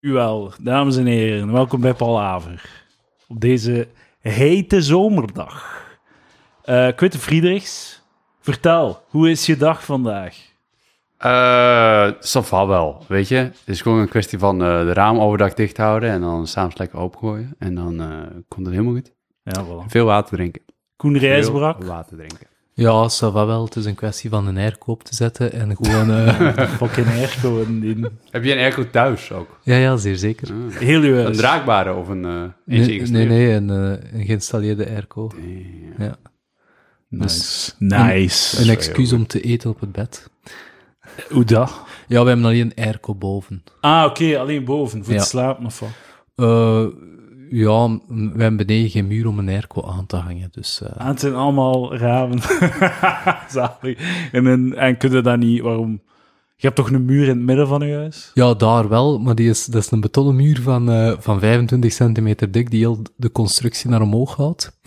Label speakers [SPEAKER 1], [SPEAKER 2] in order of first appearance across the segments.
[SPEAKER 1] U wel, dames en heren, welkom bij Palaver. Op deze hete zomerdag. Eh Quitte Friedrichs, vertel, hoe is je dag vandaag?
[SPEAKER 2] Eh, Safa wel, weet je. Het is gewoon een kwestie van eh, de raam overdag dicht houden en dan s'avonds lekker opengooien. En dan eh, komt het helemaal goed.
[SPEAKER 1] Ja, voilà.
[SPEAKER 2] Veel water drinken.
[SPEAKER 1] Koen
[SPEAKER 2] Veel
[SPEAKER 1] Rijsbrak,
[SPEAKER 2] water drinken.
[SPEAKER 3] Ja, ça va wel. Het is een kwestie van een airco op te zetten en gewoon... eh,
[SPEAKER 1] fucking airco in, in
[SPEAKER 2] Heb je een airco thuis ook?
[SPEAKER 3] ja, ja, zeer zeker.
[SPEAKER 1] heel uw
[SPEAKER 2] Een
[SPEAKER 1] huis.
[SPEAKER 2] draagbare of een eh eentje
[SPEAKER 3] Nee, nee,
[SPEAKER 2] ingestuurd?
[SPEAKER 3] nee, een, eh, een geïnstalleerde airco. Ja.
[SPEAKER 1] Nice. nice.
[SPEAKER 3] Een excuus om te eten op het bed.
[SPEAKER 1] Hoe dat?
[SPEAKER 3] Ja, we hebben alleen een airco boven.
[SPEAKER 1] Ah, oké, alleen boven, voor
[SPEAKER 3] Ja.
[SPEAKER 1] het slapen of wat?
[SPEAKER 3] Eh, ja, m- we hebben beneden geen muur om een airco aan te hangen, dus... eh,
[SPEAKER 1] Ah, het zijn allemaal ramen. Zalig. En, en, en kun je dat niet, waarom? Je hebt toch een muur in het midden van je huis?
[SPEAKER 3] Ja, daar wel, maar die is, dat is een betonnen muur van, eh, van 25 centimeter dik, die heel de constructie naar omhoog houdt.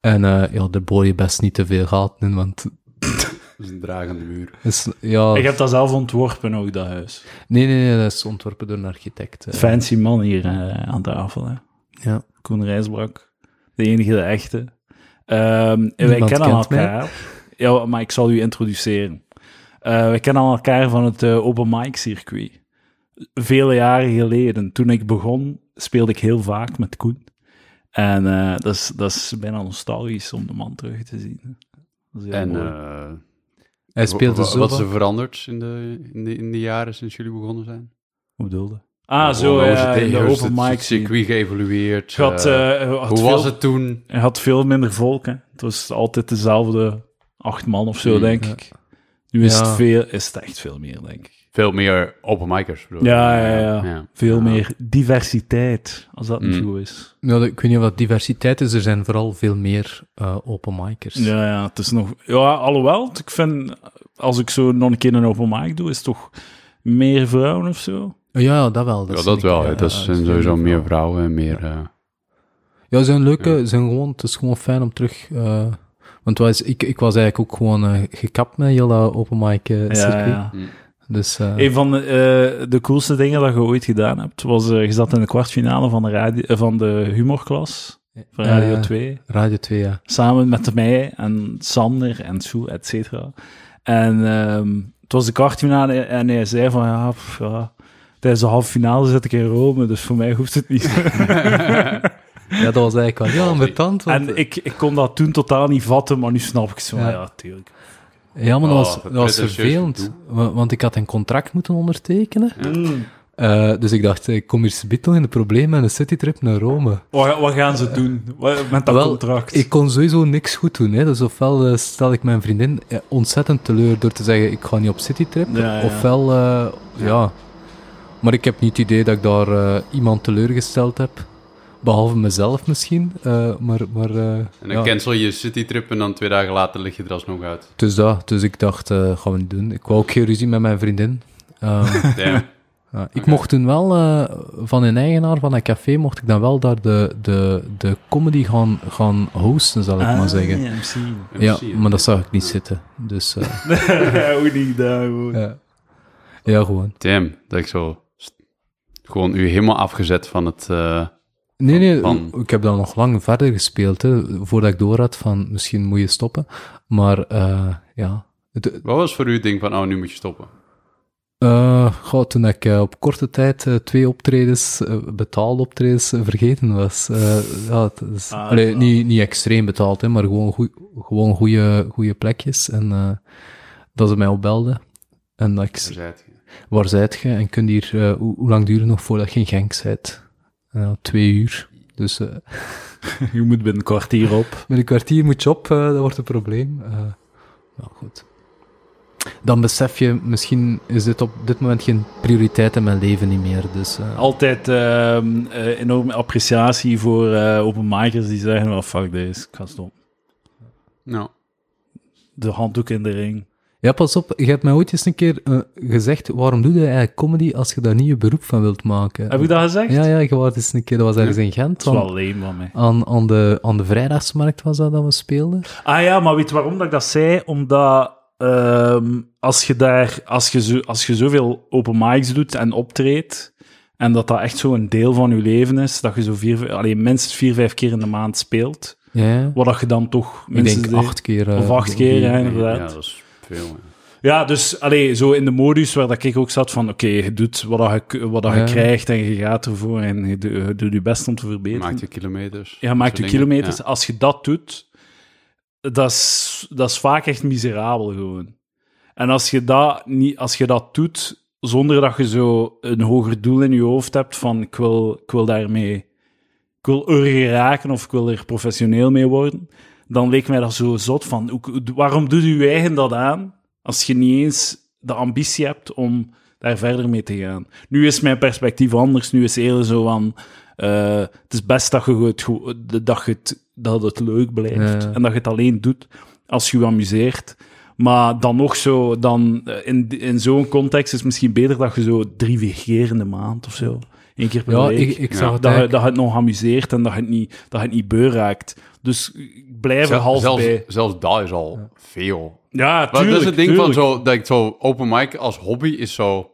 [SPEAKER 3] En eh, ja, daar boor je best niet te veel gaten in, want...
[SPEAKER 2] Dat is een dragende muur.
[SPEAKER 3] het Is, ja,
[SPEAKER 1] Ik heb dat zelf ontworpen, ook dat huis.
[SPEAKER 3] Nee, nee, nee, dat is ontworpen door een architect. eh.
[SPEAKER 1] Fancy man hier eh, aan tafel, hè.
[SPEAKER 3] Ja.
[SPEAKER 1] Koen Rijsbrak. De enige, de echte. Ehm, en wij
[SPEAKER 3] Niemand
[SPEAKER 1] kennen
[SPEAKER 3] kent mij.
[SPEAKER 1] elkaar. Ja, maar ik zal u introduceren. Eh wij kennen elkaar van het eh, open mic circuit. Vele jaren geleden, toen ik begon, speelde ik heel vaak met Koen. En eh, dat, is, dat is bijna nostalgisch om de man terug te zien. Dat is heel
[SPEAKER 2] En
[SPEAKER 1] mooi.
[SPEAKER 2] eh,
[SPEAKER 3] Hij
[SPEAKER 2] wa-
[SPEAKER 3] speelde
[SPEAKER 2] wa-
[SPEAKER 3] zo.
[SPEAKER 2] wat is
[SPEAKER 3] wat-
[SPEAKER 2] er veranderd in de, in, de, in de jaren sinds jullie begonnen zijn?
[SPEAKER 1] Hoe bedoelde? Ah, zo,
[SPEAKER 2] Hoe is
[SPEAKER 1] ja,
[SPEAKER 2] het-
[SPEAKER 1] in de
[SPEAKER 2] hoe is
[SPEAKER 1] open
[SPEAKER 2] het
[SPEAKER 1] mic circuit.
[SPEAKER 2] circuit geëvolueerd?
[SPEAKER 1] Ik had,
[SPEAKER 2] Eh,
[SPEAKER 1] eh, had
[SPEAKER 2] hoe
[SPEAKER 1] veel-
[SPEAKER 2] was het toen?
[SPEAKER 1] Hij had veel minder volk. Hè. Het was altijd dezelfde acht man of zo,
[SPEAKER 2] Mm,
[SPEAKER 1] denk
[SPEAKER 3] ja.
[SPEAKER 1] ik. Nu is,
[SPEAKER 3] Ja.
[SPEAKER 1] het veel, is het echt veel meer, denk ik.
[SPEAKER 2] Veel meer open micers, bedoel ik.
[SPEAKER 1] Ja, ja, ja. Veel
[SPEAKER 2] Ja.
[SPEAKER 1] meer diversiteit, als dat niet
[SPEAKER 2] Mm.
[SPEAKER 1] zo is.
[SPEAKER 3] Nou, ik weet niet wat diversiteit is, er zijn vooral veel meer eh open micers.
[SPEAKER 1] Ja, ja, het is nog... Ja, alhoewel, ik vind... Als ik zo nog een keer een open mic doe, is het toch meer vrouwen of zo?
[SPEAKER 3] Oh, Ja, ja, dat wel.
[SPEAKER 2] Ja,
[SPEAKER 3] is
[SPEAKER 2] dat
[SPEAKER 3] een-
[SPEAKER 2] wel.
[SPEAKER 3] ja,
[SPEAKER 2] hè. dat
[SPEAKER 3] ja,
[SPEAKER 2] zijn
[SPEAKER 3] is
[SPEAKER 2] sowieso
[SPEAKER 3] een-
[SPEAKER 2] meer vrouwen en meer... eh,
[SPEAKER 3] Ja, zijn leuke, zijn gewoon, het is gewoon fijn om terug... eh, want was, ik, ik was eigenlijk ook gewoon eh, gekapt met heel dat open mic eh, circuit. Dus eh,
[SPEAKER 1] Een van de, eh, de coolste dingen dat je ooit gedaan hebt, was... eh, je zat in de kwartfinale van de, radio, eh, van de humorklas, van Radio
[SPEAKER 3] eh,
[SPEAKER 1] 2.
[SPEAKER 3] Radio 2, ja.
[SPEAKER 1] samen met mij en Sander en Sue, et cetera. En ehm, het was de kwartfinale en hij zei van, ja, pff, ja, tijdens de halve finale zit ik in Rome, dus voor mij hoeft het niet.
[SPEAKER 3] Ja, dat was eigenlijk wel heel ambetant. want-
[SPEAKER 1] en ik, ik kon dat toen totaal niet vatten, maar nu snap ik het zo. Ja,
[SPEAKER 3] Ja.
[SPEAKER 1] ja tuurlijk.
[SPEAKER 3] eh, Ja, maar dat
[SPEAKER 2] Oh,
[SPEAKER 3] was, dat was
[SPEAKER 2] pretentieus
[SPEAKER 3] vervelend. wa- Want ik had een contract moeten ondertekenen.
[SPEAKER 1] Mm.
[SPEAKER 3] Eh, dus ik dacht, ik kom hier subiet al in de problemen met een citytrip naar Rome.
[SPEAKER 1] Wat, wat gaan ze doen Wat- met dat
[SPEAKER 3] Wel,
[SPEAKER 1] contract?
[SPEAKER 3] Ik kon sowieso niks goed doen. Hè. Dus ofwel eh, stel ik mijn vriendin eh, ontzettend teleur door te zeggen ik ga niet op citytrip.
[SPEAKER 1] Ja, ja.
[SPEAKER 3] Ofwel, eh, ja. Maar ik heb niet het idee dat ik daar eh, iemand teleurgesteld heb. Behalve mezelf misschien. eh, maar, maar, eh,
[SPEAKER 2] En dan
[SPEAKER 3] ja.
[SPEAKER 2] cancel je citytrip en dan twee dagen later lig je er alsnog uit.
[SPEAKER 3] Dus dat. Dus ik dacht, eh gaan we niet doen. Ik wou ook geen ruzie met mijn vriendin. Ehm,
[SPEAKER 2] Damn.
[SPEAKER 3] ja. Ik mocht toen wel eh, van een eigenaar van een café, mocht ik dan wel daar de, de, de comedy gaan, gaan hosten, zal ik
[SPEAKER 1] Ah,
[SPEAKER 3] maar zeggen.
[SPEAKER 1] ja, misschien.
[SPEAKER 3] Ja,
[SPEAKER 2] zie je.
[SPEAKER 3] maar dat zag ik niet zitten. Dus eh,
[SPEAKER 1] Hoe niet daar gewoon.
[SPEAKER 3] ja. ja, gewoon.
[SPEAKER 2] Damn, dat ik zo... st- Gewoon u helemaal afgezet van het... eh,
[SPEAKER 3] Nee, nee,
[SPEAKER 2] Van-
[SPEAKER 3] ik heb dan nog lang verder gespeeld, hè, voordat ik door had van misschien moet je stoppen. Maar eh, ja, Het-
[SPEAKER 2] Wat was voor u het ding van, oh, nu moet je stoppen?
[SPEAKER 3] eh, goh, toen ik eh, op korte tijd eh, twee optredens, eh, betaalde optredens, eh, vergeten was. Eh, ja, het is,
[SPEAKER 1] Ah,
[SPEAKER 3] allee,
[SPEAKER 1] ja.
[SPEAKER 3] niet, niet extreem betaald, hè, maar gewoon, goeie, gewoon goede, goede plekjes. En eh, dat ze mij opbelden. En dat ik
[SPEAKER 2] Daar zijt je.
[SPEAKER 3] Waar zijt je? En kun je hier, eh, hoe, hoe lang duurt het nog voordat je in Genk zijt? Ja, twee uur. Dus eh,
[SPEAKER 1] Je moet binnen een kwartier op.
[SPEAKER 3] met een kwartier moet je op, eh, dat wordt een probleem. Eh nou goed. Dan besef je, misschien is dit op dit moment geen prioriteit in mijn leven niet meer. Dus, eh,
[SPEAKER 1] Altijd ehm, eh, enorme appreciatie voor eh openmakers die zeggen, well, fuck deze, ik ga stoppen.
[SPEAKER 2] Nou,
[SPEAKER 1] De handdoek in de ring.
[SPEAKER 3] Ja, pas op, je hebt mij ooit eens een keer eh, gezegd, waarom doe je eigenlijk comedy als je daar niet je beroep van wilt maken?
[SPEAKER 1] Heb ik dat gezegd?
[SPEAKER 3] Ja, ja, je was eens een keer, dat was ergens in Gent.
[SPEAKER 1] Dat is
[SPEAKER 3] want
[SPEAKER 1] wel leem van mij.
[SPEAKER 3] Aan, aan, de, aan de vrijdagsmarkt was dat dat we speelden.
[SPEAKER 1] Ah ja, maar weet je waarom dat ik dat zei? Omdat ehm, als, je daar, als, je zo, als je zoveel open mics doet en optreedt, En dat dat echt zo'n deel van je leven is, dat je zo vier, alleen minstens vier, vijf keer in de maand speelt.
[SPEAKER 3] Ja,
[SPEAKER 1] Wat dat je dan toch
[SPEAKER 3] ik
[SPEAKER 1] minstens...
[SPEAKER 3] denk
[SPEAKER 1] de-
[SPEAKER 3] acht keer. eh,
[SPEAKER 1] Of acht keer, ja,
[SPEAKER 2] Ja,
[SPEAKER 1] inderdaad.
[SPEAKER 2] dat is veel. ja.
[SPEAKER 1] Ja, dus allee, zo in de modus waar dat ik ook zat van, oké, je doet wat, dat je, k- wat dat je
[SPEAKER 3] Ja.
[SPEAKER 1] krijgt en je gaat ervoor en je, do- je doet je best om te verbeteren.
[SPEAKER 2] Maakt je kilometers.
[SPEAKER 1] ja, maakt je
[SPEAKER 2] dat soort dingen.
[SPEAKER 1] kilometers.
[SPEAKER 2] Ja.
[SPEAKER 1] Als je dat doet, dat is, dat is vaak echt miserabel gewoon. En als je dat, niet, als je dat doet zonder dat je zo een hoger doel in je hoofd hebt van, ik wil, ik wil daarmee, ik wil er geraken of ik wil er professioneel mee worden, dan leek mij dat zo zot van, hoe- waarom doet u eigen dat aan als je niet eens de ambitie hebt om daar verder mee te gaan? Nu is mijn perspectief anders, nu is eerder zo van, eh, het is best dat, je het, go- dat, je het, dat het leuk blijft
[SPEAKER 3] Ja.
[SPEAKER 1] en dat je het alleen doet als je je amuseert. Maar dan nog zo, dan, eh, in, in zo'n context is het misschien beter dat je zo drie, vier keer in de maand of zo, één keer per
[SPEAKER 3] Ja,
[SPEAKER 1] week
[SPEAKER 3] ik, ik
[SPEAKER 2] Ja,
[SPEAKER 3] zag het
[SPEAKER 1] dat, je-
[SPEAKER 3] eigenlijk-
[SPEAKER 1] dat je het nog amuseert en dat je het niet, dat je het niet beu raakt. Dus ik blijf er
[SPEAKER 2] Zelf-
[SPEAKER 1] half
[SPEAKER 2] zelfs,
[SPEAKER 1] bij.
[SPEAKER 2] zelfs dat is al veel.
[SPEAKER 1] Ja, tuurlijk.
[SPEAKER 2] Maar dat is het ding van
[SPEAKER 1] tuurlijk.
[SPEAKER 2] zo, dat ik zo open mic als hobby is zo.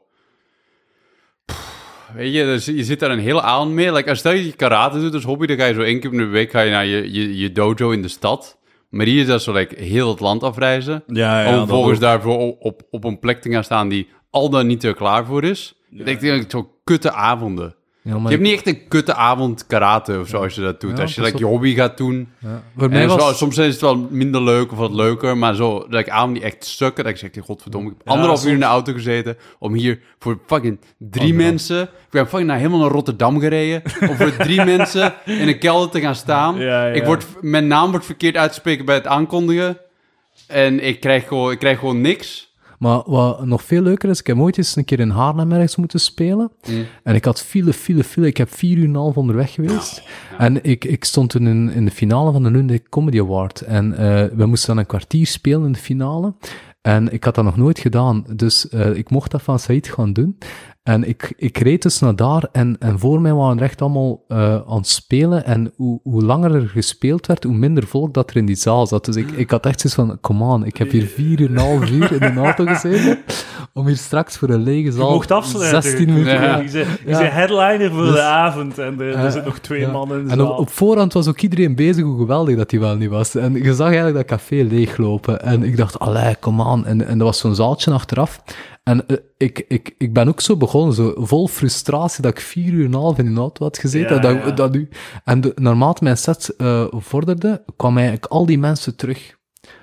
[SPEAKER 2] Pff, Weet je, dus je zit daar een hele avond mee. Like, als stel je karate doet als hobby, dan ga je zo één keer in de week ga je naar je, je, je dojo in de stad. Maar hier is dat zo like, heel het land afreizen.
[SPEAKER 1] Ja, ja,
[SPEAKER 2] om
[SPEAKER 1] dat
[SPEAKER 2] vervolgens
[SPEAKER 1] ook.
[SPEAKER 2] daarvoor o- op, op een plek te gaan staan die al dan niet er klaar voor is. Ik denk dat ik zo kutte avonden.
[SPEAKER 3] Ja,
[SPEAKER 2] Je
[SPEAKER 3] maar
[SPEAKER 2] hebt niet echt een kutte avond karate of zo als je dat doet.
[SPEAKER 3] Ja,
[SPEAKER 2] als je
[SPEAKER 3] pas
[SPEAKER 2] like, je hobby gaat doen.
[SPEAKER 3] ja. Voor
[SPEAKER 2] En
[SPEAKER 3] mij
[SPEAKER 2] zo-
[SPEAKER 3] was...
[SPEAKER 2] soms is het wel minder leuk of wat leuker, maar zo dat ik aan die echt sukken, dat ik zeg, godverdomme, ik heb anderhalf uur in de auto gezeten om hier voor fucking drie mensen, ik ben fucking naar helemaal naar Rotterdam gereden, om voor drie mensen in een kelder te gaan staan.
[SPEAKER 1] Ja, ja.
[SPEAKER 2] Ik word, mijn naam wordt verkeerd uitgesproken bij het aankondigen en ik krijg gewoon, ik krijg gewoon niks.
[SPEAKER 3] Maar wat nog veel leuker is, ik heb ooit eens een keer in Haarlem ergens moeten spelen.
[SPEAKER 2] Mm.
[SPEAKER 3] En ik had file, file, file. Ik heb vier uur en een half onderweg geweest. En ik, ik stond toen in, in de finale van de Lundijk Comedy Award. En eh, we moesten dan een kwartier spelen in de finale. En ik had dat nog nooit gedaan. Dus eh, ik mocht dat van Said gaan doen. En ik, ik reed dus naar daar en, en voor mij waren er echt allemaal eh, aan het spelen. En hoe, hoe langer er gespeeld werd, hoe minder volk dat er in die zaal zat. Dus ik, ik had echt zoiets van, come on, ik heb hier vier en een half uur in een auto gezeten om hier straks voor een lege
[SPEAKER 1] Je
[SPEAKER 3] zaal
[SPEAKER 1] mocht afsluiten.
[SPEAKER 3] 16 minuten...
[SPEAKER 2] Ja.
[SPEAKER 1] Ik zei, ik
[SPEAKER 3] Ja.
[SPEAKER 1] zei headliner voor de
[SPEAKER 3] Dus-
[SPEAKER 1] avond en er, er
[SPEAKER 3] Eh,
[SPEAKER 1] zitten nog twee
[SPEAKER 3] ja.
[SPEAKER 1] mannen in de
[SPEAKER 3] En op,
[SPEAKER 1] zaal.
[SPEAKER 3] op voorhand was ook iedereen bezig hoe geweldig dat hij wel niet was. En je zag eigenlijk dat café leeglopen. En ik dacht, allee, kom aan. En, en er was zo'n zaaltje achteraf. En eh, ik, ik, ik ben ook zo begonnen, zo vol frustratie dat ik vier uur en een half in een auto had gezeten.
[SPEAKER 1] Ja,
[SPEAKER 3] dat,
[SPEAKER 1] ja.
[SPEAKER 3] Dat nu, en de, naarmate mijn set eh, vorderde, kwamen eigenlijk al die mensen terug.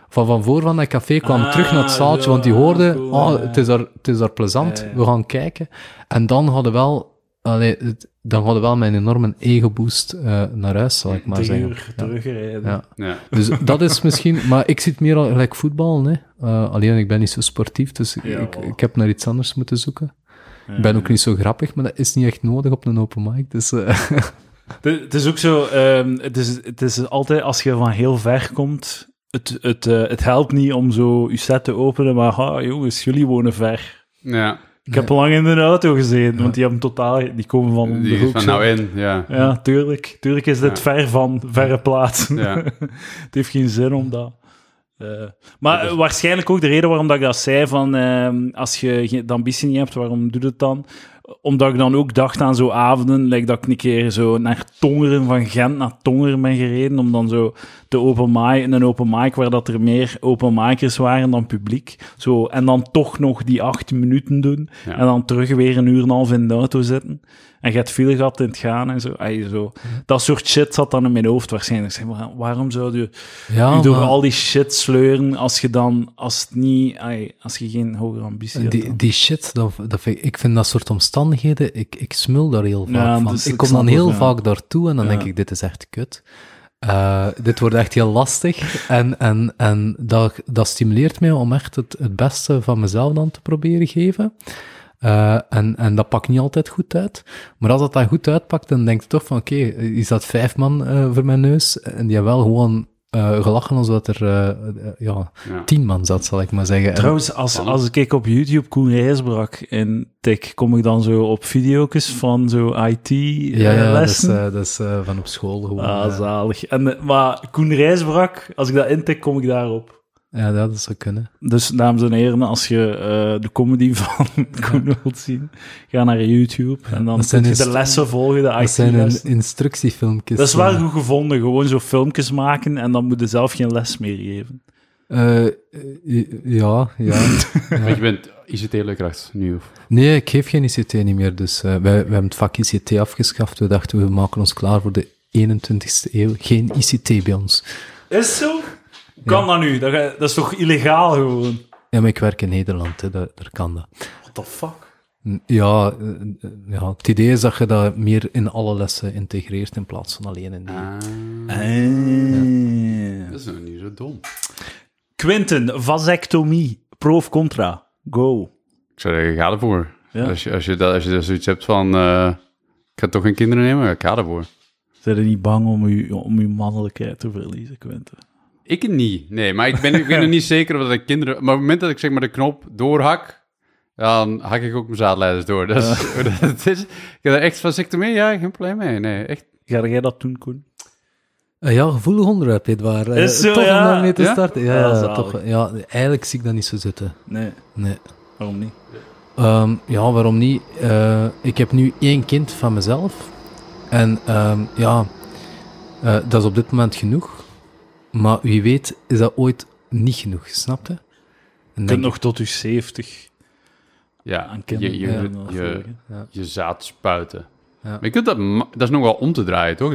[SPEAKER 3] Van, van voor van dat café kwamen
[SPEAKER 1] Ah,
[SPEAKER 3] terug naar het zaaltje,
[SPEAKER 1] zo,
[SPEAKER 3] want die
[SPEAKER 1] ah,
[SPEAKER 3] hoorden,
[SPEAKER 1] cool,
[SPEAKER 3] oh,
[SPEAKER 1] ja, ja.
[SPEAKER 3] het is daar, het is daar plezant,
[SPEAKER 1] Ja, ja.
[SPEAKER 3] we gaan kijken. En dan hadden wel, allee, het- dan hadden wel mijn enorme ego-boost eh, naar huis, zal ik maar
[SPEAKER 1] Drie
[SPEAKER 3] zeggen.
[SPEAKER 1] uur terugrijden.
[SPEAKER 3] Ja.
[SPEAKER 2] Ja.
[SPEAKER 3] Dus dat is misschien, maar ik zit meer al gelijk voetbal, hè. Eh, alleen ik ben niet zo sportief, dus ik-
[SPEAKER 1] Ja,
[SPEAKER 3] ik,
[SPEAKER 1] wel.
[SPEAKER 3] ik heb naar iets anders moeten zoeken. Ik ben ook niet zo grappig, maar dat is niet echt nodig op een open mic. Dus, eh,
[SPEAKER 1] Het het is ook zo, ehm, het, is, het is altijd als je van heel ver komt, het, het, eh, het helpt niet om zo je set te openen, maar ha, jongens, jullie wonen ver.
[SPEAKER 2] Ja,
[SPEAKER 1] Ik heb lang in de auto gezeten, want
[SPEAKER 3] Ja.
[SPEAKER 1] die hebben totaal, die komen van de
[SPEAKER 2] die is
[SPEAKER 1] hoek.
[SPEAKER 2] van
[SPEAKER 1] zo.
[SPEAKER 2] nou in, ja.
[SPEAKER 1] Ja, tuurlijk. Tuurlijk is dit
[SPEAKER 2] Ja.
[SPEAKER 1] ver van, verre plaatsen.
[SPEAKER 2] Ja.
[SPEAKER 1] het heeft geen zin om dat. eh, maar
[SPEAKER 2] Dat is-
[SPEAKER 1] eh, waarschijnlijk ook de reden waarom dat ik dat zei, van ehm, als je geen- de ambitie niet hebt, waarom doe je het dan? Omdat ik dan ook dacht aan zo'n avonden, like dat ik een keer zo naar Tongeren, van Gent naar Tongeren ben gereden, om dan zo de open mic, een open mic waar dat er meer open micers waren dan publiek. Zo, en dan toch nog die acht minuten doen,
[SPEAKER 2] Ja.
[SPEAKER 1] en dan terug weer een uur en een half in de auto zitten. En je hebt file gehad in het gaan en zo. Ai, zo. Dat soort shit zat dan in mijn hoofd waarschijnlijk. Ik Zeg, maar, waarom zou je
[SPEAKER 3] ja,
[SPEAKER 1] je door
[SPEAKER 3] Oh, maar-
[SPEAKER 1] al die shit sleuren als je dan, als het niet, ai, als je geen hogere ambitie hebt?
[SPEAKER 3] Die,
[SPEAKER 1] dan?
[SPEAKER 3] die shit, dat, dat vind ik, ik vind dat soort omstandigheden, ik, ik smul daar heel vaak
[SPEAKER 1] Ja,
[SPEAKER 3] van.
[SPEAKER 1] dus
[SPEAKER 3] ik
[SPEAKER 1] ik
[SPEAKER 3] kom dan
[SPEAKER 1] snap het,
[SPEAKER 3] heel
[SPEAKER 1] ja.
[SPEAKER 3] vaak daartoe en dan
[SPEAKER 1] Ja.
[SPEAKER 3] denk ik, dit is echt kut. Eh, dit wordt echt heel lastig. En, en, en dat, dat stimuleert mij om echt het, het beste van mezelf dan te proberen geven. Eh, en, en dat pakt niet altijd goed uit. Maar als dat dan goed uitpakt, dan denk ik toch van, oké, is dat vijf man eh, voor mijn neus? En die hebben wel gewoon eh, gelachen alsof er eh, eh, ja,
[SPEAKER 2] Ja.
[SPEAKER 3] tien man zat, zal ik maar zeggen. En-
[SPEAKER 1] Trouwens, als, als ik op YouTube Koen Rijsbrak in tik, kom ik dan zo op video's van zo
[SPEAKER 3] Ja, ja, dat is,
[SPEAKER 1] IT-lessen.
[SPEAKER 3] eh, dat is eh, van op school gewoon.
[SPEAKER 1] ah,
[SPEAKER 3] eh.
[SPEAKER 1] zalig. En, eh, maar Koen Rijsbrak, als ik dat intik, kom ik daarop.
[SPEAKER 3] Ja, dat zou kunnen.
[SPEAKER 1] Dus, dames en heren, als je eh, de comedy van Koen wilt zien, ga naar YouTube en dan
[SPEAKER 3] dat zijn
[SPEAKER 1] kun je de
[SPEAKER 3] inst-
[SPEAKER 1] lessen volgen, de
[SPEAKER 3] Dat zijn
[SPEAKER 1] IT-lessen.
[SPEAKER 3] een instructiefilmpjes.
[SPEAKER 1] Dat is wel
[SPEAKER 3] eh.
[SPEAKER 1] goed gevonden. Gewoon zo filmpjes maken en dan moet je zelf geen les meer geven.
[SPEAKER 3] Eh, eh, ja, ja.
[SPEAKER 2] Want je bent ICT-leerkracht nu. Of...
[SPEAKER 3] Nee, ik geef geen ICT niet meer. Dus eh, wij, wij hebben het vak ICT afgeschaft. We dachten, we maken ons klaar voor de 21ste eeuw. Geen ICT bij ons.
[SPEAKER 1] Is zo? Hoe kan dat nu? Dat, ga- dat is toch illegaal gewoon?
[SPEAKER 3] Ja, maar ik werk in Nederland, hè, daar, daar kan dat.
[SPEAKER 1] What the fuck?
[SPEAKER 3] Ja, eh, eh, ja, het idee is dat je dat meer in alle lessen integreert in plaats van alleen in die.
[SPEAKER 2] Dat is nou niet zo dom.
[SPEAKER 1] Eh. Quinten, vasectomie. Pro of contra? Go.
[SPEAKER 2] Ik zou zeggen, ga ervoor.
[SPEAKER 1] Ja.
[SPEAKER 2] Als, je, als, je, dat- als je dat zoiets hebt van, eh, ik ga toch geen kinderen nemen, ik ga ervoor.
[SPEAKER 1] Zijn er niet bang om uw, om uw mannelijkheid te verliezen, Quinten?
[SPEAKER 2] Ik niet, nee. Maar ik ben, ik ben er niet zeker of dat ik kinderen... Maar op het moment dat ik zeg maar de knop doorhak, dan hak ik ook mijn zaadleiders door. Dat is, dat is, ik heb er echt van, zeg mee, ja, geen probleem mee. Nee, echt.
[SPEAKER 1] Ga jij dat doen, Koen?
[SPEAKER 3] Eh, ja, gevoelig onderwerp, dit waar. Eh,
[SPEAKER 1] Is zo,
[SPEAKER 3] toch
[SPEAKER 1] ja.
[SPEAKER 3] om daarmee te
[SPEAKER 2] Ja?
[SPEAKER 3] starten. Ja,
[SPEAKER 1] Ja,
[SPEAKER 3] ja,
[SPEAKER 1] zalig.
[SPEAKER 3] toch, ja, eigenlijk zie ik dat niet zo zitten.
[SPEAKER 1] Nee,
[SPEAKER 3] Nee.
[SPEAKER 1] waarom niet?
[SPEAKER 3] Ehm, ja, waarom niet? Eh, ik heb nu één kind van mezelf. En ehm, ja, eh, dat is op dit moment genoeg. Maar wie weet is dat ooit niet genoeg, snap je? En
[SPEAKER 1] Je
[SPEAKER 3] denk
[SPEAKER 1] kunt nog tot je 70
[SPEAKER 2] Ja,
[SPEAKER 1] aan
[SPEAKER 2] je, je,
[SPEAKER 1] kinderen
[SPEAKER 2] je,
[SPEAKER 1] eh,
[SPEAKER 2] je,
[SPEAKER 1] volgen.
[SPEAKER 2] zaad spuiten.
[SPEAKER 3] Ja.
[SPEAKER 2] Maar je kunt dat, ma- dat is nog wel om te draaien, toch?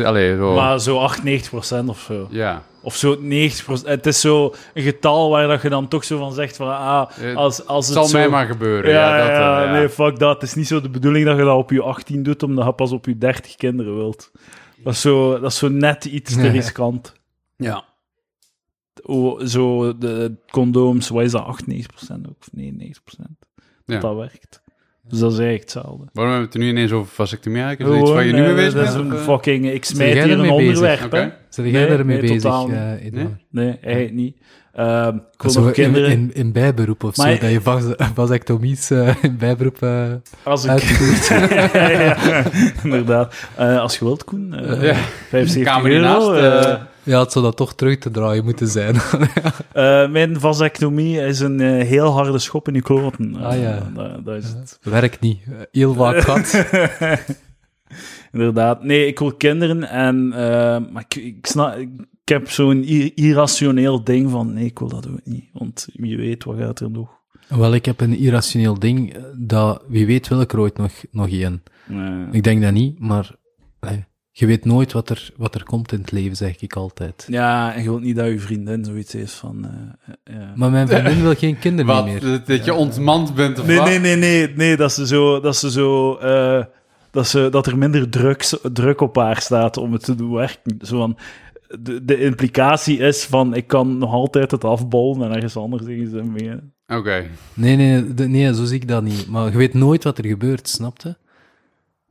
[SPEAKER 2] 90%, allee, zo...
[SPEAKER 1] Maar zo 8, 90 procent of zo.
[SPEAKER 2] ja.
[SPEAKER 1] Of zo 90 Het is zo een getal waar dat je dan toch zo van zegt van... Ah,
[SPEAKER 2] Eh,
[SPEAKER 1] als, als
[SPEAKER 2] Het
[SPEAKER 1] het
[SPEAKER 2] zal
[SPEAKER 1] zo...
[SPEAKER 2] mij maar gebeuren.
[SPEAKER 1] Ja,
[SPEAKER 2] Ja,
[SPEAKER 1] ja,
[SPEAKER 2] dat, eh, ja.
[SPEAKER 1] nee, fuck dat. Het is niet zo de bedoeling dat je dat op je 18 doet, omdat je pas op je 30 kinderen wilt. Dat is zo, dat is zo net iets te
[SPEAKER 3] Ja.
[SPEAKER 1] riskant.
[SPEAKER 2] ja.
[SPEAKER 1] Oh, zo de condooms, wat is dat, 98% ook, of 99% dat
[SPEAKER 2] Ja.
[SPEAKER 1] dat werkt. Dus dat is eigenlijk hetzelfde.
[SPEAKER 2] Waarom hebben we het er nu ineens over vasectomie eigenlijk? Is dat iets waar je
[SPEAKER 1] Gewoon,
[SPEAKER 2] nu
[SPEAKER 1] eh,
[SPEAKER 2] mee bezig
[SPEAKER 1] dat is
[SPEAKER 2] bent?
[SPEAKER 1] een
[SPEAKER 2] Of, eh?
[SPEAKER 1] fucking... Ik smijt
[SPEAKER 3] jij
[SPEAKER 1] hier een
[SPEAKER 3] ermee bezig?
[SPEAKER 1] onderwerp,
[SPEAKER 2] Oké.
[SPEAKER 1] hè.
[SPEAKER 3] Zijn jij
[SPEAKER 1] Nee,
[SPEAKER 3] daarmee
[SPEAKER 1] nee,
[SPEAKER 3] bezig,
[SPEAKER 1] totaal niet.
[SPEAKER 3] eh, Edouard?
[SPEAKER 2] Nee?
[SPEAKER 1] Nee, eigenlijk niet. Ehm ik wil
[SPEAKER 3] Zo
[SPEAKER 1] nog
[SPEAKER 3] in-
[SPEAKER 1] kinderen...
[SPEAKER 3] in, in, bijberoep of
[SPEAKER 1] Maar-
[SPEAKER 3] zo, dat je vas- vasectomies eh, in bijberoep eh
[SPEAKER 1] als ik...
[SPEAKER 3] uitvoert.
[SPEAKER 1] ja, ja, inderdaad. Eh, als je wilt, Koen. eh,
[SPEAKER 2] Ja.
[SPEAKER 1] 75
[SPEAKER 2] Kamer
[SPEAKER 1] euro.
[SPEAKER 2] hiernaast,
[SPEAKER 1] eh,
[SPEAKER 2] eh.
[SPEAKER 3] ja, het zou dat toch terug te draaien moeten zijn.
[SPEAKER 1] eh, mijn vasectomie is een eh, heel harde schop in je kloten.
[SPEAKER 3] Ah, ja.
[SPEAKER 1] Eh, dat, dat is het.
[SPEAKER 3] Werkt niet.
[SPEAKER 2] Eh,
[SPEAKER 3] Heel vaak gaat.
[SPEAKER 1] Inderdaad. Nee, ik wil kinderen en... eh, maar ik, ik, snap, ik ik heb zo'n i- irrationeel ding van... Nee, ik wil dat ook niet. Want wie weet, wat gaat er nog?
[SPEAKER 3] Wel, ik heb een irrationeel ding, eh, dat wie weet wil ik er ooit nog, nog één.
[SPEAKER 1] Nee.
[SPEAKER 3] Ik denk dat niet, maar eh, je weet nooit wat er, wat er komt in het leven, zeg ik altijd.
[SPEAKER 1] Ja, en je wilt niet dat je vriendin zoiets heeft van... eh, eh, ja.
[SPEAKER 3] Maar mijn vriendin wil geen kinderen
[SPEAKER 2] Wat,
[SPEAKER 3] meer.
[SPEAKER 2] dat, dat je ontmand bent of
[SPEAKER 1] Nee,
[SPEAKER 2] wat?
[SPEAKER 1] nee, nee, nee, nee, dat ze zo, dat ze zo, eh, dat ze, dat er minder druk, druk op haar staat om het te doen werken. Zo van, de, de implicatie is van, ik kan nog altijd het afbollen en ergens anders in zijn mee.
[SPEAKER 2] Oké.
[SPEAKER 3] Nee, nee, nee, de- nee, zo zie ik dat niet. Maar je weet nooit wat er gebeurt, snapte?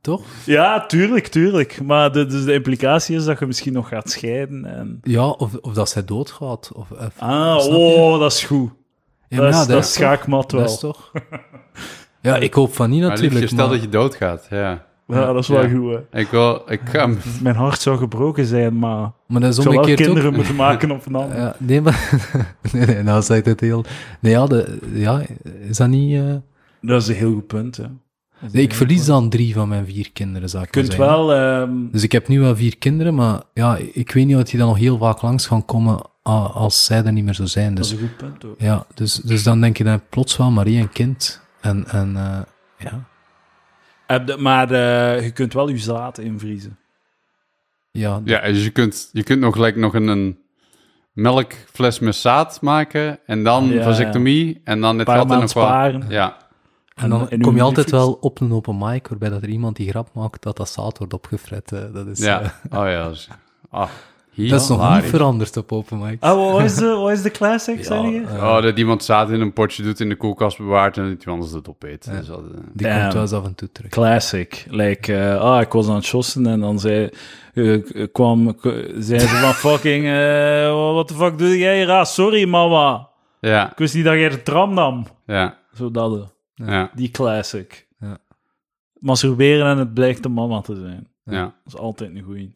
[SPEAKER 3] Toch?
[SPEAKER 1] Ja, tuurlijk, tuurlijk. Maar de, dus de implicatie is dat je misschien nog gaat scheiden en...
[SPEAKER 3] Ja, of, of dat zij doodgaat. Of, of-
[SPEAKER 1] Ah,
[SPEAKER 3] snap je?
[SPEAKER 1] oh, dat is goed.
[SPEAKER 3] Ja,
[SPEAKER 1] dat,
[SPEAKER 3] maar
[SPEAKER 1] is,
[SPEAKER 3] ja,
[SPEAKER 1] dat, is
[SPEAKER 3] toch-
[SPEAKER 1] schaakmat wel.
[SPEAKER 3] dat is toch? Ja, ik hoop van niet
[SPEAKER 2] Maar liefje,
[SPEAKER 3] natuurlijk.
[SPEAKER 2] stel
[SPEAKER 3] maar-
[SPEAKER 2] dat je doodgaat. Ja.
[SPEAKER 1] ja, dat is wel
[SPEAKER 2] Ja.
[SPEAKER 1] goed, hè.
[SPEAKER 2] Ik wil, ik ga hem-
[SPEAKER 1] Mijn hart zou gebroken zijn, maar...
[SPEAKER 3] Maar dat is
[SPEAKER 1] Ik zou wel
[SPEAKER 3] omgekeerd ook.
[SPEAKER 1] kinderen moeten maken op een ander.
[SPEAKER 3] Ja, nee, maar... nee, nee, nou zegt het heel... Nee, ja, de, ja is dat niet... eh,
[SPEAKER 1] Dat is een heel goed punt, ja. Dat is een
[SPEAKER 3] Nee, ik
[SPEAKER 1] heel
[SPEAKER 3] verlies
[SPEAKER 1] goed
[SPEAKER 3] dan drie van mijn vier kinderen, zou ik
[SPEAKER 1] Je
[SPEAKER 3] maar
[SPEAKER 1] kunt
[SPEAKER 3] zeggen.
[SPEAKER 1] wel... ehm,
[SPEAKER 3] Dus ik heb nu wel vier kinderen, maar ja, ik weet niet of die dan nog heel vaak langs gaan komen a- als zij er niet meer zo zijn.
[SPEAKER 1] dat is
[SPEAKER 3] Dus,
[SPEAKER 1] een goed punt ook.
[SPEAKER 3] ja, dus, dus dan denk je dan plots wel maar één kind. En, en eh, ja,
[SPEAKER 1] Heb de- Maar eh, je kunt wel je zaad invriezen.
[SPEAKER 3] ja,
[SPEAKER 2] ja, dus je kunt, je kunt nog, gelijk nog een, een melkfles met zaad maken en dan
[SPEAKER 1] Ja,
[SPEAKER 2] vasectomie en dan het
[SPEAKER 1] Een paar
[SPEAKER 2] geld en
[SPEAKER 1] maanden
[SPEAKER 2] nog wat.
[SPEAKER 1] sparen.
[SPEAKER 2] Ja,
[SPEAKER 3] en dan
[SPEAKER 1] en uw
[SPEAKER 3] kom je altijd
[SPEAKER 1] liefjes.
[SPEAKER 3] wel op een open mic, waarbij dat er iemand die grap maakt dat dat zaad wordt opgefret. eh, Dat is,
[SPEAKER 2] ja.
[SPEAKER 3] eh,
[SPEAKER 2] Oh ja, dat is, ah,
[SPEAKER 3] dat is nog niet
[SPEAKER 2] hilarisch.
[SPEAKER 3] veranderd op open mic.
[SPEAKER 1] Ah, wat is de, wat is de classic, zei je?
[SPEAKER 3] eh,
[SPEAKER 2] Oh, dat iemand zaad in een potje doet, in de koelkast bewaart en dat iemand anders het opeet. Dat is altijd, eh.
[SPEAKER 3] die
[SPEAKER 1] damn.
[SPEAKER 3] komt wel eens af en toe terug.
[SPEAKER 1] Classic. Like, eh, ah, ik was aan het shossen en dan zei, eh, kwam, k- zei ze van fucking, eh, wat de fuck doe jij hier? Ah, sorry mama.
[SPEAKER 2] ja,
[SPEAKER 1] Ik wist niet dat jij de tram nam.
[SPEAKER 2] ja,
[SPEAKER 1] Zo dat, eh,
[SPEAKER 2] ja,
[SPEAKER 1] die classic.
[SPEAKER 3] Ja.
[SPEAKER 1] Masturberen en het blijkt de mama te zijn.
[SPEAKER 2] ja.
[SPEAKER 1] Dat is altijd een goeie.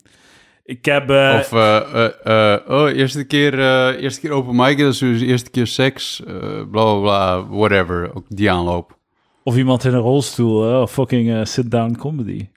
[SPEAKER 1] Ik heb... eh,
[SPEAKER 2] Of, eh, eh, eh, oh, eerste keer, eh, eerste keer open mic, dat is dus eerste keer seks, eh, bla bla bla, whatever. Ook die aanloop.
[SPEAKER 1] Of iemand in een rolstoel, hè, of fucking eh, sit-down comedy.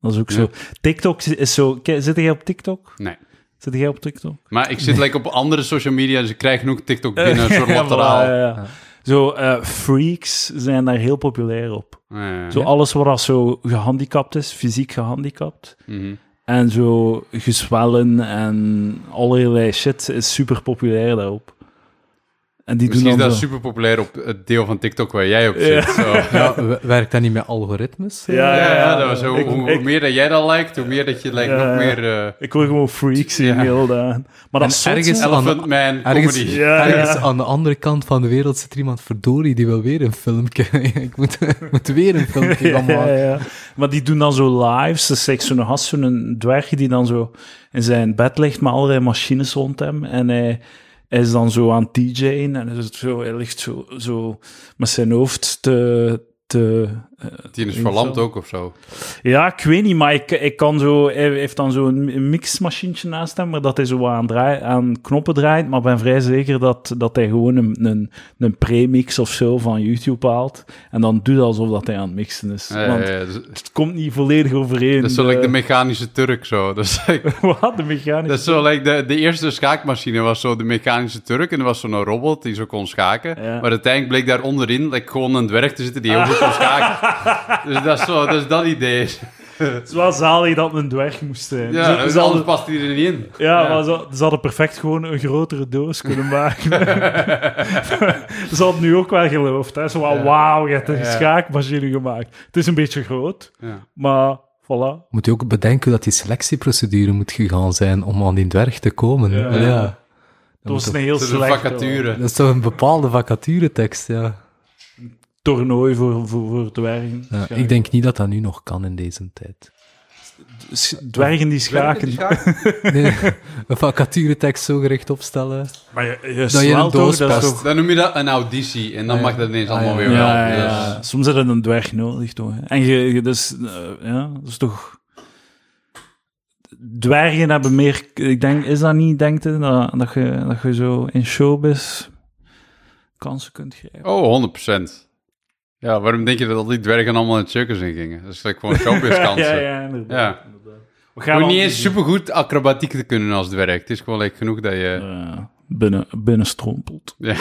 [SPEAKER 1] Dat is ook zo. TikTok is zo... Ke- Zit jij op TikTok?
[SPEAKER 2] Nee.
[SPEAKER 1] Zit jij op TikTok?
[SPEAKER 2] Maar ik zit like, op andere social media, dus ik krijg genoeg TikTok binnen, een soort
[SPEAKER 1] Eh, Ja, eh,
[SPEAKER 2] lateraal.
[SPEAKER 1] voilà, ja, ja. Zo, eh, freaks zijn daar heel populair op.
[SPEAKER 2] Ja, ja.
[SPEAKER 1] Zo alles wat als zo gehandicapt is, fysiek gehandicapt.
[SPEAKER 2] Mhm.
[SPEAKER 1] En zo gezwellen en allerlei shit is super populair daarop. En die
[SPEAKER 2] Misschien is
[SPEAKER 1] doen dan
[SPEAKER 2] dat
[SPEAKER 1] zo-
[SPEAKER 2] super populair op het deel van TikTok waar jij op zit. zo.
[SPEAKER 3] Ja, we- werkt dat niet met algoritmes? eh?
[SPEAKER 2] Ja, ja, dat was
[SPEAKER 1] zo.
[SPEAKER 2] zo. hoe, hoe meer dat jij dat lijkt, hoe meer dat je lijkt
[SPEAKER 1] Ja,
[SPEAKER 2] nog
[SPEAKER 1] ja.
[SPEAKER 2] meer eh,
[SPEAKER 1] Ik hoor gewoon freaks in heel dagen. Maar dat
[SPEAKER 3] En
[SPEAKER 1] is zot,
[SPEAKER 3] ergens-
[SPEAKER 1] hè.
[SPEAKER 2] Elephant
[SPEAKER 3] Aan-
[SPEAKER 2] Man
[SPEAKER 3] Ergens,
[SPEAKER 2] comedy.
[SPEAKER 1] Ja,
[SPEAKER 3] ergens
[SPEAKER 1] ja.
[SPEAKER 3] aan de andere kant van de wereld zit er iemand verdorie die wil weer een filmpje. ik, moet, ik moet weer een filmpje gaan
[SPEAKER 1] Ja,
[SPEAKER 3] maken.
[SPEAKER 1] ja, ja. Maar die doen dan zo lives. Dus zeg, zo'n gast, zo'n dwergje die dan zo in zijn bed ligt met allerlei machines rond hem. En hij, hij is dan zo aan DJ'en. En hij, is zo, hij ligt zo, zo met zijn hoofd te... te eh,
[SPEAKER 2] Die is verlamd
[SPEAKER 1] Zo.
[SPEAKER 2] ook of zo.
[SPEAKER 1] ja, ik weet niet, maar ik, ik kan zo... Hij heeft dan zo'n mixmachientje naast hem, maar dat hij zo wat aan, draai, aan knoppen draait. Maar ik ben vrij zeker dat, dat hij gewoon een, een, een premix of zo van YouTube haalt. En dan doet alsof dat hij aan het mixen is.
[SPEAKER 2] Ja, ja,
[SPEAKER 1] Want
[SPEAKER 2] ja, dus-
[SPEAKER 1] het komt niet volledig overeen.
[SPEAKER 2] dat is zo like de
[SPEAKER 1] Eh,
[SPEAKER 2] mechanische Turk zo. Dat is like-
[SPEAKER 1] Wat? De mechanische...
[SPEAKER 2] dat is zo like de, de eerste schaakmachine was zo de mechanische Turk en er was zo'n robot die zo kon schaken.
[SPEAKER 1] Ja.
[SPEAKER 2] Maar uiteindelijk bleek daar onderin like, gewoon een dwerg te zitten die heel goed kon schaken. Dus dat is zo, dat is dat idee.
[SPEAKER 1] Het is wel zalig dat het een dwerg moest zijn.
[SPEAKER 2] Ja,
[SPEAKER 1] ze,
[SPEAKER 2] dus
[SPEAKER 1] ze
[SPEAKER 2] anders
[SPEAKER 1] hadden,
[SPEAKER 2] past hij er niet in.
[SPEAKER 1] ja, Maar ze, ze hadden perfect gewoon een grotere doos kunnen maken. ze hadden nu ook wel geloofd. Hè? Zo van, wauw, je hebt een
[SPEAKER 2] Ja.
[SPEAKER 1] schaakmachine gemaakt. Het is een beetje groot,
[SPEAKER 2] Ja.
[SPEAKER 1] maar voilà.
[SPEAKER 3] Moet je ook bedenken dat die selectieprocedure moet gegaan zijn om aan die dwerg te komen.
[SPEAKER 1] Ja.
[SPEAKER 3] Ja.
[SPEAKER 1] Het was een heel
[SPEAKER 2] Dat is een
[SPEAKER 1] slecht
[SPEAKER 2] vacature.
[SPEAKER 3] Dat is toch een bepaalde vacaturetekst, ja.
[SPEAKER 1] toernooi voor, voor, voor dwergen.
[SPEAKER 3] ja. Ik denk niet dat dat nu nog kan in deze tijd.
[SPEAKER 1] S- Dwergen die schaken.
[SPEAKER 3] Nee, een vacaturetekst zo gericht opstellen.
[SPEAKER 1] Maar je, je
[SPEAKER 3] je in een
[SPEAKER 1] smelt
[SPEAKER 3] doos
[SPEAKER 1] toch, dat is
[SPEAKER 3] past.
[SPEAKER 1] toch-
[SPEAKER 2] Dan noem je dat een auditie en dan
[SPEAKER 3] Ja.
[SPEAKER 2] mag dat ineens
[SPEAKER 3] Ah,
[SPEAKER 2] allemaal weer
[SPEAKER 3] ja.
[SPEAKER 2] wel.
[SPEAKER 1] Ja, ja,
[SPEAKER 2] Dus-
[SPEAKER 1] ja. soms heb je een dwerg nodig, toch? hè? En je, je- dus, eh, ja, dat is toch... Dwergen hebben meer... Ik denk, is dat niet, denkt je, dat, dat, je, dat je zo in showbiz kansen kunt krijgen?
[SPEAKER 2] Oh, 100%. Ja, waarom denk je dat al die dwergen allemaal in het circus in gingen? Dat is like gewoon showbizkansen.
[SPEAKER 1] ja,
[SPEAKER 2] ja,
[SPEAKER 1] ja, inderdaad.
[SPEAKER 2] Ja.
[SPEAKER 1] inderdaad. We
[SPEAKER 2] Je
[SPEAKER 1] gaan
[SPEAKER 2] hoeft
[SPEAKER 1] al-
[SPEAKER 2] niet eens supergoed acrobatiek te kunnen als dwerg. Het is gewoon like, genoeg dat je...
[SPEAKER 1] Eh, binnen, binnen strompelt.
[SPEAKER 2] Ja.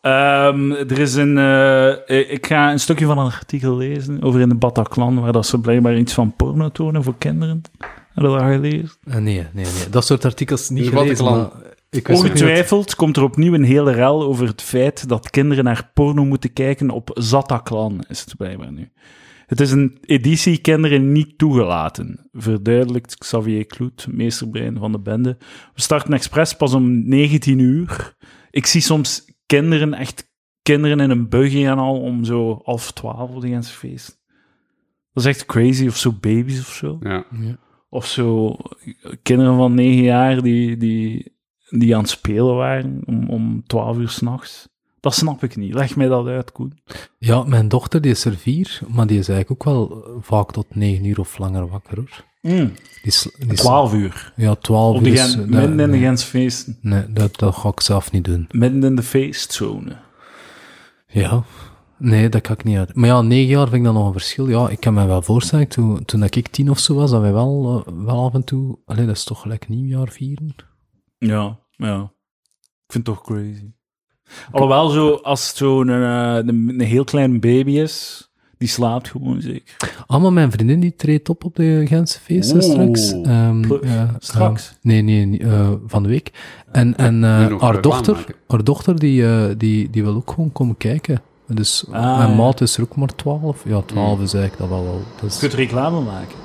[SPEAKER 1] Ehm, er is een... eh, ik ga een stukje van een artikel lezen over in de Bataclan, waar dat ze blijkbaar iets van porno tonen voor kinderen. Heb je dat gelezen?
[SPEAKER 3] Eh, nee, nee, nee. Dat soort artikels niet
[SPEAKER 2] Dus wat
[SPEAKER 3] gelezen,
[SPEAKER 2] ik al-
[SPEAKER 3] maar ik wist ook niet dat-
[SPEAKER 1] Ongetwijfeld komt er opnieuw een hele rel over het feit dat kinderen naar porno moeten kijken op Zataklan, is het blijkbaar nu. Het is een editie kinderen niet toegelaten, verduidelijkt Xavier Kloet, meesterbrein van de bende. We starten expres pas om 19 uur. Ik zie soms kinderen, echt kinderen in een buggy en al, om zo half 12 op de Gentse feest. Dat is echt crazy, of zo baby's of zo.
[SPEAKER 2] Ja.
[SPEAKER 3] Ja.
[SPEAKER 1] Of zo kinderen van negen jaar die, die, die aan het spelen waren om, om 12 uur s'nachts. Dat snap ik niet. Leg mij dat uit, Koen.
[SPEAKER 3] Ja, mijn dochter die is er vier, maar die is eigenlijk ook wel eh, vaak tot negen uur of langer wakker hoor. Die sl- die sl-
[SPEAKER 1] 12 uur.
[SPEAKER 3] Ja, twaalf
[SPEAKER 1] Op
[SPEAKER 3] uur.
[SPEAKER 1] de
[SPEAKER 3] is-
[SPEAKER 1] Gent-
[SPEAKER 3] dat-
[SPEAKER 1] midden in de
[SPEAKER 3] nee,
[SPEAKER 1] Gentse feesten.
[SPEAKER 3] nee, dat, dat ga ik zelf niet doen.
[SPEAKER 1] Midden in de feestzone.
[SPEAKER 3] Ja. Nee, dat kan ik niet uit. Maar ja, negen jaar vind ik dan nog een verschil. Ja, ik kan me wel voorstellen, toen, toen ik tien of zo was, dat wij wel, eh, wel af en toe... Allee, dat is toch gelijk nieuwjaar vieren?
[SPEAKER 1] Ja, ja. Ik vind het toch crazy. Alhoewel, zo, als het zo'n eh, een, een heel klein baby is, die slaapt gewoon zeker.
[SPEAKER 3] Ah, maar mijn vriendin die treedt op op de Gentse feesten
[SPEAKER 1] Oeh,
[SPEAKER 3] straks. Ehm,
[SPEAKER 1] plug.
[SPEAKER 3] ja,
[SPEAKER 1] Straks?
[SPEAKER 3] ehm, nee, nee, nee, eh, van de week. En, en eh,
[SPEAKER 2] nu nog
[SPEAKER 3] haar,
[SPEAKER 2] reclame
[SPEAKER 3] dochter,
[SPEAKER 2] maken.
[SPEAKER 3] haar dochter, die, eh, die, die wil ook gewoon komen kijken. Dus
[SPEAKER 1] Ah,
[SPEAKER 3] mijn
[SPEAKER 1] ja. Hmm.
[SPEAKER 3] maat is er ook maar 12. Ja, 12 is eigenlijk dat wel wel. Dat is-
[SPEAKER 1] Je kunt reclame maken.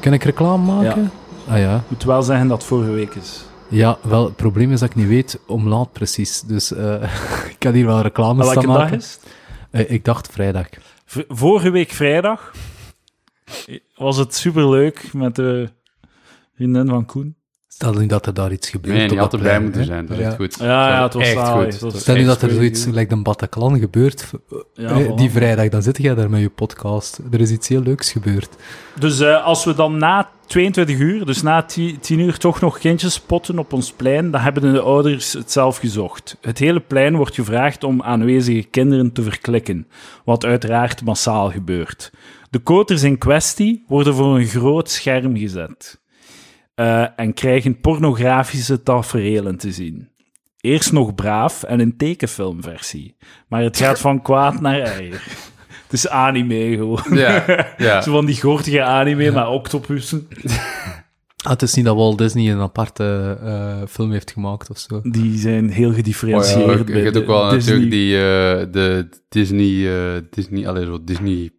[SPEAKER 3] Kan ik reclame maken? Ah ja.
[SPEAKER 1] Ik moet wel zeggen dat het vorige week is.
[SPEAKER 3] Ja, wel, het probleem is dat ik niet weet om laat precies. Dus eh, ik kan hier wel reclames
[SPEAKER 1] Welke
[SPEAKER 3] staan
[SPEAKER 1] dag
[SPEAKER 3] maken.
[SPEAKER 1] is het?
[SPEAKER 3] Eh, ik dacht vrijdag.
[SPEAKER 1] V- vorige week vrijdag was het superleuk met de vriendin van Koen.
[SPEAKER 3] Stel nu dat er daar iets gebeurt.
[SPEAKER 2] Nee,
[SPEAKER 3] op
[SPEAKER 2] die had
[SPEAKER 3] dat
[SPEAKER 2] erbij
[SPEAKER 3] plein,
[SPEAKER 2] moeten
[SPEAKER 3] hè.
[SPEAKER 2] zijn. Dat is
[SPEAKER 3] Ja.
[SPEAKER 2] echt goed.
[SPEAKER 1] Ja, ja,
[SPEAKER 2] Dat
[SPEAKER 1] het was
[SPEAKER 2] is echt
[SPEAKER 1] saai.
[SPEAKER 2] goed.
[SPEAKER 1] Het was
[SPEAKER 3] Stel nu
[SPEAKER 1] echt
[SPEAKER 3] dat er
[SPEAKER 1] goed.
[SPEAKER 3] zoiets like de Bataclan gebeurt,
[SPEAKER 1] Ja,
[SPEAKER 3] eh,
[SPEAKER 1] voilà.
[SPEAKER 3] die vrijdag, dan zit jij daar met je podcast. Er is iets heel leuks gebeurd.
[SPEAKER 1] Dus eh, als we dan na 22 uur, dus na 10 10 uur, toch nog kindjes spotten op ons plein, dan hebben de ouders het zelf gezocht. Het hele plein wordt gevraagd om aanwezige kinderen te verklikken, wat uiteraard massaal gebeurt. De koters in kwestie worden voor een groot scherm gezet eh, en krijgen pornografische tafereelen te zien. Eerst nog braaf en in tekenfilmversie, maar het gaat van kwaad naar erger. Het is anime gewoon.
[SPEAKER 2] Ja, ja.
[SPEAKER 1] Zo van die gortige anime, maar octopussen.
[SPEAKER 3] Ah, het is niet dat Walt Disney een aparte eh, film heeft gemaakt of zo.
[SPEAKER 1] Die zijn heel
[SPEAKER 2] Oh ja,
[SPEAKER 1] gedifferentieerd.
[SPEAKER 2] ook-
[SPEAKER 1] bij
[SPEAKER 2] je hebt
[SPEAKER 1] de
[SPEAKER 2] ook wel
[SPEAKER 1] Disney.
[SPEAKER 2] natuurlijk die eh, de Disney, eh, Disney, alleen zo Disney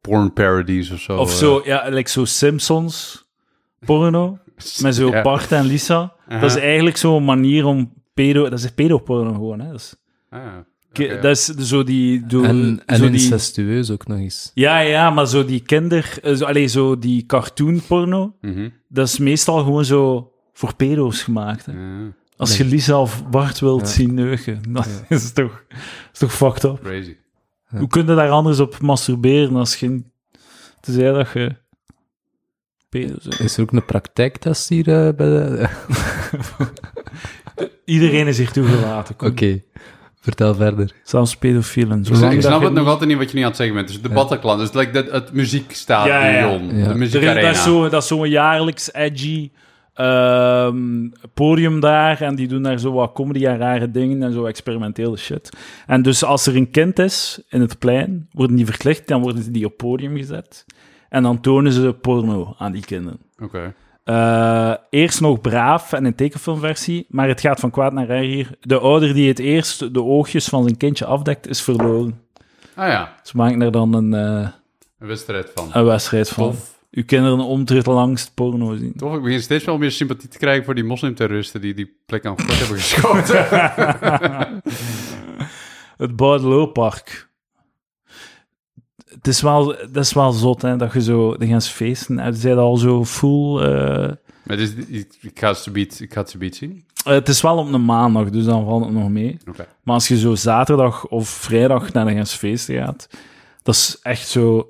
[SPEAKER 2] porn parodies of zo.
[SPEAKER 1] Of
[SPEAKER 2] eh.
[SPEAKER 1] zo, ja, like zo Simpsons porno. Met zo
[SPEAKER 2] Ja.
[SPEAKER 1] Bart en Lisa. Dat is eigenlijk zo'n manier om pedo... Dat is pedoporno gewoon, hè. Dat is,
[SPEAKER 2] Ah, ja.
[SPEAKER 1] ki-
[SPEAKER 2] Oké.
[SPEAKER 1] dat is zo die... Zo,
[SPEAKER 3] En, en
[SPEAKER 1] zo die,
[SPEAKER 3] incestueus ook nog eens.
[SPEAKER 1] ja, ja, maar zo die kinder... eh, Zo, allee, zo die cartoon porno.
[SPEAKER 2] Mhm.
[SPEAKER 1] Dat is meestal gewoon zo voor pedo's gemaakt, hè.
[SPEAKER 2] Ja,
[SPEAKER 1] Als je Lisa of Bart wilt zien neuken, dat is, toch, is toch fucked up.
[SPEAKER 2] crazy.
[SPEAKER 1] Hoe kun je daar anders op masturberen als je... Tenzij dat je... pedo's hebt.
[SPEAKER 3] Is er ook een praktijktest hier eh, bij de...
[SPEAKER 1] Iedereen is hier toegelaten.
[SPEAKER 3] Oké,
[SPEAKER 1] kom.
[SPEAKER 3] vertel verder.
[SPEAKER 1] Zelfs pedofielen.
[SPEAKER 2] Ik
[SPEAKER 1] zolang dat
[SPEAKER 2] snap
[SPEAKER 1] je
[SPEAKER 2] het nog
[SPEAKER 1] niet-
[SPEAKER 2] altijd niet wat je niet aan het zeggen bent. Dus de Bataclan, dus like dat, het
[SPEAKER 1] Ja, ja, ja.
[SPEAKER 2] muziekstadion,
[SPEAKER 3] Ja.
[SPEAKER 2] de
[SPEAKER 1] Er is, dat
[SPEAKER 2] muziekarena.
[SPEAKER 1] is zo- dat is zo'n jaarlijks edgy ehm, podium daar. En die doen daar zo wat comedy en rare dingen en zo experimentele shit. En dus als er een kind is in het plein, worden die verklicht, dan worden die op podium gezet. En dan tonen ze porno aan die kinderen.
[SPEAKER 2] Oké.
[SPEAKER 1] Eh, eerst nog braaf en een tekenfilmversie, maar het gaat van kwaad naar erger. De ouder die het eerst de oogjes van zijn kindje afdekt, is verloren.
[SPEAKER 2] Ah ja,
[SPEAKER 1] Ze maken er dan een, eh,
[SPEAKER 2] een wedstrijd van.
[SPEAKER 1] een wedstrijd van.
[SPEAKER 2] Tof.
[SPEAKER 1] Uw kinderen omtrent langs het porno zien.
[SPEAKER 2] Toch, ik begin steeds wel meer sympathie te krijgen voor die moslimterroristen die die plek aan kort hebben geschoten.
[SPEAKER 1] Het Boudelooppark. Het is wel, dat is wel zot, hè, dat je zo... Dan gaan ze feesten. En ze zijn al zo full... eh,
[SPEAKER 2] maar dus, ik, ik ga het zo biedt- ik ga het zo biedt zien.
[SPEAKER 1] het is wel op een maandag, dus dan valt het nog mee.
[SPEAKER 2] Oké.
[SPEAKER 1] Maar als je zo zaterdag of vrijdag naar de Gens feesten gaat, dat is echt zo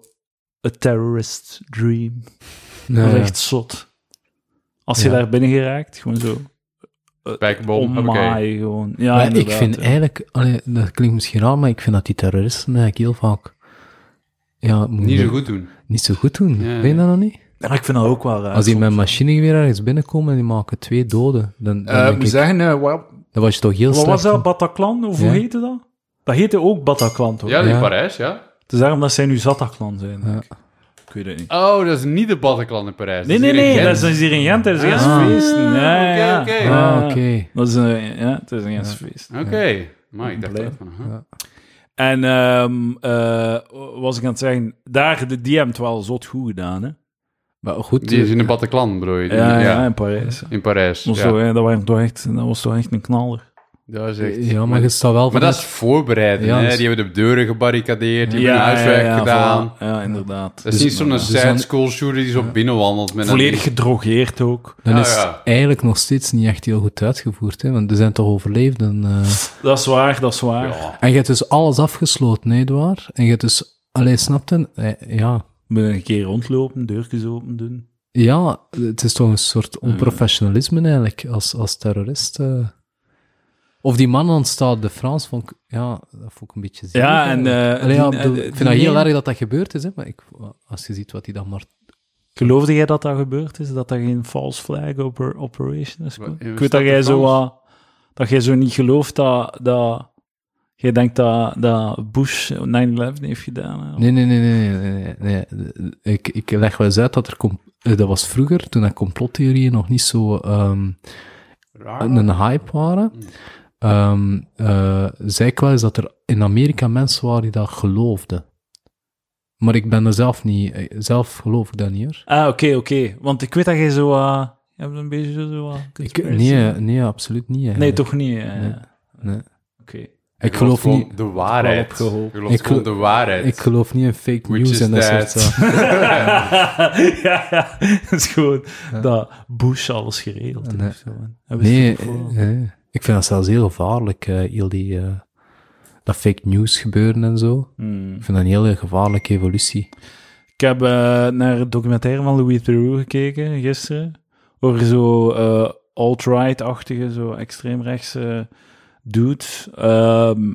[SPEAKER 1] een terrorist dream. Dat is echt zot. Als je
[SPEAKER 3] Ja.
[SPEAKER 1] daar binnen geraakt, gewoon zo
[SPEAKER 2] Spijkerbom,
[SPEAKER 1] Oh
[SPEAKER 2] oké.
[SPEAKER 1] ommaai gewoon. Ja,
[SPEAKER 3] Maar ik
[SPEAKER 1] inderdaad,
[SPEAKER 3] vind
[SPEAKER 1] ja.
[SPEAKER 3] eigenlijk, allee, dat klinkt misschien raar, maar ik vind dat die terroristen eigenlijk heel vaak ja, moet-
[SPEAKER 2] Niet zo goed doen.
[SPEAKER 3] niet zo goed doen.
[SPEAKER 2] Ja.
[SPEAKER 3] Weet je dat nog niet?
[SPEAKER 1] Ja, maar ik vind dat ook wel raar.
[SPEAKER 3] Als die
[SPEAKER 1] soms.
[SPEAKER 3] met een machinegeweer ergens binnenkomen en die maken twee doden, dan, dan, denk
[SPEAKER 4] we
[SPEAKER 3] ik,
[SPEAKER 4] zeggen, eh, wel,
[SPEAKER 3] dan was je toch heel
[SPEAKER 1] Wat was
[SPEAKER 3] slecht.
[SPEAKER 1] dat, Bataclan? Of
[SPEAKER 3] Ja.
[SPEAKER 1] hoe heette dat? Dat heette ook Bataclan, toch?
[SPEAKER 2] Ja, in
[SPEAKER 3] Ja.
[SPEAKER 2] Parijs, ja.
[SPEAKER 1] Het is daarom dat zij nu Zataclan zijn. denk ik. Ik weet het niet.
[SPEAKER 2] Oh, dat is niet de Bataclan in Parijs.
[SPEAKER 1] Nee,
[SPEAKER 2] dat
[SPEAKER 1] nee,
[SPEAKER 2] is hier
[SPEAKER 1] nee,
[SPEAKER 2] in
[SPEAKER 1] dat is
[SPEAKER 2] Gent.
[SPEAKER 1] dat is hier in Gent, dat is een
[SPEAKER 2] Ah.
[SPEAKER 1] Gens feesten. Ja, ja,
[SPEAKER 2] Oké,
[SPEAKER 1] ja.
[SPEAKER 2] oké.
[SPEAKER 1] Ja,
[SPEAKER 3] Ah, oké.
[SPEAKER 1] Dat is een, ja, het is een Gens feest.
[SPEAKER 2] Oké, maar ik dacht
[SPEAKER 1] Blij.
[SPEAKER 2] dat van... huh?
[SPEAKER 1] En ehm eh, wat was ik aan het zeggen, daar de DM het wel zot goed gedaan, hè?
[SPEAKER 3] Maar goed,
[SPEAKER 2] Die is in de Bataclan, bedoel je? Die-
[SPEAKER 1] Ja, ja,
[SPEAKER 2] ja.
[SPEAKER 1] in Parijs.
[SPEAKER 2] In Parijs,
[SPEAKER 1] Maar
[SPEAKER 2] ja.
[SPEAKER 1] Zo, hè, dat, waren toch echt, dat was toch echt een knaller.
[SPEAKER 2] Dat is echt...
[SPEAKER 3] ja, maar je staat wel
[SPEAKER 2] Maar
[SPEAKER 3] voor
[SPEAKER 2] dat is voorbereiding,
[SPEAKER 3] Ja,
[SPEAKER 2] hè?
[SPEAKER 3] dat is-
[SPEAKER 2] Die hebben de deuren gebarricadeerd, die hebben hun huiswerk gedaan.
[SPEAKER 1] voilà. Ja, inderdaad. Dus
[SPEAKER 2] Dat is niet zo'n
[SPEAKER 3] dus dan-
[SPEAKER 2] sad school shooter die zo binnenwandelt met
[SPEAKER 1] Volledig
[SPEAKER 2] een...
[SPEAKER 1] gedrogeerd ook.
[SPEAKER 3] dan
[SPEAKER 2] Ja,
[SPEAKER 3] is het
[SPEAKER 2] ja.
[SPEAKER 3] eigenlijk nog steeds niet echt heel goed uitgevoerd, hè, want er zijn toch overleefden. eh.
[SPEAKER 1] Dat is waar, dat is waar.
[SPEAKER 2] Ja.
[SPEAKER 3] En je hebt dus alles afgesloten, hè, Edouard? En je hebt dus... Allee, snapte? Eh, ja.
[SPEAKER 1] Moet een keer rondlopen, deurtjes open doen.
[SPEAKER 3] Ja, het is toch een soort
[SPEAKER 1] Mm.
[SPEAKER 3] onprofessionalisme eigenlijk, als, als terrorist. eh. Of die man aan het Stade de France, vond ik, ja, dat vond ik een beetje zielig.
[SPEAKER 1] Ja, en,
[SPEAKER 3] eigenlijk.
[SPEAKER 1] eh,
[SPEAKER 3] Allee, ja,
[SPEAKER 1] die-
[SPEAKER 3] bedoel,
[SPEAKER 1] eh,
[SPEAKER 3] ik
[SPEAKER 1] die
[SPEAKER 3] vind dat heel
[SPEAKER 1] neem-
[SPEAKER 3] erg dat dat gebeurd is, hè, maar ik, als je ziet wat hij dan maar...
[SPEAKER 1] Geloofde jij dat dat gebeurd is? Dat dat geen false flag oper- operation is?
[SPEAKER 2] Wat-
[SPEAKER 1] ik
[SPEAKER 2] is
[SPEAKER 1] weet dat
[SPEAKER 2] dat
[SPEAKER 1] jij
[SPEAKER 2] de
[SPEAKER 1] zo
[SPEAKER 2] Frans?
[SPEAKER 1] wat- dat jij zo niet gelooft dat, dat jij denkt dat, dat Bush 9-11 heeft gedaan. hè.
[SPEAKER 3] Nee, nee, nee, nee, nee, nee, nee, nee. Ik, ik leg wel eens uit dat er... com- eh, Dat was vroeger, toen dat complottheorieën nog niet zo... ehm,
[SPEAKER 2] Raar.
[SPEAKER 3] een hype waren. Ehm eh, zei ik wel eens dat er in Amerika mensen waren die dat geloofden. Maar ik ben er zelf niet, eh, zelf geloof ik dat niet hoor.
[SPEAKER 1] Ah, oké, oké. Want ik weet dat jij zo. eh, je hebt een beetje zo. eh,
[SPEAKER 3] Ik,
[SPEAKER 1] conspiracy.
[SPEAKER 3] nee, nee, absoluut niet.
[SPEAKER 1] Nee,
[SPEAKER 3] eigenlijk.
[SPEAKER 1] toch niet. eh.
[SPEAKER 3] Nee.
[SPEAKER 1] Oké.
[SPEAKER 3] Ik geloof
[SPEAKER 2] gewoon
[SPEAKER 3] niet...
[SPEAKER 2] de waarheid.
[SPEAKER 1] Wel opgeholpen.
[SPEAKER 2] Je gelooft
[SPEAKER 3] Ik
[SPEAKER 2] gewoon de
[SPEAKER 3] gelo-
[SPEAKER 2] waarheid.
[SPEAKER 3] Ik geloof niet in fake
[SPEAKER 2] Which is
[SPEAKER 3] news en dat
[SPEAKER 2] that.
[SPEAKER 3] soort zaken.
[SPEAKER 1] ja, ja, dat is gewoon dat Bush alles geregeld heeft.
[SPEAKER 3] Nee.
[SPEAKER 1] zo, en- en we
[SPEAKER 3] Nee,
[SPEAKER 1] zitten voor-
[SPEAKER 3] eh, eh, ik vind dat zelfs heel gevaarlijk, eh, heel die, eh, dat fake news gebeuren en zo.
[SPEAKER 1] Hmm.
[SPEAKER 3] Ik vind dat een hele gevaarlijke evolutie.
[SPEAKER 1] Ik heb eh, naar het documentaire van Louis Theroux gekeken gisteren. Over zo eh, alt-right-achtige, zo extreemrechtse dudes. Ehm,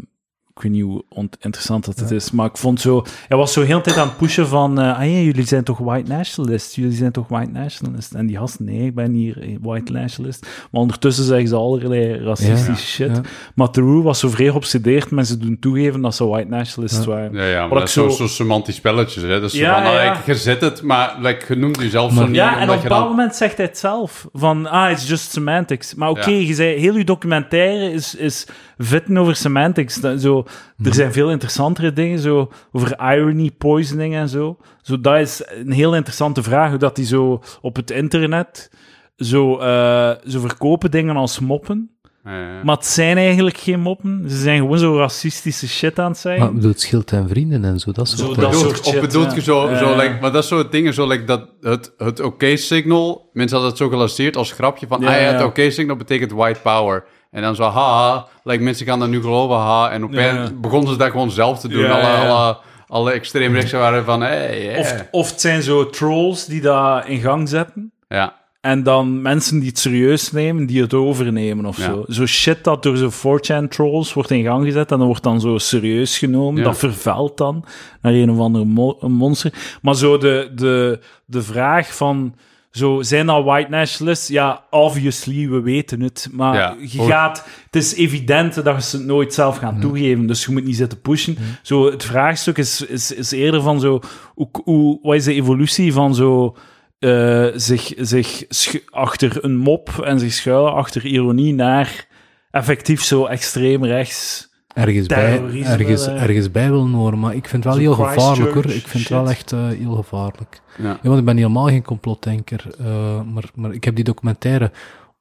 [SPEAKER 1] ik weet niet hoe ont- interessant dat het is, maar ik vond zo... Hij was zo heel de tijd aan het pushen van... eh, ah ja, jullie zijn toch white nationalist? Jullie zijn toch white nationalist? En die gast, nee, ik ben hier white nationalist. Maar ondertussen zeggen ze allerlei racistische
[SPEAKER 3] Ja,
[SPEAKER 1] shit.
[SPEAKER 3] ja.
[SPEAKER 1] Maar Theroux was zo vrij geobsedeerd met ze doen toegeven dat ze white nationalists waren.
[SPEAKER 2] Ja, ja, maar
[SPEAKER 1] Wat
[SPEAKER 2] dat is
[SPEAKER 1] ik
[SPEAKER 2] zo'n
[SPEAKER 1] zo-
[SPEAKER 2] zo semantisch spelletjes. Hè? Dat is zo
[SPEAKER 1] Ja,
[SPEAKER 2] van, nou,
[SPEAKER 1] ja.
[SPEAKER 2] like, je zet het, maar like, je noemt jezelf zo
[SPEAKER 3] Maar-
[SPEAKER 2] niet.
[SPEAKER 1] Ja, en op
[SPEAKER 2] omdat
[SPEAKER 1] een
[SPEAKER 2] je
[SPEAKER 1] bepaald
[SPEAKER 2] dan...
[SPEAKER 1] moment zegt hij het zelf. Van, ah, it's just semantics. Maar oké,
[SPEAKER 2] Ja.
[SPEAKER 1] je zei, heel je documentaire is, is vitten over semantics. Dat, zo,
[SPEAKER 2] Mhm.
[SPEAKER 1] Er zijn veel interessantere dingen, zo, over irony, poisoning en zo. zo. Dat is een heel interessante vraag, hoe dat die zo op het internet... Zo, eh, ze verkopen dingen als moppen,
[SPEAKER 2] Ja, ja.
[SPEAKER 1] maar het zijn eigenlijk geen moppen. Ze zijn gewoon zo racistische shit aan het zeggen.
[SPEAKER 3] Maar ik bedoel, het scheelt en vrienden en zo, dat soort
[SPEAKER 1] Zo
[SPEAKER 3] dingen.
[SPEAKER 1] dat
[SPEAKER 2] Bedoelt-
[SPEAKER 1] soort
[SPEAKER 2] of
[SPEAKER 1] shit,
[SPEAKER 2] bedoelt
[SPEAKER 1] ja.
[SPEAKER 2] je zo,
[SPEAKER 1] Ja,
[SPEAKER 2] zo
[SPEAKER 1] ja.
[SPEAKER 2] like, maar dat soort dingen, zo like dat het, het oké-signal, mensen hadden het zo gelanceerd als grapje van,
[SPEAKER 1] Ja,
[SPEAKER 2] ah ja, het
[SPEAKER 1] ja.
[SPEAKER 2] oké-signal betekent white power. En dan zo, haha, like, mensen gaan dat nu geloven, ha. En opeens
[SPEAKER 1] Ja.
[SPEAKER 2] begonnen ze dat gewoon zelf te doen.
[SPEAKER 1] Ja,
[SPEAKER 2] alle,
[SPEAKER 1] ja, ja.
[SPEAKER 2] alle, alle extreemrechtsen waren van, hey, yeah.
[SPEAKER 1] Of, of het zijn zo trolls die dat in gang zetten.
[SPEAKER 2] ja.
[SPEAKER 1] En dan mensen die het serieus nemen, die het overnemen of
[SPEAKER 2] Ja.
[SPEAKER 1] zo. Zo shit dat door zo'n 4chan trolls wordt in gang gezet en dat wordt dan zo serieus genomen.
[SPEAKER 2] Ja.
[SPEAKER 1] Dat vervuilt dan naar een of andere mo- monster. Maar zo de, de, de vraag van... Zo, zijn dat white nationalists? Ja, obviously, we weten het. Maar
[SPEAKER 2] Ja.
[SPEAKER 1] je
[SPEAKER 2] Hoor- Mhm.
[SPEAKER 1] gaat... Het is evident dat ze het nooit zelf gaan toegeven. Dus je moet niet zitten pushen. Zo, het vraagstuk is, is, is eerder van zo... Hoe, hoe, wat is de evolutie van zo... eh, zich zich schu- achter een mop en zich schuilen achter ironie naar effectief zo extreem rechts...
[SPEAKER 3] Ergens bij,
[SPEAKER 1] terrorisme,
[SPEAKER 3] ergens,
[SPEAKER 1] eh.
[SPEAKER 3] ergens bij willen horen, maar ik vind het wel
[SPEAKER 1] Zo'n
[SPEAKER 3] heel gevaarlijk hoor.
[SPEAKER 1] Christchurch
[SPEAKER 3] Ik vind het
[SPEAKER 1] shit.
[SPEAKER 3] wel echt eh, heel gevaarlijk.
[SPEAKER 2] Ja.
[SPEAKER 3] Ja, want ik ben helemaal geen complotdenker, eh, maar, maar ik heb die documentaire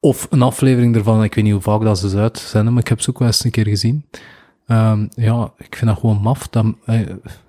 [SPEAKER 3] of een aflevering ervan, ik weet niet hoe vaak dat ze ze uitzenden, maar ik heb ze ook wel eens een keer gezien. Ehm, ja, ik vind dat gewoon maf. Dat, eh,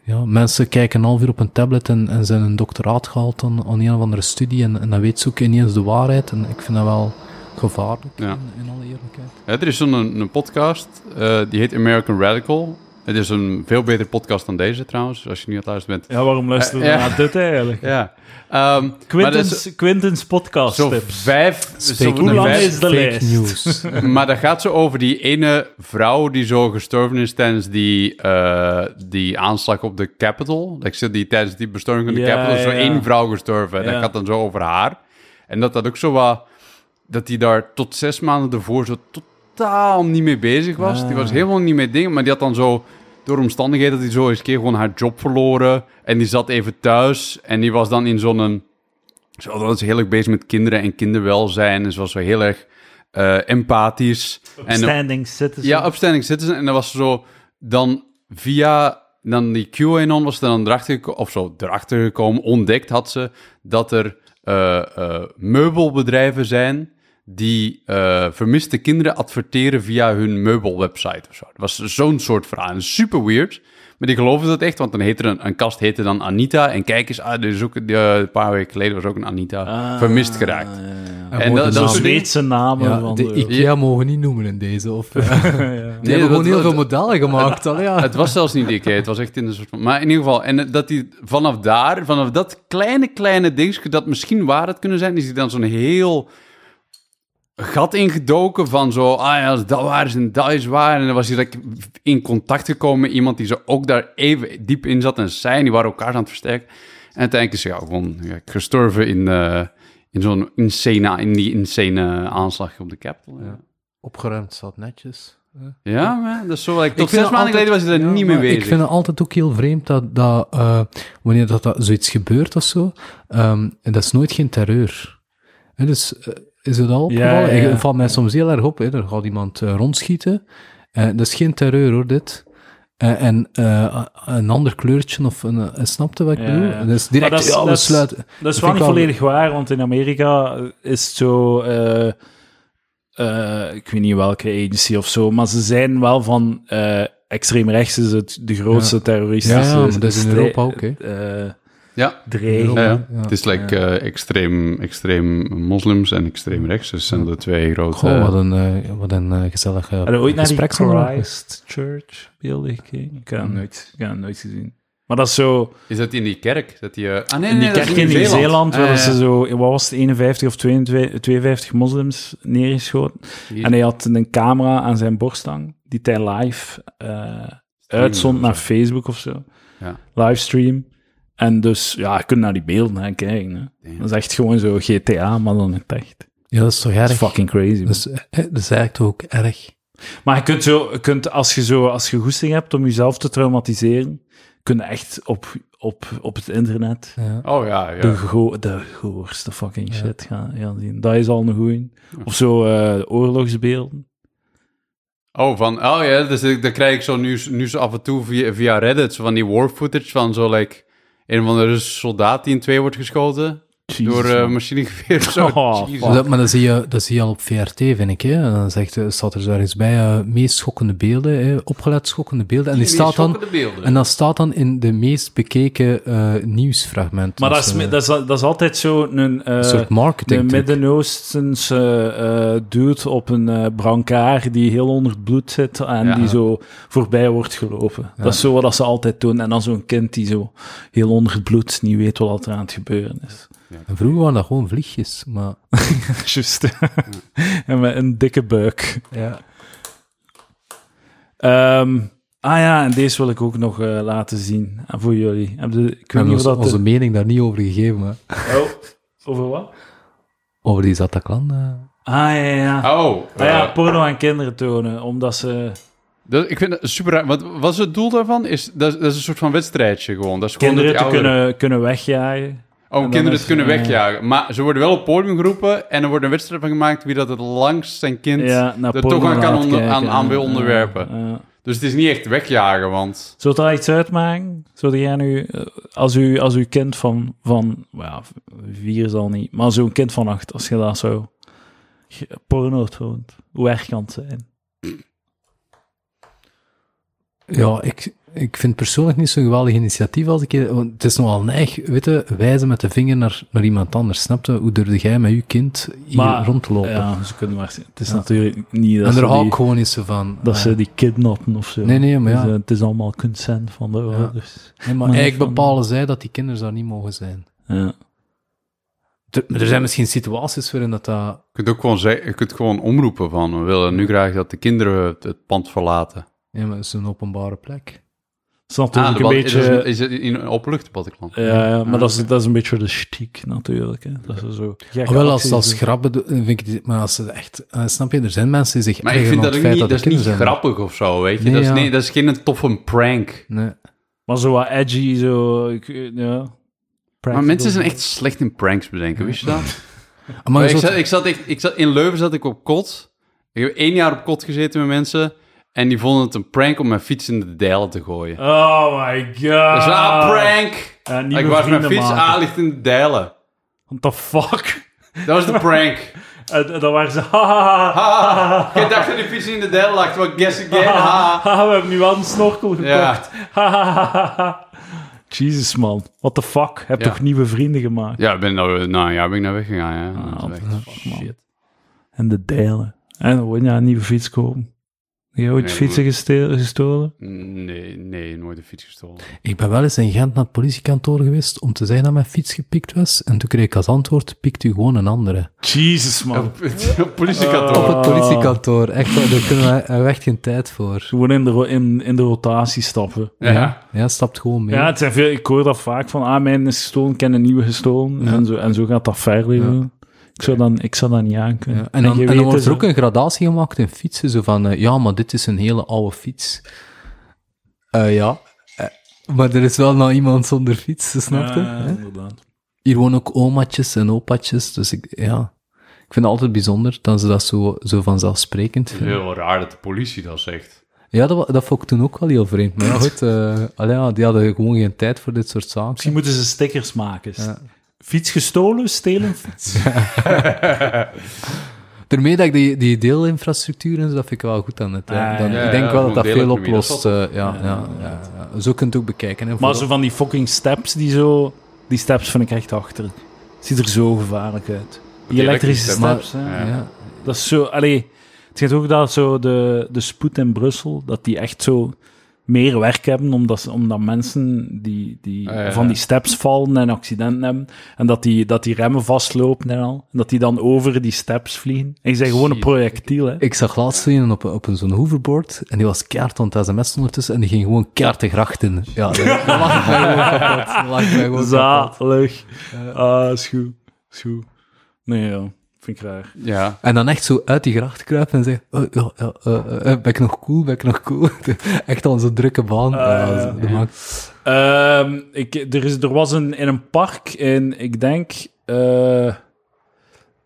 [SPEAKER 3] ja, mensen kijken een half uur op een tablet en, en zijn een doctoraat gehaald aan, aan een of andere studie en, en dan weet ze ook ineens de waarheid en ik vind dat wel gevaarlijk,
[SPEAKER 2] Ja.
[SPEAKER 3] in, in alle eerlijkheid.
[SPEAKER 2] Ja, er is zo'n een, een podcast, eh, die heet American Radical. Het is een veel betere podcast dan deze trouwens, als je nu aan het luisteren bent.
[SPEAKER 1] Ja, waarom luisteren we
[SPEAKER 2] Eh, ja.
[SPEAKER 1] naar dit eigenlijk?
[SPEAKER 2] Ja. Ehm, maar dat is
[SPEAKER 1] Quintens, Quintens podcast
[SPEAKER 2] zo
[SPEAKER 1] tips.
[SPEAKER 2] vijf... zo
[SPEAKER 3] Fake
[SPEAKER 1] Dus Hoe lang
[SPEAKER 2] vijf-
[SPEAKER 1] is de
[SPEAKER 3] Fake
[SPEAKER 1] lijst?
[SPEAKER 3] news.
[SPEAKER 2] maar dat gaat zo over die ene vrouw die zo gestorven is tijdens die, eh, die aanslag op de Capitol. Ik zeg die tijdens die bestorming van de
[SPEAKER 1] Ja,
[SPEAKER 2] Capitol is zo
[SPEAKER 1] ja.
[SPEAKER 2] één vrouw gestorven. En
[SPEAKER 1] Ja.
[SPEAKER 2] dat gaat dan zo over haar. En dat dat ook zo wat... Dat die daar tot zes maanden ervoor zo totaal niet mee bezig was. Die
[SPEAKER 1] Ah.
[SPEAKER 2] was helemaal niet mee dingen, maar die had dan zo... Door omstandigheden dat die zo eens een keer gewoon haar job verloren. En die zat even thuis. En die was dan in zo'n... Zo, dat is heel erg bezig met kinderen en kinderwelzijn. En ze was zo heel erg eh, empathisch. En,
[SPEAKER 1] Standing citizen.
[SPEAKER 2] ja, upstanding citizen. En dat was zo dan via dan die QAnon was er dan erachter geko- of zo erachter gekomen, ontdekt had ze dat er eh, eh, meubelbedrijven zijn die eh, vermiste kinderen adverteren via hun meubelwebsite of zo. Dat was zo'n soort verhaal. En Super weird. Maar die geloofden dat echt, want dan heette er een, een kast heette dan Anita. En kijk eens, ah, er is ook, eh, een paar weken geleden was ook een Anita
[SPEAKER 1] Ah.
[SPEAKER 2] vermist geraakt. En
[SPEAKER 3] Mooie
[SPEAKER 2] dat, dat
[SPEAKER 3] naam.
[SPEAKER 1] De
[SPEAKER 2] is zo'n ding-
[SPEAKER 1] Zweedse namen
[SPEAKER 3] Ja,
[SPEAKER 1] van
[SPEAKER 3] de
[SPEAKER 1] de-
[SPEAKER 3] IKEA mogen niet noemen in deze. Of, eh, die hebben
[SPEAKER 2] eh. dat-
[SPEAKER 3] gewoon heel
[SPEAKER 2] dat-
[SPEAKER 3] veel modellen gemaakt. al, ja.
[SPEAKER 2] Het was zelfs niet DK, het was echt in een soort van... Maar in ieder geval, en eh, dat die vanaf daar, vanaf dat kleine, kleine dingetje dat misschien waar had kunnen zijn, is hij dan zo'n heel gat ingedoken van zo, ah ja, als dat waar is en dat is waar. En dan was hij like, in contact gekomen met iemand die ze ook daar even diep in zat en zij, en die waren elkaar aan het versterken. En uiteindelijk is hij ja, gewoon ja, gestorven in, eh, in zo'n insane, in die insane eh, aanslag op de Capitol. Ja,
[SPEAKER 3] Opgeruimd staat netjes.
[SPEAKER 2] ja man, dat is zo, like, tot
[SPEAKER 3] vind
[SPEAKER 2] zes
[SPEAKER 3] dat
[SPEAKER 2] maanden
[SPEAKER 3] altijd-
[SPEAKER 2] geleden was hij er
[SPEAKER 3] Ja,
[SPEAKER 2] niet mee
[SPEAKER 3] maar
[SPEAKER 2] bezig.
[SPEAKER 3] Ik vind het altijd ook heel vreemd dat, dat eh, wanneer dat, dat zoiets gebeurt of zo, ehm, en dat is nooit geen terreur. Hè, dus eh, is het al opgevallen?
[SPEAKER 1] ja, ja.
[SPEAKER 3] Ik- Het valt mij soms heel erg op. Hè, er gaat iemand eh, rondschieten. Eh, dat is geen terreur hoor, dit. Eh, en eh, een ander kleurtje of een... eh, snapte wat ik
[SPEAKER 1] Ja,
[SPEAKER 3] bedoel?
[SPEAKER 1] ja.
[SPEAKER 3] Dat is direct...
[SPEAKER 1] Maar dat is-
[SPEAKER 3] ja, we
[SPEAKER 1] dat is-
[SPEAKER 3] sluiten-
[SPEAKER 1] Dat is
[SPEAKER 3] vind
[SPEAKER 1] wel
[SPEAKER 3] ik
[SPEAKER 1] niet
[SPEAKER 3] wel-
[SPEAKER 1] volledig waar, want in Amerika is het zo... eh, eh, ik weet niet welke agency of zo, maar ze zijn wel van eh extreem rechts is het de grootste terroristische...
[SPEAKER 3] Ja, ja, maar dat is in
[SPEAKER 1] strij-
[SPEAKER 3] Europa ook, hè.
[SPEAKER 1] eh,
[SPEAKER 2] Ja.
[SPEAKER 1] dreiging.
[SPEAKER 2] Ja, ja.
[SPEAKER 3] Ja,
[SPEAKER 2] het is like eh, extreem, extreem moslims en extreem rechts. Dat zijn de twee grote...
[SPEAKER 3] Goh, wat een, eh, wat een eh, gezellig eh,
[SPEAKER 1] Hadden we ooit naar die
[SPEAKER 3] gespreksonderwerp.
[SPEAKER 1] Christchurch beelden gekeken? Ik heb het nooit, ik heb het nooit gezien. Maar dat is zo...
[SPEAKER 2] Is dat in die kerk? Dat die, eh, ah, nee,
[SPEAKER 1] In die
[SPEAKER 2] nee, dat is
[SPEAKER 1] kerk in Nieuw-Zeeland
[SPEAKER 2] Ah,
[SPEAKER 1] werden
[SPEAKER 2] ja,
[SPEAKER 1] ze zo, wat was het, 51 of 22, 52 moslims neergeschoten.
[SPEAKER 2] Jezus.
[SPEAKER 1] En hij had een camera aan zijn borst hangen, die hij live eh,
[SPEAKER 2] of
[SPEAKER 1] uitzond naar Facebook of zo.
[SPEAKER 2] Ja.
[SPEAKER 1] Livestream. En dus, ja, je kunt naar die beelden hè, kijken. Hè.
[SPEAKER 2] Ja.
[SPEAKER 1] Dat is echt gewoon zo GTA, maar dan in het echt.
[SPEAKER 3] Ja, dat is toch
[SPEAKER 1] Dat is
[SPEAKER 3] erg?
[SPEAKER 1] fucking crazy. man.
[SPEAKER 3] Dat is, eh, dat is eigenlijk toch ook erg.
[SPEAKER 1] Maar je kunt, zo, je kunt als je zo, als je goesting hebt om jezelf te traumatiseren, kun je echt op, op, op het internet
[SPEAKER 3] Ja.
[SPEAKER 2] Oh ja, ja.
[SPEAKER 1] de, go de goorste fucking shit gaan, gaan zien. Dat is al een goeie. Of zo eh, oorlogsbeelden.
[SPEAKER 2] Oh, van, oh ja, dus ik- dan krijg ik zo nieuws, nieuws af en toe via, via Reddit, zo van die war footage van zo, like, een van de soldaat die in twee wordt geschoten
[SPEAKER 1] Jezus,
[SPEAKER 2] door eh
[SPEAKER 1] man.
[SPEAKER 2] machinegeweer of zo.
[SPEAKER 1] Oh,
[SPEAKER 2] Jezus.
[SPEAKER 1] fuck.
[SPEAKER 3] Dat, maar dat zie, je, dat zie je al op VRT, vind ik. Hè. En Dan zegt, eh, staat er zo ergens bij, eh, meest schokkende beelden, hè, opgelet schokkende beelden. En die,
[SPEAKER 2] Die
[SPEAKER 3] staat dan,
[SPEAKER 2] schokkende beelden.
[SPEAKER 3] en dat staat dan in de meest bekeken eh nieuwsfragment.
[SPEAKER 1] maar dat
[SPEAKER 3] Dus,
[SPEAKER 1] is,
[SPEAKER 3] eh,
[SPEAKER 1] me- dat, is, dat is altijd zo'n een, eh,
[SPEAKER 3] een soort
[SPEAKER 1] een
[SPEAKER 3] marketing.
[SPEAKER 1] Midden-Oostense eh, dude op een eh brancard die heel onder het bloed zit en
[SPEAKER 2] Ja.
[SPEAKER 1] die zo voorbij wordt gelopen. Dat is zo wat dat ze altijd doen. En dan zo'n kind die zo heel onder het bloed niet weet wat er aan het gebeuren is.
[SPEAKER 3] En vroeger waren dat gewoon vliegjes, maar...
[SPEAKER 1] Juist. en met een dikke buik.
[SPEAKER 3] Ja.
[SPEAKER 1] Ehm, ah ja, en deze wil ik ook nog eh, laten zien aan voor jullie. Heb je- ik
[SPEAKER 3] We
[SPEAKER 1] weet
[SPEAKER 3] hebben
[SPEAKER 1] niet of
[SPEAKER 3] ons,
[SPEAKER 1] dat...
[SPEAKER 3] onze mening daar niet over gegeven, maar...
[SPEAKER 1] Oh, over wat?
[SPEAKER 3] Over die Zataclan. eh.
[SPEAKER 1] Ah ja, ja, ja.
[SPEAKER 2] Oh,
[SPEAKER 1] Ah ja,
[SPEAKER 2] eh,
[SPEAKER 1] porno aan kinderen tonen, omdat ze...
[SPEAKER 2] dat, ik vind dat super raar. Wat was het doel daarvan? Is, dat, is- dat is een soort van wedstrijdje gewoon. Dat is gewoon
[SPEAKER 1] kinderen te
[SPEAKER 2] dat die ouderen-
[SPEAKER 1] kunnen, kunnen wegjagen.
[SPEAKER 2] Oh, om
[SPEAKER 1] dan
[SPEAKER 2] kinderen
[SPEAKER 1] is-
[SPEAKER 2] te kunnen
[SPEAKER 1] ja.
[SPEAKER 2] wegjagen. Maar ze worden wel op podium geroepen en er wordt een wedstrijd van gemaakt wie dat het langst zijn kind...
[SPEAKER 1] Ja, naar
[SPEAKER 2] dat
[SPEAKER 1] porno
[SPEAKER 2] toch aan kan
[SPEAKER 1] laat
[SPEAKER 2] onder-
[SPEAKER 1] kijken,
[SPEAKER 2] aan- aan wil
[SPEAKER 1] ja,
[SPEAKER 2] onderwerpen.
[SPEAKER 1] ja, ja.
[SPEAKER 2] Dus het is niet echt wegjagen, want...
[SPEAKER 1] Zou het daar iets uitmaken? Zou jij nu, eh, als, u, als uw kind van, van well, ja, vier zal niet, maar zo'n kind van acht, als je dat zo ge- porno toont, hoe erg kan het zijn?
[SPEAKER 3] Ja, ik, ik vind persoonlijk niet zo'n geweldig initiatief als ik... Want het is nogal neig, weet je, wijzen met de vinger naar, naar iemand anders. Snapte? Hoe durfde jij met je kind hier
[SPEAKER 1] Maar-
[SPEAKER 3] rond te lopen?
[SPEAKER 1] Ja, ze kunnen maar, het is
[SPEAKER 3] Ja.
[SPEAKER 1] natuurlijk niet dat
[SPEAKER 3] en
[SPEAKER 1] ze
[SPEAKER 3] daar hou
[SPEAKER 1] die-
[SPEAKER 3] ik gewoon eens zo van.
[SPEAKER 1] Dat
[SPEAKER 3] eh,
[SPEAKER 1] ze die kidnappen of zo.
[SPEAKER 3] Nee, nee, maar
[SPEAKER 1] Dus,
[SPEAKER 3] ja.
[SPEAKER 1] eh, het is allemaal consent van de ouders.
[SPEAKER 3] nee, maar
[SPEAKER 1] maar
[SPEAKER 3] eigenlijk
[SPEAKER 1] van-
[SPEAKER 3] bepalen zij dat die kinderen daar niet mogen zijn.
[SPEAKER 1] Ja.
[SPEAKER 3] Er, maar er zijn misschien situaties waarin dat... dat
[SPEAKER 2] Je kunt ook gewoon, zeggen, je kunt gewoon omroepen van, we willen nu graag dat de kinderen het, het pand verlaten.
[SPEAKER 3] ja, maar het is een openbare plek.
[SPEAKER 1] Het is natuurlijk
[SPEAKER 2] Ah, de
[SPEAKER 1] een
[SPEAKER 2] bad- is,
[SPEAKER 1] beetje... Eh,
[SPEAKER 2] het- is het in een openluchtbadklant?
[SPEAKER 1] Ja, ja, maar dat, is, dat is een beetje de stiek natuurlijk. Hè. Dat is zo. gekke
[SPEAKER 3] Ah, Wel, als
[SPEAKER 1] acties
[SPEAKER 3] dat
[SPEAKER 1] doen.
[SPEAKER 3] grappen... doen, vind ik die- maar als ze echt... eh, snap je, er zijn mensen die zich
[SPEAKER 2] Maar ik
[SPEAKER 3] ergeren
[SPEAKER 2] vind
[SPEAKER 3] aan
[SPEAKER 2] dat ook
[SPEAKER 3] het
[SPEAKER 2] niet,
[SPEAKER 3] feit
[SPEAKER 2] dat is
[SPEAKER 3] er
[SPEAKER 2] niet
[SPEAKER 3] kinderen zijn.
[SPEAKER 2] grappig of zo, weet je.
[SPEAKER 3] Nee,
[SPEAKER 2] dat, is,
[SPEAKER 3] ja.
[SPEAKER 2] nee, dat is geen toffe prank.
[SPEAKER 3] Nee.
[SPEAKER 1] Maar zo wat edgy, zo... ik- ja.
[SPEAKER 2] Maar mensen zijn echt slecht in pranks bedenken, wist je dat?
[SPEAKER 3] Maar, je
[SPEAKER 2] Maar ik,
[SPEAKER 3] zult-
[SPEAKER 2] zat, ik, zat echt, ik zat, in Leuven zat ik op kot. Ik heb één jaar op kot gezeten met mensen. En die vonden het een prank om mijn fiets in de dijlen te gooien.
[SPEAKER 1] Oh my god.
[SPEAKER 2] Dat is wel een prank!
[SPEAKER 1] Ja, nieuwe
[SPEAKER 2] ik was mijn
[SPEAKER 1] vrienden
[SPEAKER 2] fiets
[SPEAKER 1] maken.
[SPEAKER 2] aan ligt in de dijlen.
[SPEAKER 1] What the fuck?
[SPEAKER 2] Dat was de prank.
[SPEAKER 1] En, en dan waren ze... Haha,
[SPEAKER 2] Ah, ik dacht dat die fiets in de deel lag, maar guess again.
[SPEAKER 1] haha,
[SPEAKER 2] ha.
[SPEAKER 1] Ah, we hebben nu wel een snorkel gekocht.
[SPEAKER 2] Ja.
[SPEAKER 1] Hahaha. Jezus, man. What the fuck? Heb
[SPEAKER 2] Ja.
[SPEAKER 1] toch nieuwe vrienden gemaakt?
[SPEAKER 2] Ja, ik ben nou, nou ja, ben ik naar weggegaan. Ja.
[SPEAKER 1] Ah,
[SPEAKER 2] Dat is
[SPEAKER 1] what
[SPEAKER 2] echt-
[SPEAKER 1] the fuck, man. En de delen. En dan word je een nieuwe fiets kopen. Heb je ooit
[SPEAKER 2] Nee,
[SPEAKER 1] fietsen geste- gestolen?
[SPEAKER 2] Nee, nee, nooit een fiets gestolen.
[SPEAKER 3] Ik ben wel eens in Gent naar het politiekantoor geweest om te zeggen dat mijn fiets gepikt was. En toen kreeg ik als antwoord, pikt u gewoon een andere.
[SPEAKER 1] Jezus, man.
[SPEAKER 2] Politiekantoor.
[SPEAKER 1] Ah.
[SPEAKER 3] Op het politiekantoor. Echt, waar, daar kunnen we daar hebben we echt geen tijd voor.
[SPEAKER 1] Gewoon in de, ro- in, in de rotatie stappen.
[SPEAKER 2] Ja.
[SPEAKER 3] Ja, stapt gewoon mee.
[SPEAKER 1] Ja, het zijn veel, ik hoor dat vaak van, ah, mijn is gestolen, ik ken een nieuwe gestolen. En, zo, en zo gaat dat verder. joh. Ik, zou dan, ik zou dat niet aan kunnen.
[SPEAKER 3] Ja, en dan,
[SPEAKER 1] je weet
[SPEAKER 3] en dan
[SPEAKER 1] dus
[SPEAKER 3] wordt er
[SPEAKER 1] het,
[SPEAKER 3] ook een gradatie gemaakt in fietsen. Zo van, eh, ja, maar dit is een hele oude fiets. Eh, ja. Eh, maar er is wel nou iemand zonder fiets, dus snap je?
[SPEAKER 1] Ja,
[SPEAKER 3] Hè?
[SPEAKER 1] inderdaad.
[SPEAKER 3] Hier wonen ook omaatjes en opatjes. Dus ik, ja. Ik vind het altijd bijzonder dat ze dat zo, zo vanzelfsprekend vinden.
[SPEAKER 2] Heel raar dat de politie dat zegt.
[SPEAKER 3] Ja, dat, wa- dat vond ik toen ook wel heel vreemd. Maar ja, goed, eh, allee, ja, die hadden gewoon geen tijd voor dit soort zaken.
[SPEAKER 1] Misschien moeten ze stickers maken. Fiets gestolen, stelen fiets.
[SPEAKER 3] Er Daarmee dat ik die, die deelinfrastructuur en zo, dat vind ik wel goed aan het. hè.
[SPEAKER 1] Ah,
[SPEAKER 3] Dan,
[SPEAKER 1] ja,
[SPEAKER 3] ik denk
[SPEAKER 2] ja,
[SPEAKER 3] wel
[SPEAKER 2] gewoon
[SPEAKER 3] dat dat veel
[SPEAKER 2] deeleconomie, dat is
[SPEAKER 3] oplost.
[SPEAKER 2] wel
[SPEAKER 3] eh, ja, ja, ja, ja. Zo kunt je het ook bekijken. Hè,
[SPEAKER 1] Maar
[SPEAKER 3] vooral-
[SPEAKER 1] zo van die fucking steps die zo... Die steps vind ik echt achter. Ziet er zo gevaarlijk uit. Die
[SPEAKER 2] Die
[SPEAKER 1] elektrische
[SPEAKER 2] elektrische
[SPEAKER 1] steps,
[SPEAKER 3] steps,
[SPEAKER 1] hè.
[SPEAKER 2] ja.
[SPEAKER 3] ja.
[SPEAKER 1] Dat is zo... Allee, het schijnt ook dat zo de, de spoed in Brussel, dat die echt zo meer werk hebben, omdat, ze- omdat mensen die, die
[SPEAKER 2] Ah, ja, ja.
[SPEAKER 1] van die steps vallen en accidenten hebben, en dat die, dat die remmen vastlopen en al, en dat die dan over die steps vliegen. En je bent gewoon een
[SPEAKER 2] Jezus.
[SPEAKER 1] projectiel, hè.
[SPEAKER 3] Ik zag laatst een op, op een- zo'n hoverboard en die was keihard aan het sms ondertussen en die ging gewoon keihard de gracht in. Ja, dat dat lag ik mij gewoon kapot. Dat lag ik mij gewoon kapot.
[SPEAKER 1] Zalig. Ah, is goed. Is goed. Nee, ja. Vind ik raar.
[SPEAKER 2] Ja.
[SPEAKER 3] En dan echt zo uit die gracht kruipen en zeggen, oh, ja, ja, eh, eh, eh, ben ik nog cool, ben ik nog cool? Echt al zo'n drukke baan. Ja,
[SPEAKER 1] Ah, ja,
[SPEAKER 3] dat
[SPEAKER 1] ja.
[SPEAKER 3] maakt-
[SPEAKER 1] Ehm, ik, er, is, er was een, in een park in, ik denk, eh,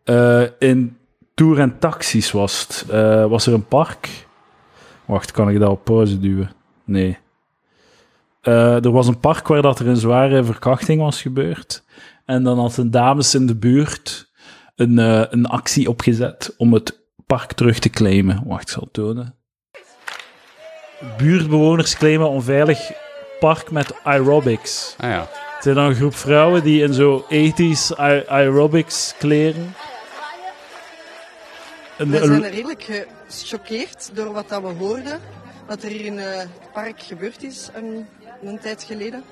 [SPEAKER 1] eh, in Tour en Taxis was het. Eh, was er een park? Wacht, kan ik dat op pauze duwen? Nee. Eh, er was een park waar dat er een zware verkrachting was gebeurd. En dan had een dames in de buurt een, eh, een actie opgezet om het park terug te claimen. Wacht, ik zal het tonen. Buurtbewoners claimen onveilig park met aerobics.
[SPEAKER 2] Ah ja.
[SPEAKER 1] Het zijn dan een groep vrouwen die in zo 80s ae- aerobics kleren. Een-
[SPEAKER 4] We
[SPEAKER 1] een-
[SPEAKER 4] zijn redelijk gechoqueerd door wat dat we hoorden. Wat er hier in eh, het park gebeurd is een, een tijd geleden.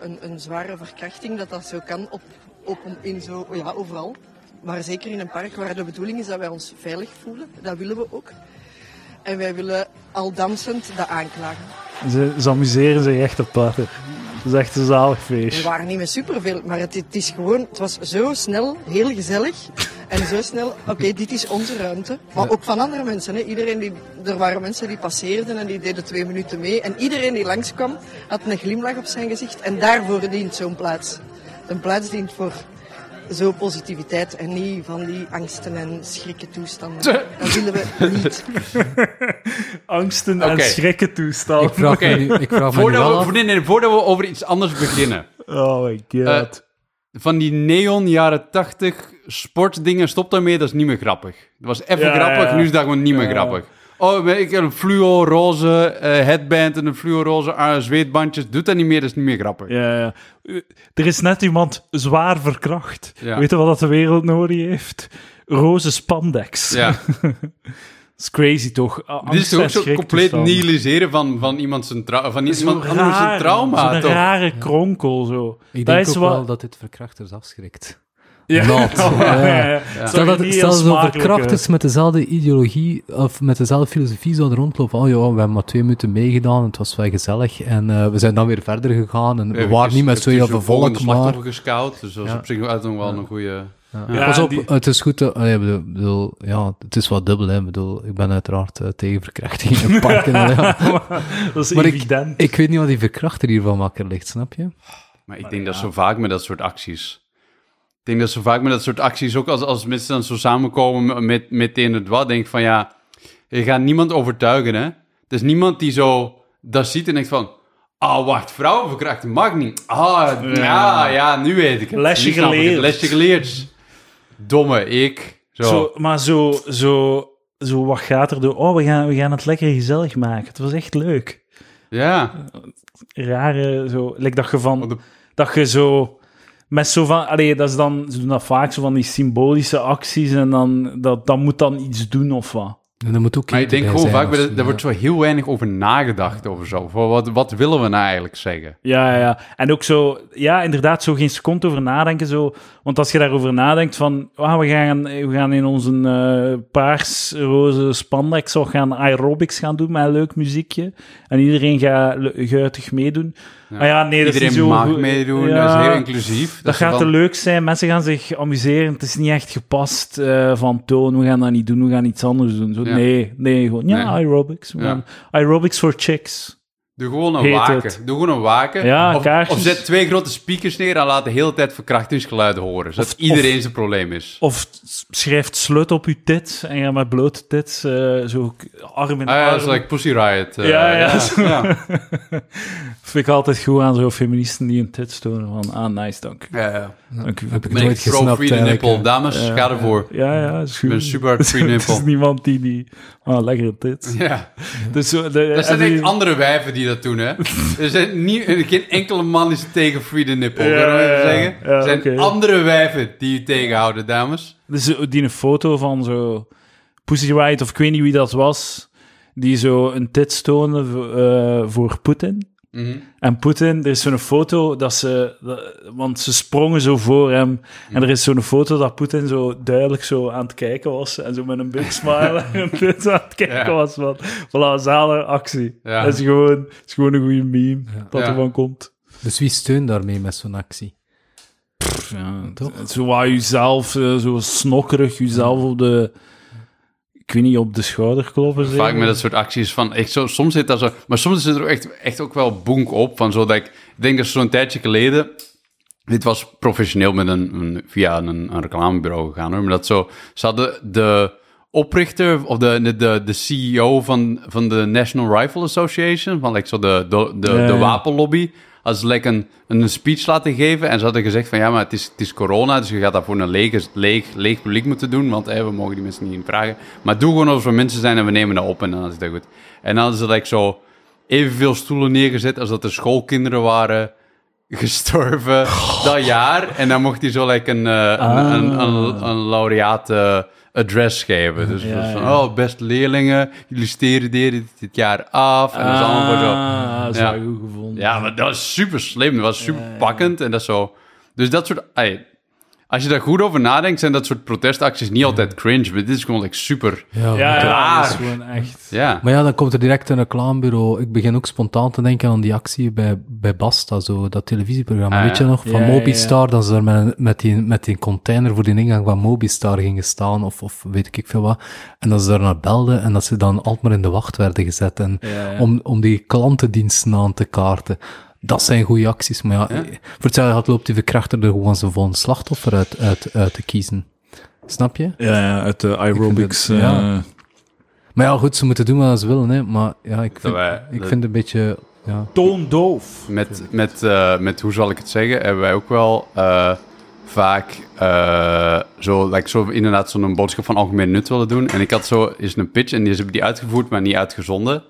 [SPEAKER 4] Een, een zware verkrachting, dat dat zo kan op, op, in zo, ja, overal. Maar zeker in een park waar de bedoeling is dat wij ons veilig voelen. Dat willen we ook. En wij willen al dansend dat aanklagen.
[SPEAKER 1] ze, ze amuseren zich echt op platter. Het is echt een zalig
[SPEAKER 4] We
[SPEAKER 1] feest.
[SPEAKER 4] waren niet met superveel, maar het, het is gewoon, het was zo snel, heel gezellig. En zo snel, oké, dit is onze ruimte. Maar ook van andere mensen. Hè. Iedereen die, er waren mensen die passeerden en die deden twee minuten mee. En iedereen die langskwam, had een glimlach op zijn gezicht. En daarvoor dient zo'n plaats. Een plaats dient voor zo positiviteit en niet van die angsten en schrikken toestanden. Dat willen we niet.
[SPEAKER 1] Angsten en
[SPEAKER 2] Oké.
[SPEAKER 1] schrikken toestaan.
[SPEAKER 3] Ik vraag
[SPEAKER 2] Oh, Oké.
[SPEAKER 3] me nu, ik vraag me nu
[SPEAKER 2] Voordat
[SPEAKER 3] wel
[SPEAKER 2] we,
[SPEAKER 3] af.
[SPEAKER 2] voor- nee, nee, voordat we over iets anders beginnen.
[SPEAKER 1] Oh my god.
[SPEAKER 2] Eh, van die neon jaren 80 sportdingen, stop daarmee, dat is niet meer grappig. Dat was even
[SPEAKER 1] Ja,
[SPEAKER 2] grappig,
[SPEAKER 1] ja.
[SPEAKER 2] nu is dat gewoon niet meer
[SPEAKER 1] Ja.
[SPEAKER 2] grappig. Oh, maar ik heb een fluo-roze eh, headband en een fluo-roze eh, zweetbandjes. Doet dat niet meer, dat is niet meer grappig.
[SPEAKER 1] ja, ja. Eh, Er is net iemand zwaar verkracht.
[SPEAKER 2] Ja.
[SPEAKER 1] Weet je wat dat de wereld nodig heeft? Roze spandex.
[SPEAKER 2] Ja.
[SPEAKER 1] Dat is crazy toch? A-
[SPEAKER 2] Dit is
[SPEAKER 1] angst
[SPEAKER 2] toch ook
[SPEAKER 1] en
[SPEAKER 2] zo compleet
[SPEAKER 1] schriktoestanden.
[SPEAKER 2] nihiliseren van, van iemand zijn, trau- van iemand
[SPEAKER 1] Zo'n
[SPEAKER 2] anders zijn
[SPEAKER 1] raar,
[SPEAKER 2] trauma,
[SPEAKER 1] Zo'n
[SPEAKER 2] toch?
[SPEAKER 1] rare kronkel zo.
[SPEAKER 3] Ik
[SPEAKER 1] dat
[SPEAKER 3] denk
[SPEAKER 1] is
[SPEAKER 3] ook
[SPEAKER 1] wat...
[SPEAKER 3] wel dat dit verkrachters afschrikt.
[SPEAKER 1] Ja.
[SPEAKER 3] Not.
[SPEAKER 1] Ja, ja, ja.
[SPEAKER 3] Stel dat
[SPEAKER 1] Sorry,
[SPEAKER 3] stel
[SPEAKER 1] niet heel
[SPEAKER 3] zo'n
[SPEAKER 1] smakelijk, eh.
[SPEAKER 3] verkrachters met dezelfde ideologie of met dezelfde filosofie zouden rondlopen. Oh ja, we hebben maar twee minuten meegedaan, het was wel gezellig. En eh, we zijn dan weer verder gegaan. En we
[SPEAKER 2] Even-
[SPEAKER 3] waren niet met
[SPEAKER 2] even
[SPEAKER 3] zo heel
[SPEAKER 2] tussen
[SPEAKER 3] veel
[SPEAKER 2] de volgende
[SPEAKER 3] volk, maar...
[SPEAKER 2] slachtoffer gescout, dus dat is
[SPEAKER 3] Ja.
[SPEAKER 2] op zich wel nog wel een goede...
[SPEAKER 1] hè. Ja,
[SPEAKER 3] Pas op,
[SPEAKER 1] die-
[SPEAKER 3] het is goed. eh, allee, ik bedoel, ik bedoel, ja, het is wat dubbel. Hè. Ik, bedoel, ik ben uiteraard eh, tegen verkrachting in parken. eh, ja.
[SPEAKER 1] eh, dat is
[SPEAKER 3] Maar ik,
[SPEAKER 1] evident.
[SPEAKER 3] ik weet niet wat die verkrachter hier van wakker ligt, snap je?
[SPEAKER 2] Maar ik denk dat zo vaak met dat soort acties. Ik denk dat zo vaak met dat soort acties, ook als, als mensen dan zo samenkomen met, met de en wat, denk ik van ja, je gaat niemand overtuigen, hè. Er is niemand die zo dat ziet en denkt van, ah, wacht, vrouwenverkrachting mag niet. Ah, ja, ja, nu weet ik het.
[SPEAKER 1] Lesje
[SPEAKER 2] Nu snap ik het.
[SPEAKER 1] geleerd.
[SPEAKER 2] Lesje geleerd. Domme, ik. Zo.
[SPEAKER 1] Zo, maar zo, zo, zo, wat gaat er door? Oh, we gaan, we gaan het lekker gezellig maken. Het was echt leuk.
[SPEAKER 2] Ja.
[SPEAKER 1] Rare, zo, like dat je van,
[SPEAKER 2] Oh, de-
[SPEAKER 1] dat je zo, met zo van, allee, dat is dan, ze doen dat vaak zo van die symbolische acties en dan, dat, dat moet dan iets doen of wat.
[SPEAKER 3] En dat moet ook
[SPEAKER 2] Maar ik denk gewoon vaak, bij dat- daar
[SPEAKER 3] dat
[SPEAKER 2] wordt zo heel weinig over nagedacht over zo. Van Wat, wat willen we nou eigenlijk zeggen?
[SPEAKER 1] Ja, ja, ja. En ook zo, ja, inderdaad, zo geen seconde over nadenken. Zo. Want als je daarover nadenkt van, ah, we, gaan, we gaan in onze eh, paars-roze spandex ook gaan aerobics gaan doen met een leuk muziekje. En iedereen gaat le- guitig meedoen. Maar ja, nee, dat is
[SPEAKER 2] Iedereen
[SPEAKER 1] niet zo
[SPEAKER 2] mag
[SPEAKER 1] goed.
[SPEAKER 2] meedoen,
[SPEAKER 1] Ja,
[SPEAKER 2] dat is heel inclusief.
[SPEAKER 1] Dat
[SPEAKER 2] ze
[SPEAKER 1] gaat
[SPEAKER 2] van-
[SPEAKER 1] te leuk zijn, mensen gaan zich amuseren. Het is niet echt gepast eh, van toon, we gaan dat niet doen, we gaan iets anders doen. Zo,
[SPEAKER 2] Ja.
[SPEAKER 1] Nee, nee, gewoon, ja,
[SPEAKER 2] Nee.
[SPEAKER 1] aerobics. we
[SPEAKER 2] Ja.
[SPEAKER 1] gaan- aerobics for chicks.
[SPEAKER 2] Doe gewoon een
[SPEAKER 1] Heet
[SPEAKER 2] waken.
[SPEAKER 1] het.
[SPEAKER 2] Doe gewoon een waken.
[SPEAKER 1] Ja,
[SPEAKER 2] of,
[SPEAKER 1] kaarsjes.
[SPEAKER 2] of zet twee grote speakers neer en laat de hele tijd verkrachtingsgeluiden horen. Zodat
[SPEAKER 1] Of-
[SPEAKER 2] iedereen zijn probleem is.
[SPEAKER 1] Of s- schrijft slut op je tits en ja, met blote tits, eh, zo k- arm in
[SPEAKER 2] Ah, ja,
[SPEAKER 1] arm.
[SPEAKER 2] dat is like Pussy Riot. eh,
[SPEAKER 1] Ja, ja, zo.
[SPEAKER 2] ja.
[SPEAKER 1] Vind ik altijd goed aan zo'n feministen die een tits tonen. Van, ah, nice, dank u.
[SPEAKER 2] Ja, ja.
[SPEAKER 1] Dank u.
[SPEAKER 3] Heb ik
[SPEAKER 2] Ben
[SPEAKER 3] nooit
[SPEAKER 2] ik pro
[SPEAKER 3] gesnapt
[SPEAKER 2] free the
[SPEAKER 3] eigenlijk,
[SPEAKER 2] nipple.
[SPEAKER 3] hè.
[SPEAKER 2] Dames, ga ervoor.
[SPEAKER 1] Ja, ja, is goed.
[SPEAKER 2] ben super free
[SPEAKER 1] Het is
[SPEAKER 2] nipple.
[SPEAKER 1] niemand die die... Ah, lekkere tits.
[SPEAKER 2] Ja.
[SPEAKER 1] Dus zo, de,
[SPEAKER 2] Dat zijn
[SPEAKER 1] en die-
[SPEAKER 2] echt andere wijven die dat doen, hè? er zijn niet, geen enkele man is tegen free the nipple.
[SPEAKER 1] Ja,
[SPEAKER 2] Kan ik wel even
[SPEAKER 1] ja, ja.
[SPEAKER 2] zeggen?
[SPEAKER 1] Ja,
[SPEAKER 2] er zijn
[SPEAKER 1] oké.
[SPEAKER 2] andere wijven die u tegenhouden, dames.
[SPEAKER 1] Dus die een foto van zo Pussy Riot, of ik weet niet wie dat was, die zo een tits toonde eh, voor Poetin.
[SPEAKER 2] Mhm.
[SPEAKER 1] En Poetin, er is zo'n foto dat ze, dat- want ze sprongen zo voor hem. En er is zo'n foto dat Poetin zo duidelijk zo aan het kijken was. En zo met een big smile en dit zo aan het kijken
[SPEAKER 2] Ja.
[SPEAKER 1] was. Van, voilà, zalige actie.
[SPEAKER 2] Ja.
[SPEAKER 1] Dat is gewoon, dat is gewoon een goede meme dat
[SPEAKER 2] Ja.
[SPEAKER 1] ervan komt.
[SPEAKER 3] Dus wie steunt daarmee met zo'n actie?
[SPEAKER 1] Ja,
[SPEAKER 3] Toch?
[SPEAKER 1] het- Zo waar jezelf, eh, zo snokkerig, jezelf op de... Ik weet niet, op de schouder kloppen.
[SPEAKER 2] Vaak
[SPEAKER 1] zeker?
[SPEAKER 2] met dat soort acties van, ik zo, soms zit dat zo, maar soms zit er ook echt, echt ook wel boenk op van zo dat ik, ik denk dat zo'n tijdje geleden, dit was professioneel met een, een- via een, een reclamebureau gegaan hoor, maar dat zo, ze hadden de oprichter of de, de, de, de CEO van, van de National Rifle Association, van like, zo de, de, de,
[SPEAKER 1] Ja,
[SPEAKER 2] de
[SPEAKER 1] ja.
[SPEAKER 2] wapenlobby, als lekker een, een speech laten geven en ze hadden gezegd van ja, maar het is, het is corona, dus je gaat dat voor een leeg, leeg, leeg publiek moeten doen, want eh, we mogen die mensen niet in vragen. Maar doe gewoon alsof we mensen zijn en we nemen dat op en dan is dat goed. En dan hadden ze like, zo evenveel stoelen neergezet als dat er schoolkinderen waren gestorven dat jaar. En dan mocht hij zo like, een, eh,
[SPEAKER 1] Ah.
[SPEAKER 2] een, een, een, een laureaat eh, address geven. Dus
[SPEAKER 1] Ja,
[SPEAKER 2] het was van,
[SPEAKER 1] ja.
[SPEAKER 2] oh, beste leerlingen, jullie studeren dit jaar af. En dat is allemaal voor zo...
[SPEAKER 1] Ah, dat is
[SPEAKER 2] Ja.
[SPEAKER 1] wel goed gevonden.
[SPEAKER 2] Ja, maar dat is super slim. Dat was super pakkend. En dat is zo. Dus dat soort. ey, als je daar goed over nadenkt, zijn dat soort protestacties niet altijd cringe. Maar dit is gewoon like, super.
[SPEAKER 3] Ja,
[SPEAKER 1] ja, ja, dat is
[SPEAKER 2] Klaar.
[SPEAKER 1] gewoon echt...
[SPEAKER 2] Ja.
[SPEAKER 3] Maar ja, dan komt er direct een reclamebureau. Ik begin ook spontaan te denken aan die actie bij, bij Basta, zo, dat televisieprogramma.
[SPEAKER 2] Ah,
[SPEAKER 3] Weet je nog? Van
[SPEAKER 1] Ja, ja, ja.
[SPEAKER 3] Mobistar, dat ze daar met, met, die, met die container voor die ingang van Mobistar gingen staan, of, of weet ik veel wat. En dat ze daar naar belden en dat ze dan altijd maar in de wacht werden gezet. En
[SPEAKER 1] Ja, ja.
[SPEAKER 3] Om, om die klantendiensten aan te kaarten. Dat zijn goede acties, maar ja, voor hetzelfde geld loopt die verkrachter er gewoon zijn volgende slachtoffer uit, uit, uit te kiezen. Snap je?
[SPEAKER 1] Ja, ja, uit de aerobics.
[SPEAKER 3] Ik vind het- ja.
[SPEAKER 1] eh,
[SPEAKER 3] Maar ja, goed, ze moeten doen wat ze willen, hè. Maar ja, ik vind,
[SPEAKER 2] wij-
[SPEAKER 3] ik
[SPEAKER 2] dat-
[SPEAKER 3] vind een beetje... Ja.
[SPEAKER 1] Toondoof.
[SPEAKER 2] Met, met, eh, met hoe zal ik het zeggen? Hebben wij ook wel eh, vaak eh, zo, like, zo inderdaad zo'n boodschap van algemeen nut willen doen. En ik had zo eens een pitch en die hebben die uitgevoerd, maar niet uitgezonden.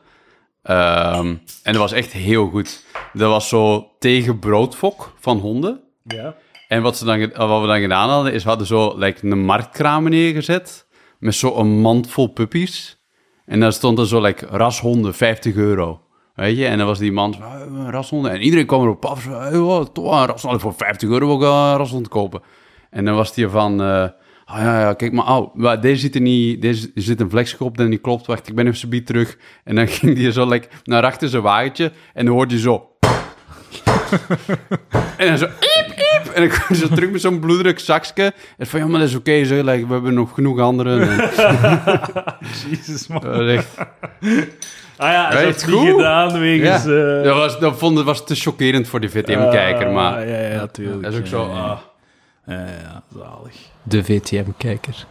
[SPEAKER 2] Ehm, en dat was echt heel goed. Dat was zo tegen broodfok van honden.
[SPEAKER 1] Ja.
[SPEAKER 2] En wat, ze dan, ge- wat we dan gedaan hadden, is we hadden zo like, een marktkraam neergezet met zo'n mand vol puppies. En daar stond er zo like, rashonden, 50 euro. Weet je, en dan was die man zo, "Ah, een rashonden. En iedereen kwam erop af, zo, "Hey, wow, toch een rashonden, voor 50 euro wil ik wel een rashond kopen. En dan was die van, eh, ah ja, ja, kijk maar, oh, maar deze zit er niet, deze er zit een vlekje op en die klopt, wacht, ik ben even zobiet terug. En dan ging die zo like, naar achter zijn wagentje en dan hoorde je zo, en dan zo, iep, iep. En dan kwam ze terug met zo'n bloederig zakje. En van, ja, maar dat is oké, zo, like, we hebben nog genoeg anderen. En,
[SPEAKER 1] Jezus, man.
[SPEAKER 2] dat was echt-
[SPEAKER 1] Ah ja,
[SPEAKER 2] Weet
[SPEAKER 1] dat is
[SPEAKER 2] het
[SPEAKER 1] niet
[SPEAKER 2] goed?
[SPEAKER 1] gedaan wegens...
[SPEAKER 2] ja.
[SPEAKER 1] eh,
[SPEAKER 2] dat, was, dat, vond, dat was te chockerend voor de VTM-kijker,
[SPEAKER 1] ah,
[SPEAKER 2] maar
[SPEAKER 1] Ja, ja, tuurlijk.
[SPEAKER 2] dat is ook
[SPEAKER 1] Ja,
[SPEAKER 2] zo,
[SPEAKER 1] ja.
[SPEAKER 2] ah,
[SPEAKER 1] Ja, ja, zalig.
[SPEAKER 3] De VTM-kijker.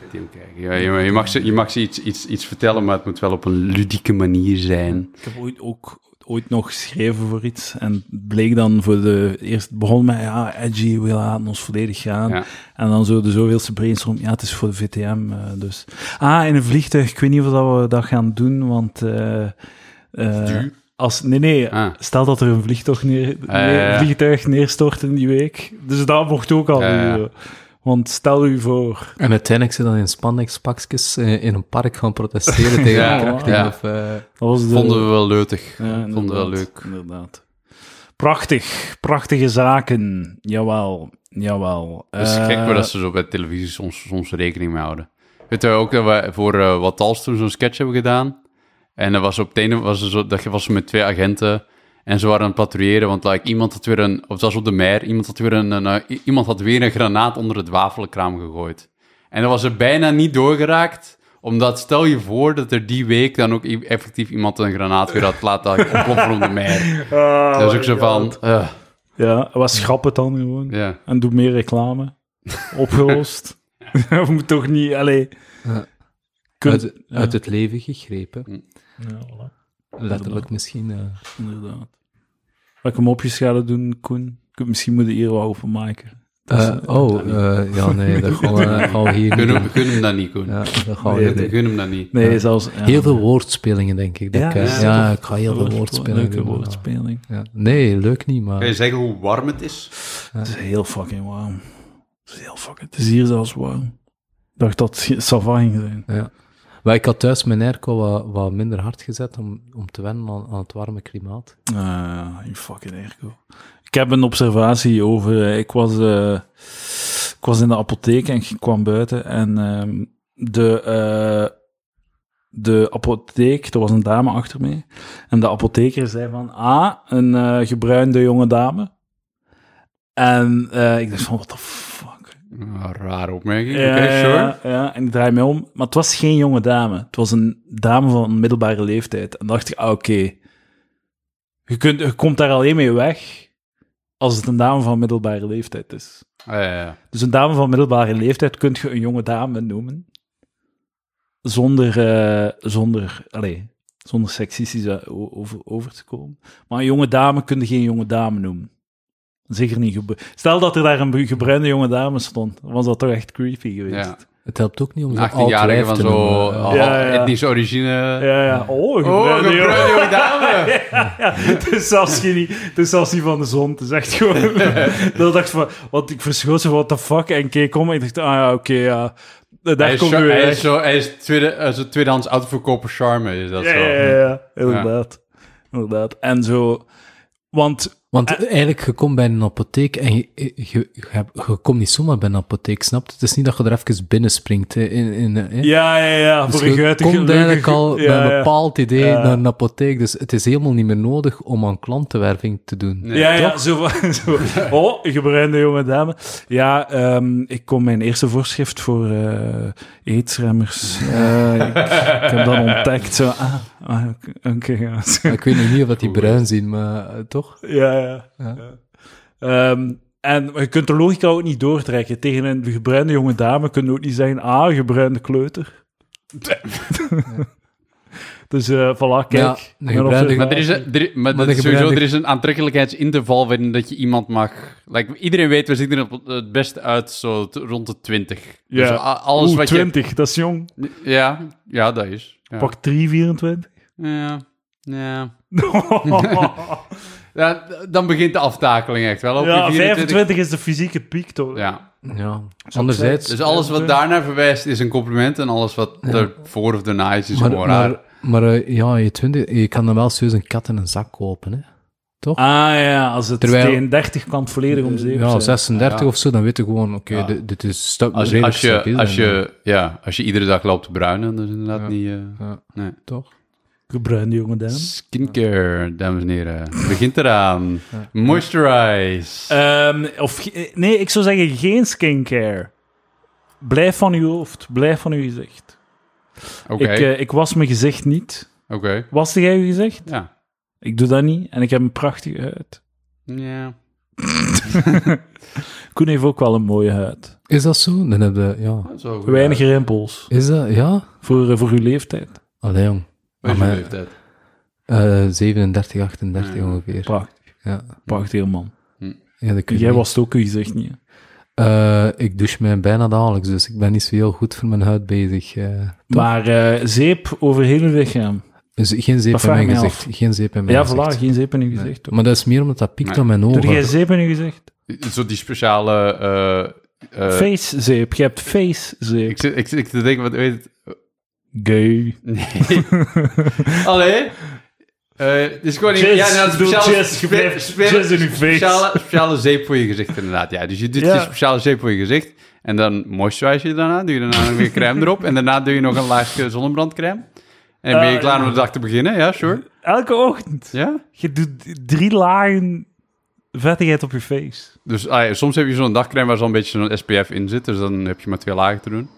[SPEAKER 2] VTM-kijker. Ja, je, je mag ze, je mag ze iets, iets, iets vertellen, maar het moet wel op een ludieke manier zijn.
[SPEAKER 1] Ik heb ooit ook ooit nog geschreven voor iets en het bleek dan voor de eerst het begon met ja edgy we laten ons volledig gaan
[SPEAKER 2] Ja.
[SPEAKER 1] en dan zo de zoveelste brainstorm ja het is voor de VTM eh, dus ah in een vliegtuig ik weet niet of dat we dat gaan doen want eh, eh,
[SPEAKER 2] Duur.
[SPEAKER 1] als nee nee
[SPEAKER 2] Ah.
[SPEAKER 1] stel dat er een vliegtuig neer,
[SPEAKER 2] ja, ja.
[SPEAKER 1] neer- vliegtuig neerstort in die week dus dat mocht ook al
[SPEAKER 2] Ja, ja.
[SPEAKER 1] niet, eh. want stel u voor
[SPEAKER 3] En uiteindelijk ze dan in spandexpakjes eh, in een park gaan protesteren tegen
[SPEAKER 2] Ja,
[SPEAKER 3] de verkrachting.
[SPEAKER 2] ja.
[SPEAKER 3] Of, eh,
[SPEAKER 1] dat was de,
[SPEAKER 2] Vonden we wel leutig.
[SPEAKER 1] Ja,
[SPEAKER 2] Vonden we wel
[SPEAKER 1] inderdaad,
[SPEAKER 2] leuk.
[SPEAKER 1] Inderdaad. Prachtig, prachtige zaken. Jawel, jawel.
[SPEAKER 2] Het is
[SPEAKER 1] Eh,
[SPEAKER 2] gek hoor, dat ze zo bij televisie soms, soms rekening mee houden. Weet je ook dat we voor eh, Wat Als toen zo'n sketch hebben gedaan? En dat was op het ene was er zo, dat was ze met twee agenten en ze waren aan het patrouilleren, want like, iemand had weer een, of dat was op de mer, iemand had weer een, een, eh, i- iemand had weer een granaat onder het wafelkraam gegooid. En dat was er bijna niet doorgeraakt, Omdat stel je voor dat er die week dan ook i- effectief iemand een granaat weer had laten ontploffen om de meer. Dat is ook zo van... eh,
[SPEAKER 1] Ja, wat schrap het dan gewoon.
[SPEAKER 2] ja.
[SPEAKER 1] En doe meer reclame. Opgelost. We moet toch niet, allee.
[SPEAKER 3] Ja.
[SPEAKER 1] Kun-
[SPEAKER 3] uit,
[SPEAKER 1] ja,
[SPEAKER 3] uit het leven gegrepen.
[SPEAKER 2] Mm.
[SPEAKER 1] ja, voilà.
[SPEAKER 3] Letterlijk misschien. eh.
[SPEAKER 1] Inderdaad. Welke mopjes gaan we doen, Koen? Ik- Misschien moeten we hier wat openmaken. Dat is-
[SPEAKER 3] Eh, oh, eh, ja, nee, dat gaan we, gaan we hier niet
[SPEAKER 2] Gun,
[SPEAKER 3] doen.
[SPEAKER 2] hem, gun hem dan niet, Koen.
[SPEAKER 3] Ja, dat gaan we
[SPEAKER 1] Nee,
[SPEAKER 3] hier niet
[SPEAKER 2] Gun hem dan niet.
[SPEAKER 1] nee, zelfs... ja.
[SPEAKER 3] doen. Heel veel woordspelingen, denk ik. dat
[SPEAKER 1] Ja,
[SPEAKER 3] ik, eh,
[SPEAKER 1] ja.
[SPEAKER 3] ja, ik ga heel veel
[SPEAKER 1] Woordspe-
[SPEAKER 3] woordspelingen
[SPEAKER 1] Leuke
[SPEAKER 3] doen.
[SPEAKER 1] woordspeling.
[SPEAKER 3] Ja. Nee, leuk niet, maar...
[SPEAKER 2] Kan je zeggen hoe warm het is?
[SPEAKER 1] Het is heel fucking warm. Het is heel fucking... Het is hier zelfs warm. Ik dacht dat het Sava ging zijn.
[SPEAKER 3] Ja. Maar ik had thuis mijn airco wat, wat minder hard gezet om, om te wennen aan, aan het warme klimaat.
[SPEAKER 1] Ah, je fucking airco. Ik heb een observatie over. eh, Ik was, eh, ik was in de apotheek en ik kwam buiten. En ehm, de, eh, de apotheek, er was een dame achter mij. En de apotheker zei van, ah, een eh, gebruinde jonge dame. En eh, ik dacht van, what the fuck?
[SPEAKER 2] Ah, rare opmerking.
[SPEAKER 1] Ja,
[SPEAKER 2] Oké, sure.
[SPEAKER 1] ja, ja, en ik draai mij om. Maar het was geen jonge dame. Het was een dame van een middelbare leeftijd. En dacht ik, ah, oké. Je, kunt- je komt daar alleen mee weg als het een dame van middelbare leeftijd is.
[SPEAKER 2] Ah, ja, ja.
[SPEAKER 1] Dus een dame van middelbare leeftijd kun je een jonge dame noemen. Zonder, eh, zonder, allez, zonder seksistisch eh, o- over, over te komen. Maar een jonge dame kun je geen jonge dame noemen. Zeker niet. gebru- Stel dat er daar een bru- gebruinde jonge dame stond, dan was dat toch echt creepy geweest.
[SPEAKER 2] Ja.
[SPEAKER 3] Het helpt ook niet om
[SPEAKER 2] Een
[SPEAKER 3] zo'n oud
[SPEAKER 2] 18-jarige
[SPEAKER 3] lijf
[SPEAKER 2] van
[SPEAKER 3] te
[SPEAKER 2] zo
[SPEAKER 3] noemen.
[SPEAKER 2] oh,
[SPEAKER 1] Ja, ja.
[SPEAKER 2] etnische origine.
[SPEAKER 1] Ja, ja. Oh, een
[SPEAKER 2] Oh,
[SPEAKER 1] gebruinde jonge
[SPEAKER 2] gebruik jonge dame!
[SPEAKER 1] Het is zelfs geen- het is zelfs niet van de zon. Het is echt gewoon... dat dacht ik van... Want ik verschoot zo, what the fuck? En ik keek om en ik dacht, ah ja, oké, ja. Eh,
[SPEAKER 2] Hij
[SPEAKER 1] Daar
[SPEAKER 2] is,
[SPEAKER 1] komt
[SPEAKER 2] zo,
[SPEAKER 1] nu
[SPEAKER 2] hij
[SPEAKER 1] weer
[SPEAKER 2] is, zo, hij is tweede, eh, zo tweedehands autoverkoper charme, is dat
[SPEAKER 1] Ja,
[SPEAKER 2] zo?
[SPEAKER 1] ja, ja, ja. Inderdaad. Inderdaad. En zo... Want...
[SPEAKER 3] Want eigenlijk, je komt bij een apotheek en je, je, je, hebt- je komt niet zomaar bij een apotheek, snap je? Het is niet dat je er even binnen springt. hè, In, in, hè.
[SPEAKER 1] Ja, ja, ja.
[SPEAKER 3] Dus
[SPEAKER 1] Voor een
[SPEAKER 3] je
[SPEAKER 1] guitige
[SPEAKER 3] komt eigenlijk al
[SPEAKER 1] ja,
[SPEAKER 3] met een
[SPEAKER 1] ja.
[SPEAKER 3] bepaald idee
[SPEAKER 1] Ja.
[SPEAKER 3] naar een apotheek, dus het is helemaal niet meer nodig om aan klantenwerving te doen.
[SPEAKER 2] Nee.
[SPEAKER 1] Ja, ja,
[SPEAKER 3] Toch?
[SPEAKER 1] zo, van- zo. Oh, gebruinde jonge dame. Ja, ehm, ik kom mijn eerste voorschrift voor eh eetsremmers. Eh, ik, ik heb dat ontdekt. Zo, ah, ah, oké, oké, ja. Zo.
[SPEAKER 3] Ik weet nog niet of dat die bruin zien, maar eh, toch?
[SPEAKER 1] Ja, ja.
[SPEAKER 3] Ja.
[SPEAKER 1] ja. Ehm, en je kunt de logica ook niet doortrekken. Tegen een gebruinde jonge dame kun je ook niet zeggen, ah, gebruinde kleuter. dus eh voilà,
[SPEAKER 3] Ja,
[SPEAKER 1] kijk.
[SPEAKER 3] een gebruinde-
[SPEAKER 2] Maar er is, een- er, is- maar dat
[SPEAKER 3] de
[SPEAKER 2] is sowieso,
[SPEAKER 3] gebruik-
[SPEAKER 2] er is een aantrekkelijkheidsinterval waarin dat je iemand mag... Like, iedereen weet, we zien er op- het beste uit zo t- rond de 20.
[SPEAKER 1] Ja.
[SPEAKER 2] Dus a- alles
[SPEAKER 1] Oeh,
[SPEAKER 2] wat
[SPEAKER 1] 20, dat is jong.
[SPEAKER 2] je... Ja, ja, dat is. Ja.
[SPEAKER 1] Pak 3, 24.
[SPEAKER 2] Ja, ja. Ja, d- dan begint de aftakeling echt wel. Op
[SPEAKER 1] ja,
[SPEAKER 2] je 24
[SPEAKER 1] 25 is de fysieke piek, toch?
[SPEAKER 2] Ja,
[SPEAKER 3] Ja. Anderzijds,
[SPEAKER 2] dus alles wat daarnaar verwijst is een compliment en alles wat ervoor of daarna is, is
[SPEAKER 3] Maar,
[SPEAKER 2] gewoon raar.
[SPEAKER 3] maar, maar eh, ja, je, 20, je kan dan wel serieus een kat in een zak kopen. Hè?
[SPEAKER 1] Ah ja, als het
[SPEAKER 3] Terwijl-
[SPEAKER 1] tegen 30 kan het volledig om zeep
[SPEAKER 3] Ja,
[SPEAKER 1] zijn.
[SPEAKER 3] 36
[SPEAKER 2] Ja.
[SPEAKER 3] of zo, dan weet je gewoon, oké,
[SPEAKER 2] Ja.
[SPEAKER 3] dit, dit is sta-
[SPEAKER 2] Als,
[SPEAKER 3] redelijk
[SPEAKER 2] als, je,
[SPEAKER 3] stabiel,
[SPEAKER 2] als,
[SPEAKER 3] hè.
[SPEAKER 2] je, ja, als je iedere dag loopt te bruinen, dat is inderdaad
[SPEAKER 3] Ja.
[SPEAKER 2] niet... eh,
[SPEAKER 3] Ja,
[SPEAKER 2] nee.
[SPEAKER 3] toch?
[SPEAKER 1] Gebruinde jonge dame.
[SPEAKER 2] Skincare, dames en heren. Begint eraan. Moisturize.
[SPEAKER 1] Ehm, of, ge- nee, ik zou zeggen geen skincare. Blijf van uw hoofd, blijf van uw gezicht.
[SPEAKER 2] Oké,
[SPEAKER 1] Ik, eh, ik was mijn gezicht niet.
[SPEAKER 2] oké.
[SPEAKER 1] Waste jij je gezicht?
[SPEAKER 2] Ja.
[SPEAKER 1] Ik doe dat niet en ik heb een prachtige huid.
[SPEAKER 2] Ja.
[SPEAKER 1] Koen heeft ook wel een mooie huid.
[SPEAKER 3] Is dat zo? Dan heb je, ja.
[SPEAKER 2] Zo goed.
[SPEAKER 1] Weinig rimpels
[SPEAKER 3] Is dat, ja?
[SPEAKER 1] voor, eh, voor uw leeftijd.
[SPEAKER 3] Allee, jong.
[SPEAKER 2] Wat is je
[SPEAKER 3] Maar mijn-
[SPEAKER 2] leeftijd?
[SPEAKER 3] eh, 37, 38
[SPEAKER 2] Ja.
[SPEAKER 3] ongeveer.
[SPEAKER 1] Prachtig,
[SPEAKER 3] Ja.
[SPEAKER 1] prachtig man.
[SPEAKER 3] Ja, dat kun je
[SPEAKER 1] Jij
[SPEAKER 3] niet.
[SPEAKER 1] was ook uw gezicht niet. hè?
[SPEAKER 3] Eh, ik douche mij bijna dagelijks, dus ik ben niet zo heel goed voor mijn huid bezig. eh.
[SPEAKER 1] Maar eh, zeep over heel uw lichaam.
[SPEAKER 3] dus geen zeep in
[SPEAKER 1] vraag ik
[SPEAKER 3] mijn
[SPEAKER 1] mij
[SPEAKER 3] gezicht. Geen zeep in mijn
[SPEAKER 1] Ja,
[SPEAKER 3] gezicht.
[SPEAKER 1] voilà, geen zeep in uw gezicht. hoor.
[SPEAKER 3] Maar dat is meer omdat dat piekt
[SPEAKER 2] Nee.
[SPEAKER 3] aan mijn ogen.
[SPEAKER 1] Doe jij zeep in je gezicht?
[SPEAKER 2] Zo die speciale... eh, eh,
[SPEAKER 1] face zeep. Je hebt face zeep.
[SPEAKER 2] ik, zit, ik zit te denken, wat weet het?
[SPEAKER 1] Gay.
[SPEAKER 2] Nee. Allee. Eh, Het is gewoon...
[SPEAKER 1] Jizz,
[SPEAKER 2] ja, nou,
[SPEAKER 1] doe
[SPEAKER 2] speciale,
[SPEAKER 1] jizz, je blijft jizz in je face.
[SPEAKER 2] speciale, speciale zeep voor je gezicht, inderdaad. Ja, dus je doet
[SPEAKER 1] Ja.
[SPEAKER 2] die speciale zeep voor je gezicht. En dan moisturize je daarna. Doe je daarna nog weer crème erop. En daarna doe je nog een laagje zonnebrandcrème. En dan ben je
[SPEAKER 1] Ah,
[SPEAKER 2] klaar
[SPEAKER 1] ja.
[SPEAKER 2] om de dag te beginnen. Ja, sure.
[SPEAKER 1] Elke ochtend.
[SPEAKER 2] Ja.
[SPEAKER 1] Je doet drie lagen vettigheid op je face.
[SPEAKER 2] Dus ah ja, soms heb je zo'n dagcrème waar zo'n beetje zo'n SPF in zit. Dus dan heb je maar twee lagen te doen.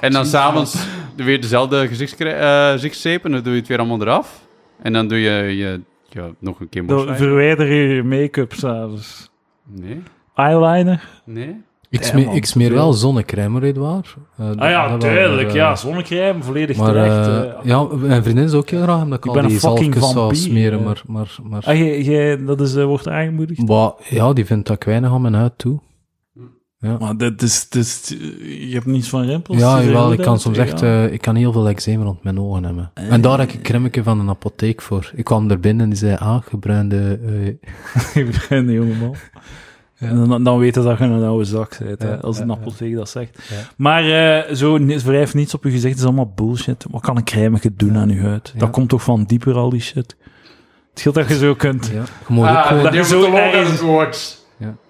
[SPEAKER 2] En dan s'avonds weer dezelfde gezichtskre- eh, gezichtszeep en dan doe je het weer allemaal eraf. En dan doe je je, je nog een keer
[SPEAKER 1] Dan
[SPEAKER 2] morslijnen.
[SPEAKER 1] verwijder je je make-up s'avonds.
[SPEAKER 2] Nee?
[SPEAKER 1] Eyeliner?
[SPEAKER 2] Nee?
[SPEAKER 3] Ik,
[SPEAKER 1] Ja,
[SPEAKER 3] smeer,
[SPEAKER 1] man,
[SPEAKER 3] ik smeer wel
[SPEAKER 1] veel.
[SPEAKER 3] zonnecrème, hoor, Edouard. Eh, dat-
[SPEAKER 1] Ah ja,
[SPEAKER 3] dat-
[SPEAKER 1] duidelijk.
[SPEAKER 3] eh,
[SPEAKER 1] Ja, zonnecrème, volledig
[SPEAKER 3] Maar
[SPEAKER 1] terecht.
[SPEAKER 3] eh,
[SPEAKER 1] eh.
[SPEAKER 3] ja, mijn vriendin is ook heel graag omdat ik,
[SPEAKER 1] Ik
[SPEAKER 3] al
[SPEAKER 1] ben
[SPEAKER 3] die
[SPEAKER 1] een fucking
[SPEAKER 3] zalkjes zou
[SPEAKER 1] vampier,
[SPEAKER 3] smeren,
[SPEAKER 1] eh.
[SPEAKER 3] maar... maar, maar
[SPEAKER 1] Ah, jij- jij- dat is, eh, wordt aangemoedigd.
[SPEAKER 3] Bah, ja, die vindt dat ik weinig aan mijn huid toe.
[SPEAKER 1] Maar dat is, dat is, je hebt niets van rimpels.
[SPEAKER 3] Ja,
[SPEAKER 1] Het is
[SPEAKER 3] jawel,
[SPEAKER 1] heel
[SPEAKER 3] ik kan
[SPEAKER 1] duidelijk,
[SPEAKER 3] soms echt...
[SPEAKER 1] ja.
[SPEAKER 3] eh, ik kan heel veel eczeem rond mijn ogen hebben. En daar heb ik een krimmetje van een apotheek voor. Ik kwam er binnen en die zei, ah, gebruinde... eh
[SPEAKER 1] Ik ben een jongeman. En dan, dan weet je dat je een oude zak bent, hè,
[SPEAKER 3] Ja,
[SPEAKER 1] als een
[SPEAKER 3] ja,
[SPEAKER 1] appel tegen dat zegt.
[SPEAKER 3] Ja.
[SPEAKER 1] Maar eh, zo ni- wrijf niets op je gezicht, is allemaal bullshit. Wat kan een crème doen aan je huid?
[SPEAKER 3] Ja.
[SPEAKER 1] Dat komt toch van dieper, al die shit? Het scheelt dat je zo kunt. Ja,
[SPEAKER 3] ja. Je moet ook
[SPEAKER 2] Ah,
[SPEAKER 3] gewoon...
[SPEAKER 2] de
[SPEAKER 1] dat is zo
[SPEAKER 2] dermatoloog
[SPEAKER 1] erg.
[SPEAKER 2] aan het woord.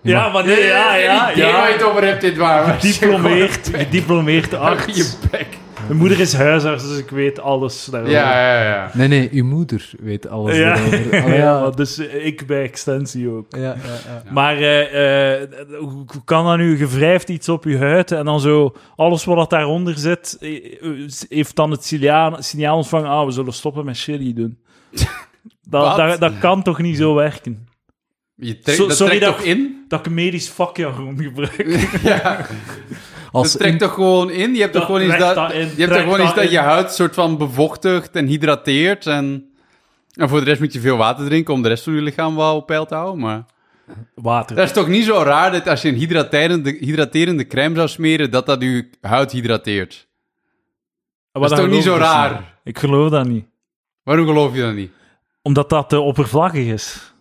[SPEAKER 3] Ja.
[SPEAKER 1] maar nee, ja, ja,
[SPEAKER 2] Geen idee waar je
[SPEAKER 1] ja.
[SPEAKER 2] het over hebt, dit waar.
[SPEAKER 1] Diplomeert, gediplomeerd
[SPEAKER 2] Achter
[SPEAKER 1] arts.
[SPEAKER 2] je bek.
[SPEAKER 1] Mijn moeder is huisarts, dus ik weet alles daarover.
[SPEAKER 2] Ja, ja, ja.
[SPEAKER 3] Nee, nee, uw moeder weet alles
[SPEAKER 1] Ja.
[SPEAKER 3] erover.
[SPEAKER 1] Ja,
[SPEAKER 3] Allee, ja.
[SPEAKER 1] maar dus ik bij extensie ook.
[SPEAKER 3] Ja, ja, ja.
[SPEAKER 1] Maar eh, eh, hoe hoe kan dat nu? Je wrijft iets op je huid en dan zo... Alles wat dat daaronder zit, eh, eh, heeft dan het signaal, signaal ontvangen... Ah, we zullen stoppen met chili doen. dat,
[SPEAKER 2] Wat?
[SPEAKER 1] dat, dat kan toch niet zo werken?
[SPEAKER 2] Je trekt,
[SPEAKER 1] So-
[SPEAKER 2] dat
[SPEAKER 1] sorry
[SPEAKER 2] trekt
[SPEAKER 1] dat-
[SPEAKER 2] toch in?
[SPEAKER 1] Dat ik een medisch vakjargon gebruik.
[SPEAKER 2] Ja, dat
[SPEAKER 3] Als
[SPEAKER 2] trekt Dus toch gewoon in? Je hebt toch
[SPEAKER 1] Dat
[SPEAKER 2] gewoon iets
[SPEAKER 1] trekt
[SPEAKER 2] dat,
[SPEAKER 1] dat in,
[SPEAKER 2] je, hebt
[SPEAKER 1] trekt
[SPEAKER 2] toch gewoon iets
[SPEAKER 1] dat
[SPEAKER 2] dat je
[SPEAKER 1] in.
[SPEAKER 2] huid soort van bevochtigt en hydrateert. En, en voor de rest moet je veel water drinken om de rest van je lichaam wel op peil te houden. Maar
[SPEAKER 1] Water.
[SPEAKER 2] dat is toch niet zo raar dat als je een hydraterende, hydraterende crème zou smeren, dat dat je huid hydrateert?
[SPEAKER 1] Wat
[SPEAKER 2] dat is toch niet
[SPEAKER 1] geloof
[SPEAKER 2] zo
[SPEAKER 1] ik dus
[SPEAKER 2] raar?
[SPEAKER 1] niet. Ik geloof dat niet.
[SPEAKER 2] Waarom geloof je dat niet?
[SPEAKER 1] Omdat dat te oppervlakkig is.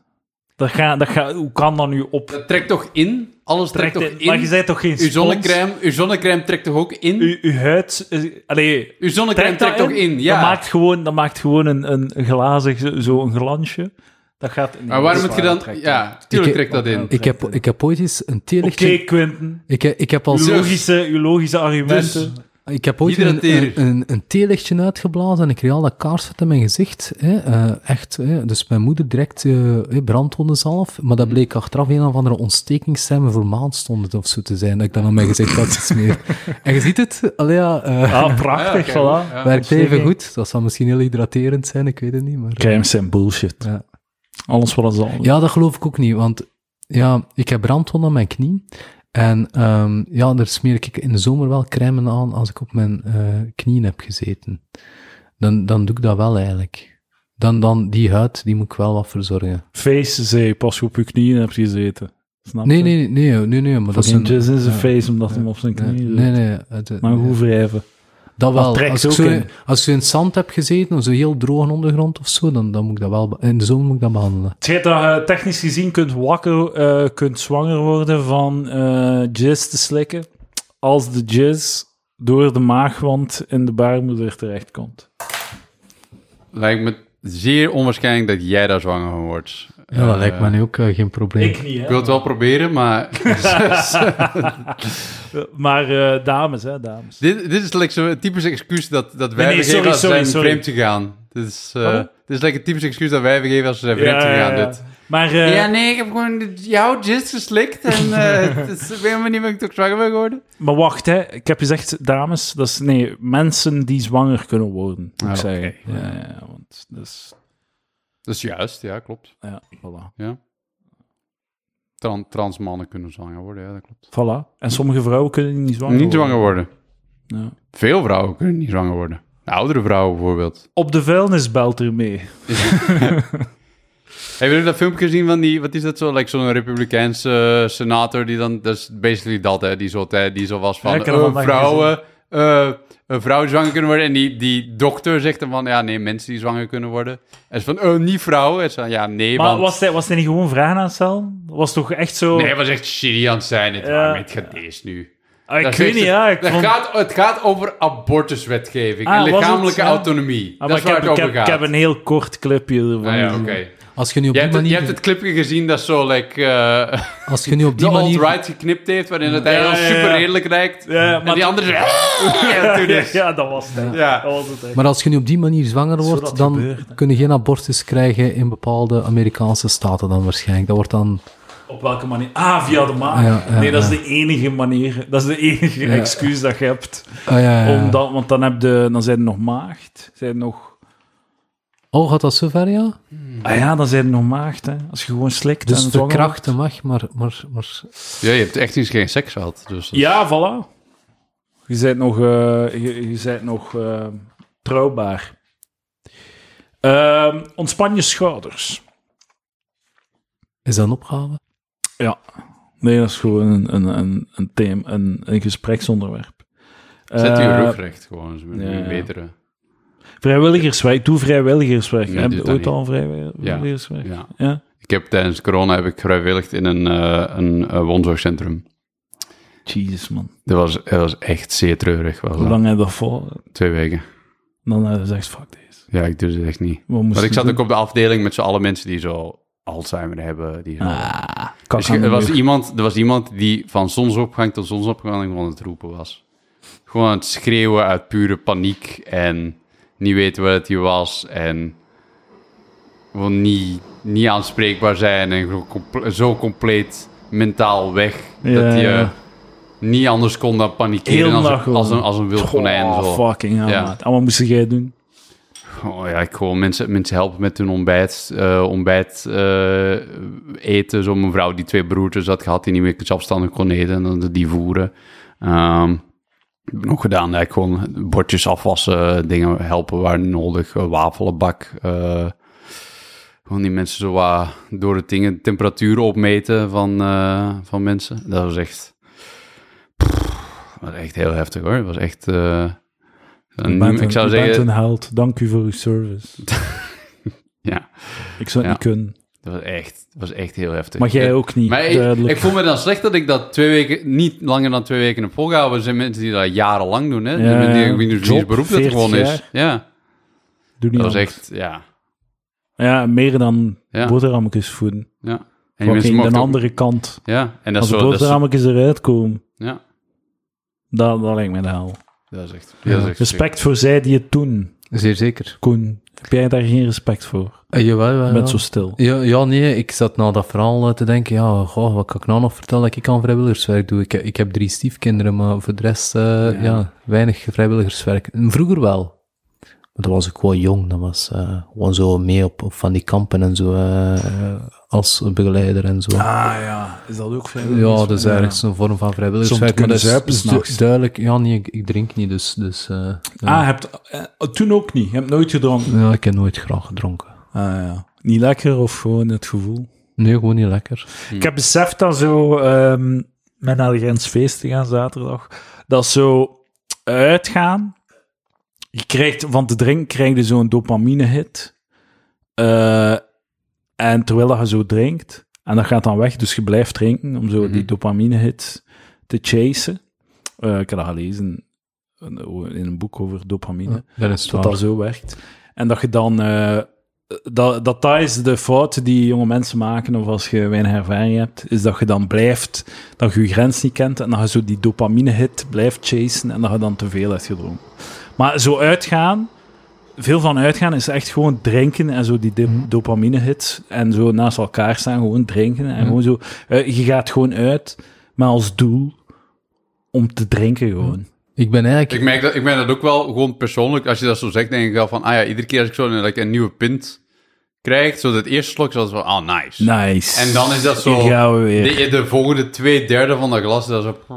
[SPEAKER 1] Dat ga, dat ga, hoe kan dat nu op...
[SPEAKER 2] Dat trekt toch in? Alles trekt,
[SPEAKER 1] trekt
[SPEAKER 2] toch
[SPEAKER 1] in- Maar je
[SPEAKER 2] in?
[SPEAKER 1] bent toch geen
[SPEAKER 2] Uw
[SPEAKER 1] spons?
[SPEAKER 2] zonnecrème, uw zonnecrème trekt toch ook in?
[SPEAKER 1] Uw- uw huid... eh, allee,
[SPEAKER 2] Uw zonnecrème
[SPEAKER 1] Trekt dat
[SPEAKER 2] trekt toch in?
[SPEAKER 1] Dat
[SPEAKER 2] Ja.
[SPEAKER 1] maakt gewoon, dat maakt gewoon een, een een glazig, zo- zo een glansje. Dat gaat... nee,
[SPEAKER 2] Maar
[SPEAKER 1] dat
[SPEAKER 2] waarom
[SPEAKER 1] is
[SPEAKER 2] moet je
[SPEAKER 1] waar,
[SPEAKER 2] dan...
[SPEAKER 1] dat trekt
[SPEAKER 2] Ja, tuurlijk trekt dat in.
[SPEAKER 3] Ik heb, ik heb ooit eens een
[SPEAKER 1] Oké,
[SPEAKER 3] theelichtje...
[SPEAKER 1] Quinten.
[SPEAKER 3] Ik, heb- ik heb als...
[SPEAKER 1] Uw
[SPEAKER 2] Dus-
[SPEAKER 1] logische, uw logische argumenten.
[SPEAKER 3] Ik heb ooit een,
[SPEAKER 2] Hydrateer.
[SPEAKER 3] een, een, een theelichtje uitgeblazen en ik kreeg al dat kaarsvet in mijn gezicht. Hè. eh, echt, hè. dus mijn moeder direct eh eh, brandwonden zelf. Maar dat bleek achteraf een of andere ontstekingssemmen voor maandstonden of zo te zijn. Dat ik dan aan mijn gezicht had gesmeerd. en je ziet het, allee, ja, eh,
[SPEAKER 1] ah, prachtig,
[SPEAKER 2] Ja, oké,
[SPEAKER 1] voilà.
[SPEAKER 2] ja.
[SPEAKER 3] werkt even
[SPEAKER 1] ontsteking.
[SPEAKER 3] goed. Dat zou misschien heel hydraterend zijn, ik weet het niet. Maar,
[SPEAKER 1] Crimes zijn bullshit.
[SPEAKER 3] Ja.
[SPEAKER 1] Alles wat ze al.
[SPEAKER 3] ja, dat geloof ik ook niet, want ja, ik heb brandwonden aan mijn knie. En ehm, ja, daar smeer ik in de zomer wel crème aan als ik op mijn eh, knieën heb gezeten. Dan, dan doe ik dat wel eigenlijk. Dan, dan die huid, die moet ik wel wat verzorgen.
[SPEAKER 1] Face zei, pas je op je knieën hebt gezeten. Snap
[SPEAKER 3] Nee,
[SPEAKER 1] je?
[SPEAKER 3] nee, nee, nee, nee, maar dat is
[SPEAKER 1] Fucking
[SPEAKER 3] een...
[SPEAKER 1] jizz in zijn
[SPEAKER 3] ja.
[SPEAKER 1] face, omdat hem op zijn
[SPEAKER 3] Nee,
[SPEAKER 1] knieën zit.
[SPEAKER 3] nee, nee, het- het-
[SPEAKER 1] Maar hoe wrijven?
[SPEAKER 3] dat
[SPEAKER 1] dat
[SPEAKER 3] wel.
[SPEAKER 1] trekt
[SPEAKER 3] Als ik,
[SPEAKER 1] ook
[SPEAKER 3] zo,
[SPEAKER 1] in.
[SPEAKER 3] als ik zo in het zand heb gezeten, of zo heel droge ondergrond of zo, dan, dan moet ik dat wel... be- In de zomer moet ik dat behandelen.
[SPEAKER 1] Het schijnt dat je technisch gezien kunt wakker, eh, kunt zwanger worden van eh jizz te slikken. Als de jizz door de maagwand in de baarmoeder terechtkomt.
[SPEAKER 2] Lijkt me zeer onwaarschijnlijk dat jij daar zwanger van wordt.
[SPEAKER 3] Ja, dat
[SPEAKER 2] Eh,
[SPEAKER 3] lijkt me nu ook eh, geen probleem.
[SPEAKER 1] Ik niet,
[SPEAKER 2] Ik
[SPEAKER 1] hè.
[SPEAKER 2] wil het wel proberen, maar
[SPEAKER 1] Maar eh, dames, hè, dames.
[SPEAKER 2] dit, dit is like zo'n typisch excuus dat, dat wij
[SPEAKER 1] Nee, nee,
[SPEAKER 2] geven
[SPEAKER 1] sorry,
[SPEAKER 2] als ze
[SPEAKER 1] sorry,
[SPEAKER 2] zijn
[SPEAKER 1] sorry.
[SPEAKER 2] vreemd gegaan. Dit is, eh
[SPEAKER 1] Waarom?
[SPEAKER 2] dit is like een typisch excuus dat wij geven als ze zijn vreemd gegaan. Dit.
[SPEAKER 1] Maar eh,
[SPEAKER 2] ja, nee, ik heb gewoon jouw jizz geslikt en eh, het is op een manier ben ik toch zwanger ben geworden.
[SPEAKER 1] Maar wacht, hè. ik heb gezegd dames. Dat is, nee, mensen die zwanger kunnen worden, moet ik
[SPEAKER 2] Ah,
[SPEAKER 1] zeggen. Ja, ja, ja, want dat is...
[SPEAKER 2] Dat is juist, ja, klopt.
[SPEAKER 1] Ja, voilà.
[SPEAKER 2] Ja. Tran- trans mannen kunnen zwanger worden, ja, dat klopt.
[SPEAKER 1] voilà. En sommige vrouwen kunnen niet zwanger
[SPEAKER 2] Niet
[SPEAKER 1] worden.
[SPEAKER 2] zwanger worden.
[SPEAKER 1] Ja.
[SPEAKER 2] Veel vrouwen kunnen niet zwanger worden. Oudere vrouwen bijvoorbeeld.
[SPEAKER 1] Op de vuilnisbelt ermee.
[SPEAKER 2] Hebben jullie dat filmpje gezien van die, wat is dat zo, like zo'n Republikeinse eh, senator die dan, dat is basically dat hè, die zo, hè, die zo was
[SPEAKER 1] Ja,
[SPEAKER 2] van,
[SPEAKER 1] ik heb
[SPEAKER 2] eh,
[SPEAKER 1] dat vandaag
[SPEAKER 2] vrouwen, eh eh, vrouwen zwanger kunnen worden en die, die dokter zegt dan van, ja nee, mensen die zwanger kunnen worden. En ze van, eh, niet vrouwen. En ze van, ja nee,
[SPEAKER 1] Maar
[SPEAKER 2] want...
[SPEAKER 1] was hij, was hij niet gewoon vragen aan het stellen? Was toch echt zo...
[SPEAKER 2] Nee, hij was echt shitty aan het zijn, het
[SPEAKER 1] Ja.
[SPEAKER 2] ja. met gedees nu.
[SPEAKER 1] Ah, ik
[SPEAKER 2] Dat is
[SPEAKER 1] weet
[SPEAKER 2] echt-
[SPEAKER 1] niet, ja. Ik
[SPEAKER 2] dat
[SPEAKER 1] vond...
[SPEAKER 2] gaat, het gaat over abortuswetgeving
[SPEAKER 1] Ah,
[SPEAKER 2] en
[SPEAKER 1] was het?
[SPEAKER 2] lichamelijke
[SPEAKER 1] Ja.
[SPEAKER 2] autonomie.
[SPEAKER 1] Ah,
[SPEAKER 2] dat
[SPEAKER 1] maar ik
[SPEAKER 2] is waar
[SPEAKER 1] heb,
[SPEAKER 2] het
[SPEAKER 1] ik,
[SPEAKER 2] over
[SPEAKER 1] heb, ik
[SPEAKER 2] gaat.
[SPEAKER 1] heb een heel kort clubje ervan.
[SPEAKER 2] Ah, ja, oké.
[SPEAKER 1] gezien.
[SPEAKER 3] Als je nu op
[SPEAKER 2] Je,
[SPEAKER 3] die
[SPEAKER 2] hebt het-
[SPEAKER 3] manier...
[SPEAKER 2] je hebt het clipje gezien dat zo, like... eh,
[SPEAKER 3] Als je nu op die
[SPEAKER 2] de
[SPEAKER 3] manier...
[SPEAKER 2] alt-right geknipt heeft, waarin het
[SPEAKER 1] Ja,
[SPEAKER 2] heel
[SPEAKER 1] ja, ja.
[SPEAKER 2] super redelijk lijkt.
[SPEAKER 1] Ja,
[SPEAKER 2] En
[SPEAKER 1] maar...
[SPEAKER 2] die andere ja, toen is-
[SPEAKER 1] ja, dat was het. hè.
[SPEAKER 2] Ja.
[SPEAKER 1] Dat was het echt.
[SPEAKER 3] Maar als je nu op die manier zwanger
[SPEAKER 1] Zo
[SPEAKER 3] wordt,
[SPEAKER 1] dat
[SPEAKER 3] dan
[SPEAKER 1] gebeurt,
[SPEAKER 3] kun je geen abortus krijgen in bepaalde Amerikaanse staten dan waarschijnlijk. Dat wordt dan...
[SPEAKER 1] Op welke manier? Ah, via de maag.
[SPEAKER 3] Ja, ja,
[SPEAKER 1] nee, dat is
[SPEAKER 3] ja.
[SPEAKER 1] de enige manier. Dat is de enige excuus dat je hebt.
[SPEAKER 3] Ah, ja, ja.
[SPEAKER 1] Om dat, want dan, heb je, dan zijn er nog maagd. Zijn er nog...
[SPEAKER 3] Oh, gaat dat zover, ja?
[SPEAKER 1] Ah ja, dan zijn er nog maagd. Hè. Als je gewoon slikt
[SPEAKER 3] Mhm. Dus
[SPEAKER 1] en zwanger
[SPEAKER 3] verkrachten mag, maar... maar, maar
[SPEAKER 2] Ja, je hebt echt eens geen seks gehad. Dus
[SPEAKER 1] wordt. Ja,
[SPEAKER 2] dat-
[SPEAKER 1] voilà. Je bent nog, eh, je, je bent nog eh, trouwbaar. Ehm, ontspan je schouders.
[SPEAKER 3] is dat een opgave?
[SPEAKER 1] Ja. Nee, dat is gewoon een, een, een, een, thema, een, een gespreksonderwerp.
[SPEAKER 2] Zet je
[SPEAKER 1] Eh,
[SPEAKER 2] rug recht gewoon. Is een
[SPEAKER 1] ja.
[SPEAKER 2] betere.
[SPEAKER 1] Vrijwilligerswerk. Doe vrijwilligerswerk.
[SPEAKER 2] Nee,
[SPEAKER 1] Heb
[SPEAKER 2] doe
[SPEAKER 1] je
[SPEAKER 2] dat
[SPEAKER 1] ooit
[SPEAKER 2] niet.
[SPEAKER 1] al vrijwilligerswerk?
[SPEAKER 2] Ja.
[SPEAKER 1] Ja.
[SPEAKER 2] Ik heb tijdens corona heb ik vrijwilligd in een, eh een eh, woonzorgcentrum.
[SPEAKER 1] Jezus, man.
[SPEAKER 2] Dat was, dat was echt zeer treurig. Was
[SPEAKER 1] Hoe
[SPEAKER 2] dat.
[SPEAKER 1] lang heb je dat vol?
[SPEAKER 2] Twee weken.
[SPEAKER 1] Dan heb je gezegd, fuck deze.
[SPEAKER 2] Ja, ik doe het echt niet.
[SPEAKER 1] Wat moest
[SPEAKER 2] Maar ik
[SPEAKER 1] je
[SPEAKER 2] zat
[SPEAKER 1] doen?
[SPEAKER 2] ook op de afdeling met z'n allen mensen die zo Alzheimer hebben. Die zo-
[SPEAKER 1] Ah, kak
[SPEAKER 2] Dus
[SPEAKER 1] aan de
[SPEAKER 2] er, was
[SPEAKER 1] muur.
[SPEAKER 2] iemand, er was iemand die van zonsopgang tot zonsopgang aan het roepen was. Gewoon aan het schreeuwen uit pure paniek en niet weten waar het hier was en gewoon niet, niet aanspreekbaar zijn en gewoon comple- zo compleet mentaal weg
[SPEAKER 1] Ja,
[SPEAKER 2] dat je
[SPEAKER 1] ja.
[SPEAKER 2] niet anders kon dan
[SPEAKER 1] Heel
[SPEAKER 2] panikeren als,
[SPEAKER 1] nacht
[SPEAKER 2] een-
[SPEAKER 1] gewoon.
[SPEAKER 2] als, een, als een wild konijn.
[SPEAKER 1] Goh,
[SPEAKER 2] Zo.
[SPEAKER 1] fucking hell,
[SPEAKER 2] Ja.
[SPEAKER 1] maat. En wat moest jij doen?
[SPEAKER 2] Oh ja, ik gewoon mensen, mensen helpen met hun ontbijt, eh, ontbijt eh, eten. Zo'n mevrouw die twee broertjes had gehad, die niet meer zelfstandig kon eten. En dan die voeren. Ehm, heb ik nog gedaan, ja, ik gewoon bordjes afwassen, dingen helpen waar nodig. eh, wafelbak. eh, gewoon die mensen zo wat door het ding, de temperatuur opmeten van, eh, van mensen. Dat was echt... Pff, dat was echt heel heftig hoor. Dat was echt... eh,
[SPEAKER 1] Je
[SPEAKER 2] niet-
[SPEAKER 1] bent een-
[SPEAKER 2] ik zou
[SPEAKER 1] je bent
[SPEAKER 2] zeggen...
[SPEAKER 1] een held. Dank u voor uw service.
[SPEAKER 2] Ja.
[SPEAKER 1] Ik zou het
[SPEAKER 2] Ja.
[SPEAKER 1] niet kunnen.
[SPEAKER 2] Dat was echt, dat was echt heel heftig.
[SPEAKER 1] Maar jij
[SPEAKER 2] Eh,
[SPEAKER 1] ook niet,
[SPEAKER 2] Maar ik,
[SPEAKER 1] duidelijk.
[SPEAKER 2] ik voel me dan slecht dat ik dat twee weken, niet langer dan twee weken heb volgehouden. Er zijn mensen die dat jarenlang doen, hè?
[SPEAKER 1] Ja,
[SPEAKER 2] Ja,
[SPEAKER 1] ja.
[SPEAKER 2] die, die,
[SPEAKER 1] Job,
[SPEAKER 2] beroep dat
[SPEAKER 1] 40
[SPEAKER 2] gewoon is. Ja,
[SPEAKER 1] Doe niet
[SPEAKER 2] dat was
[SPEAKER 1] anders.
[SPEAKER 2] echt, ja.
[SPEAKER 1] Ja, meer dan
[SPEAKER 2] Ja.
[SPEAKER 1] boterhammetjes voeden.
[SPEAKER 2] ja. En die
[SPEAKER 1] Fucking
[SPEAKER 2] mensen
[SPEAKER 1] de
[SPEAKER 2] mochten ook-
[SPEAKER 1] andere kant.
[SPEAKER 2] Ja, en dat
[SPEAKER 1] Als
[SPEAKER 2] is
[SPEAKER 1] de
[SPEAKER 2] zo... Dat is,
[SPEAKER 1] boterhammetjes eruit komen,
[SPEAKER 2] ja,
[SPEAKER 1] dat, dat lijkt me de hel.
[SPEAKER 2] dat is echt... dat is echt
[SPEAKER 1] Respect voor zij die het doen,
[SPEAKER 3] Zeer zeker.
[SPEAKER 1] Koen. Heb jij daar geen respect voor?
[SPEAKER 3] Eh, jawel,
[SPEAKER 1] Je
[SPEAKER 3] jawel,
[SPEAKER 1] bent
[SPEAKER 3] ja.
[SPEAKER 1] zo stil.
[SPEAKER 3] Ja, ja, nee, ik zat na dat verhaal eh, te denken, ja, goh, wat kan ik nou nog vertellen dat ik aan vrijwilligerswerk doe? Ik, ik heb drie stiefkinderen, maar voor de rest, eh, ja. weinig vrijwilligerswerk. Vroeger wel. Maar toen was ik wel jong, dan was eh, gewoon zo mee op, op van die kampen en zo, eh, eh, als begeleider en zo.
[SPEAKER 1] Ah, ja, is dat ook veel?
[SPEAKER 3] Ja, dat is eigenlijk zo'n vorm van vrijwilligerswerk.
[SPEAKER 1] Soms
[SPEAKER 3] Maar
[SPEAKER 1] kunnen
[SPEAKER 3] dat is,
[SPEAKER 1] zuipen
[SPEAKER 3] is du-
[SPEAKER 1] s'nachts.
[SPEAKER 3] duidelijk, ja, nee, ik, ik drink niet, dus... dus eh, ja.
[SPEAKER 1] Ah, je hebt, eh, toen ook niet. Je hebt nooit gedronken.
[SPEAKER 3] ja, ik heb nooit graag gedronken.
[SPEAKER 1] Ah, ja. Niet lekker of gewoon het gevoel?
[SPEAKER 3] Nee, gewoon niet lekker.
[SPEAKER 1] Ik heb beseft dat zo, ehm met naar de grens feest te gaan zaterdag, dat zo uitgaan, je krijgt van te drinken krijg je zo'n dopamine-hit. Eh, en terwijl dat je zo drinkt, en dat gaat dan weg, dus je blijft drinken om zo die dopamine-hit te chasen. Eh, ik heb dat gelezen in in een boek over dopamine
[SPEAKER 3] Dat is
[SPEAKER 1] dat
[SPEAKER 3] waar.
[SPEAKER 1] dat zo werkt. En dat je dan... eh, dat, dat dat is de fout die jonge mensen maken, of als je weinig ervaring hebt, is dat je dan blijft, dat je je grens niet kent en dat je zo die dopamine-hit blijft chasen en dat je dan te veel hebt gedronken. Maar zo uitgaan, veel van uitgaan is echt gewoon drinken en zo die dopamine-hit en zo naast elkaar staan, gewoon drinken en gewoon zo... eh, je gaat gewoon uit, maar als doel om te drinken gewoon.
[SPEAKER 3] Ik ben eigenlijk...
[SPEAKER 2] Ik merk, dat, ik merk dat ook wel gewoon persoonlijk. Als je dat zo zegt, denk ik wel van... Ah ja, iedere keer als ik zo een, like, een nieuwe pint krijg, zo dat eerste slok, zo van... Ah, nice.
[SPEAKER 1] Nice.
[SPEAKER 2] En dan is dat zo...
[SPEAKER 1] Hier gaan we weer.
[SPEAKER 2] De, de volgende twee derde van dat glas, dat is zo...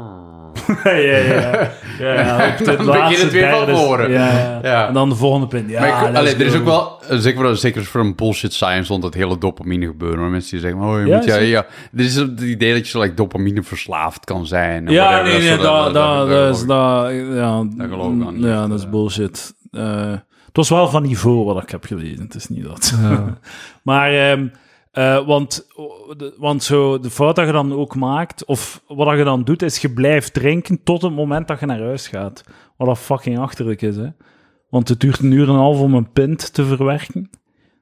[SPEAKER 1] ja, ja, ja. ja, ja op de
[SPEAKER 2] Dan begin
[SPEAKER 1] laatste
[SPEAKER 2] het weer van
[SPEAKER 1] derde-
[SPEAKER 2] voren.
[SPEAKER 1] Ja, ja.
[SPEAKER 2] Ja.
[SPEAKER 1] En dan de volgende punt. Ja,
[SPEAKER 2] Maar ik-
[SPEAKER 1] let's
[SPEAKER 2] allee, er is
[SPEAKER 1] go.
[SPEAKER 2] ook wel, eh, zeker voor, zeker voor een bullshit science, rond dat hele dopamine gebeuren. Hoor. Mensen die zeggen, oh, je
[SPEAKER 1] Ja,
[SPEAKER 2] moet, ja,
[SPEAKER 1] zeker.
[SPEAKER 2] ja. Dit is het idee dat je zo, like, dopamine verslaafd kan zijn. en
[SPEAKER 1] Ja,
[SPEAKER 2] whatever,
[SPEAKER 1] nee, nee,
[SPEAKER 2] zo,
[SPEAKER 1] dat, dat, dat is...
[SPEAKER 2] geloof ik.
[SPEAKER 1] Dat, ja, mm,
[SPEAKER 2] Dat geloof ik wel niet.
[SPEAKER 1] Ja, dat is bullshit. Eh, het was wel van niveau wat ik heb gelezen, het is niet dat. maar, ehm, eh, want, de- want zo, de fout dat je dan ook maakt, of wat dat je dan doet, is je blijft drinken tot het moment dat je naar huis gaat. Wat dat fucking achterlijk is, hè. Want het duurt een uur en een half om een pint te verwerken.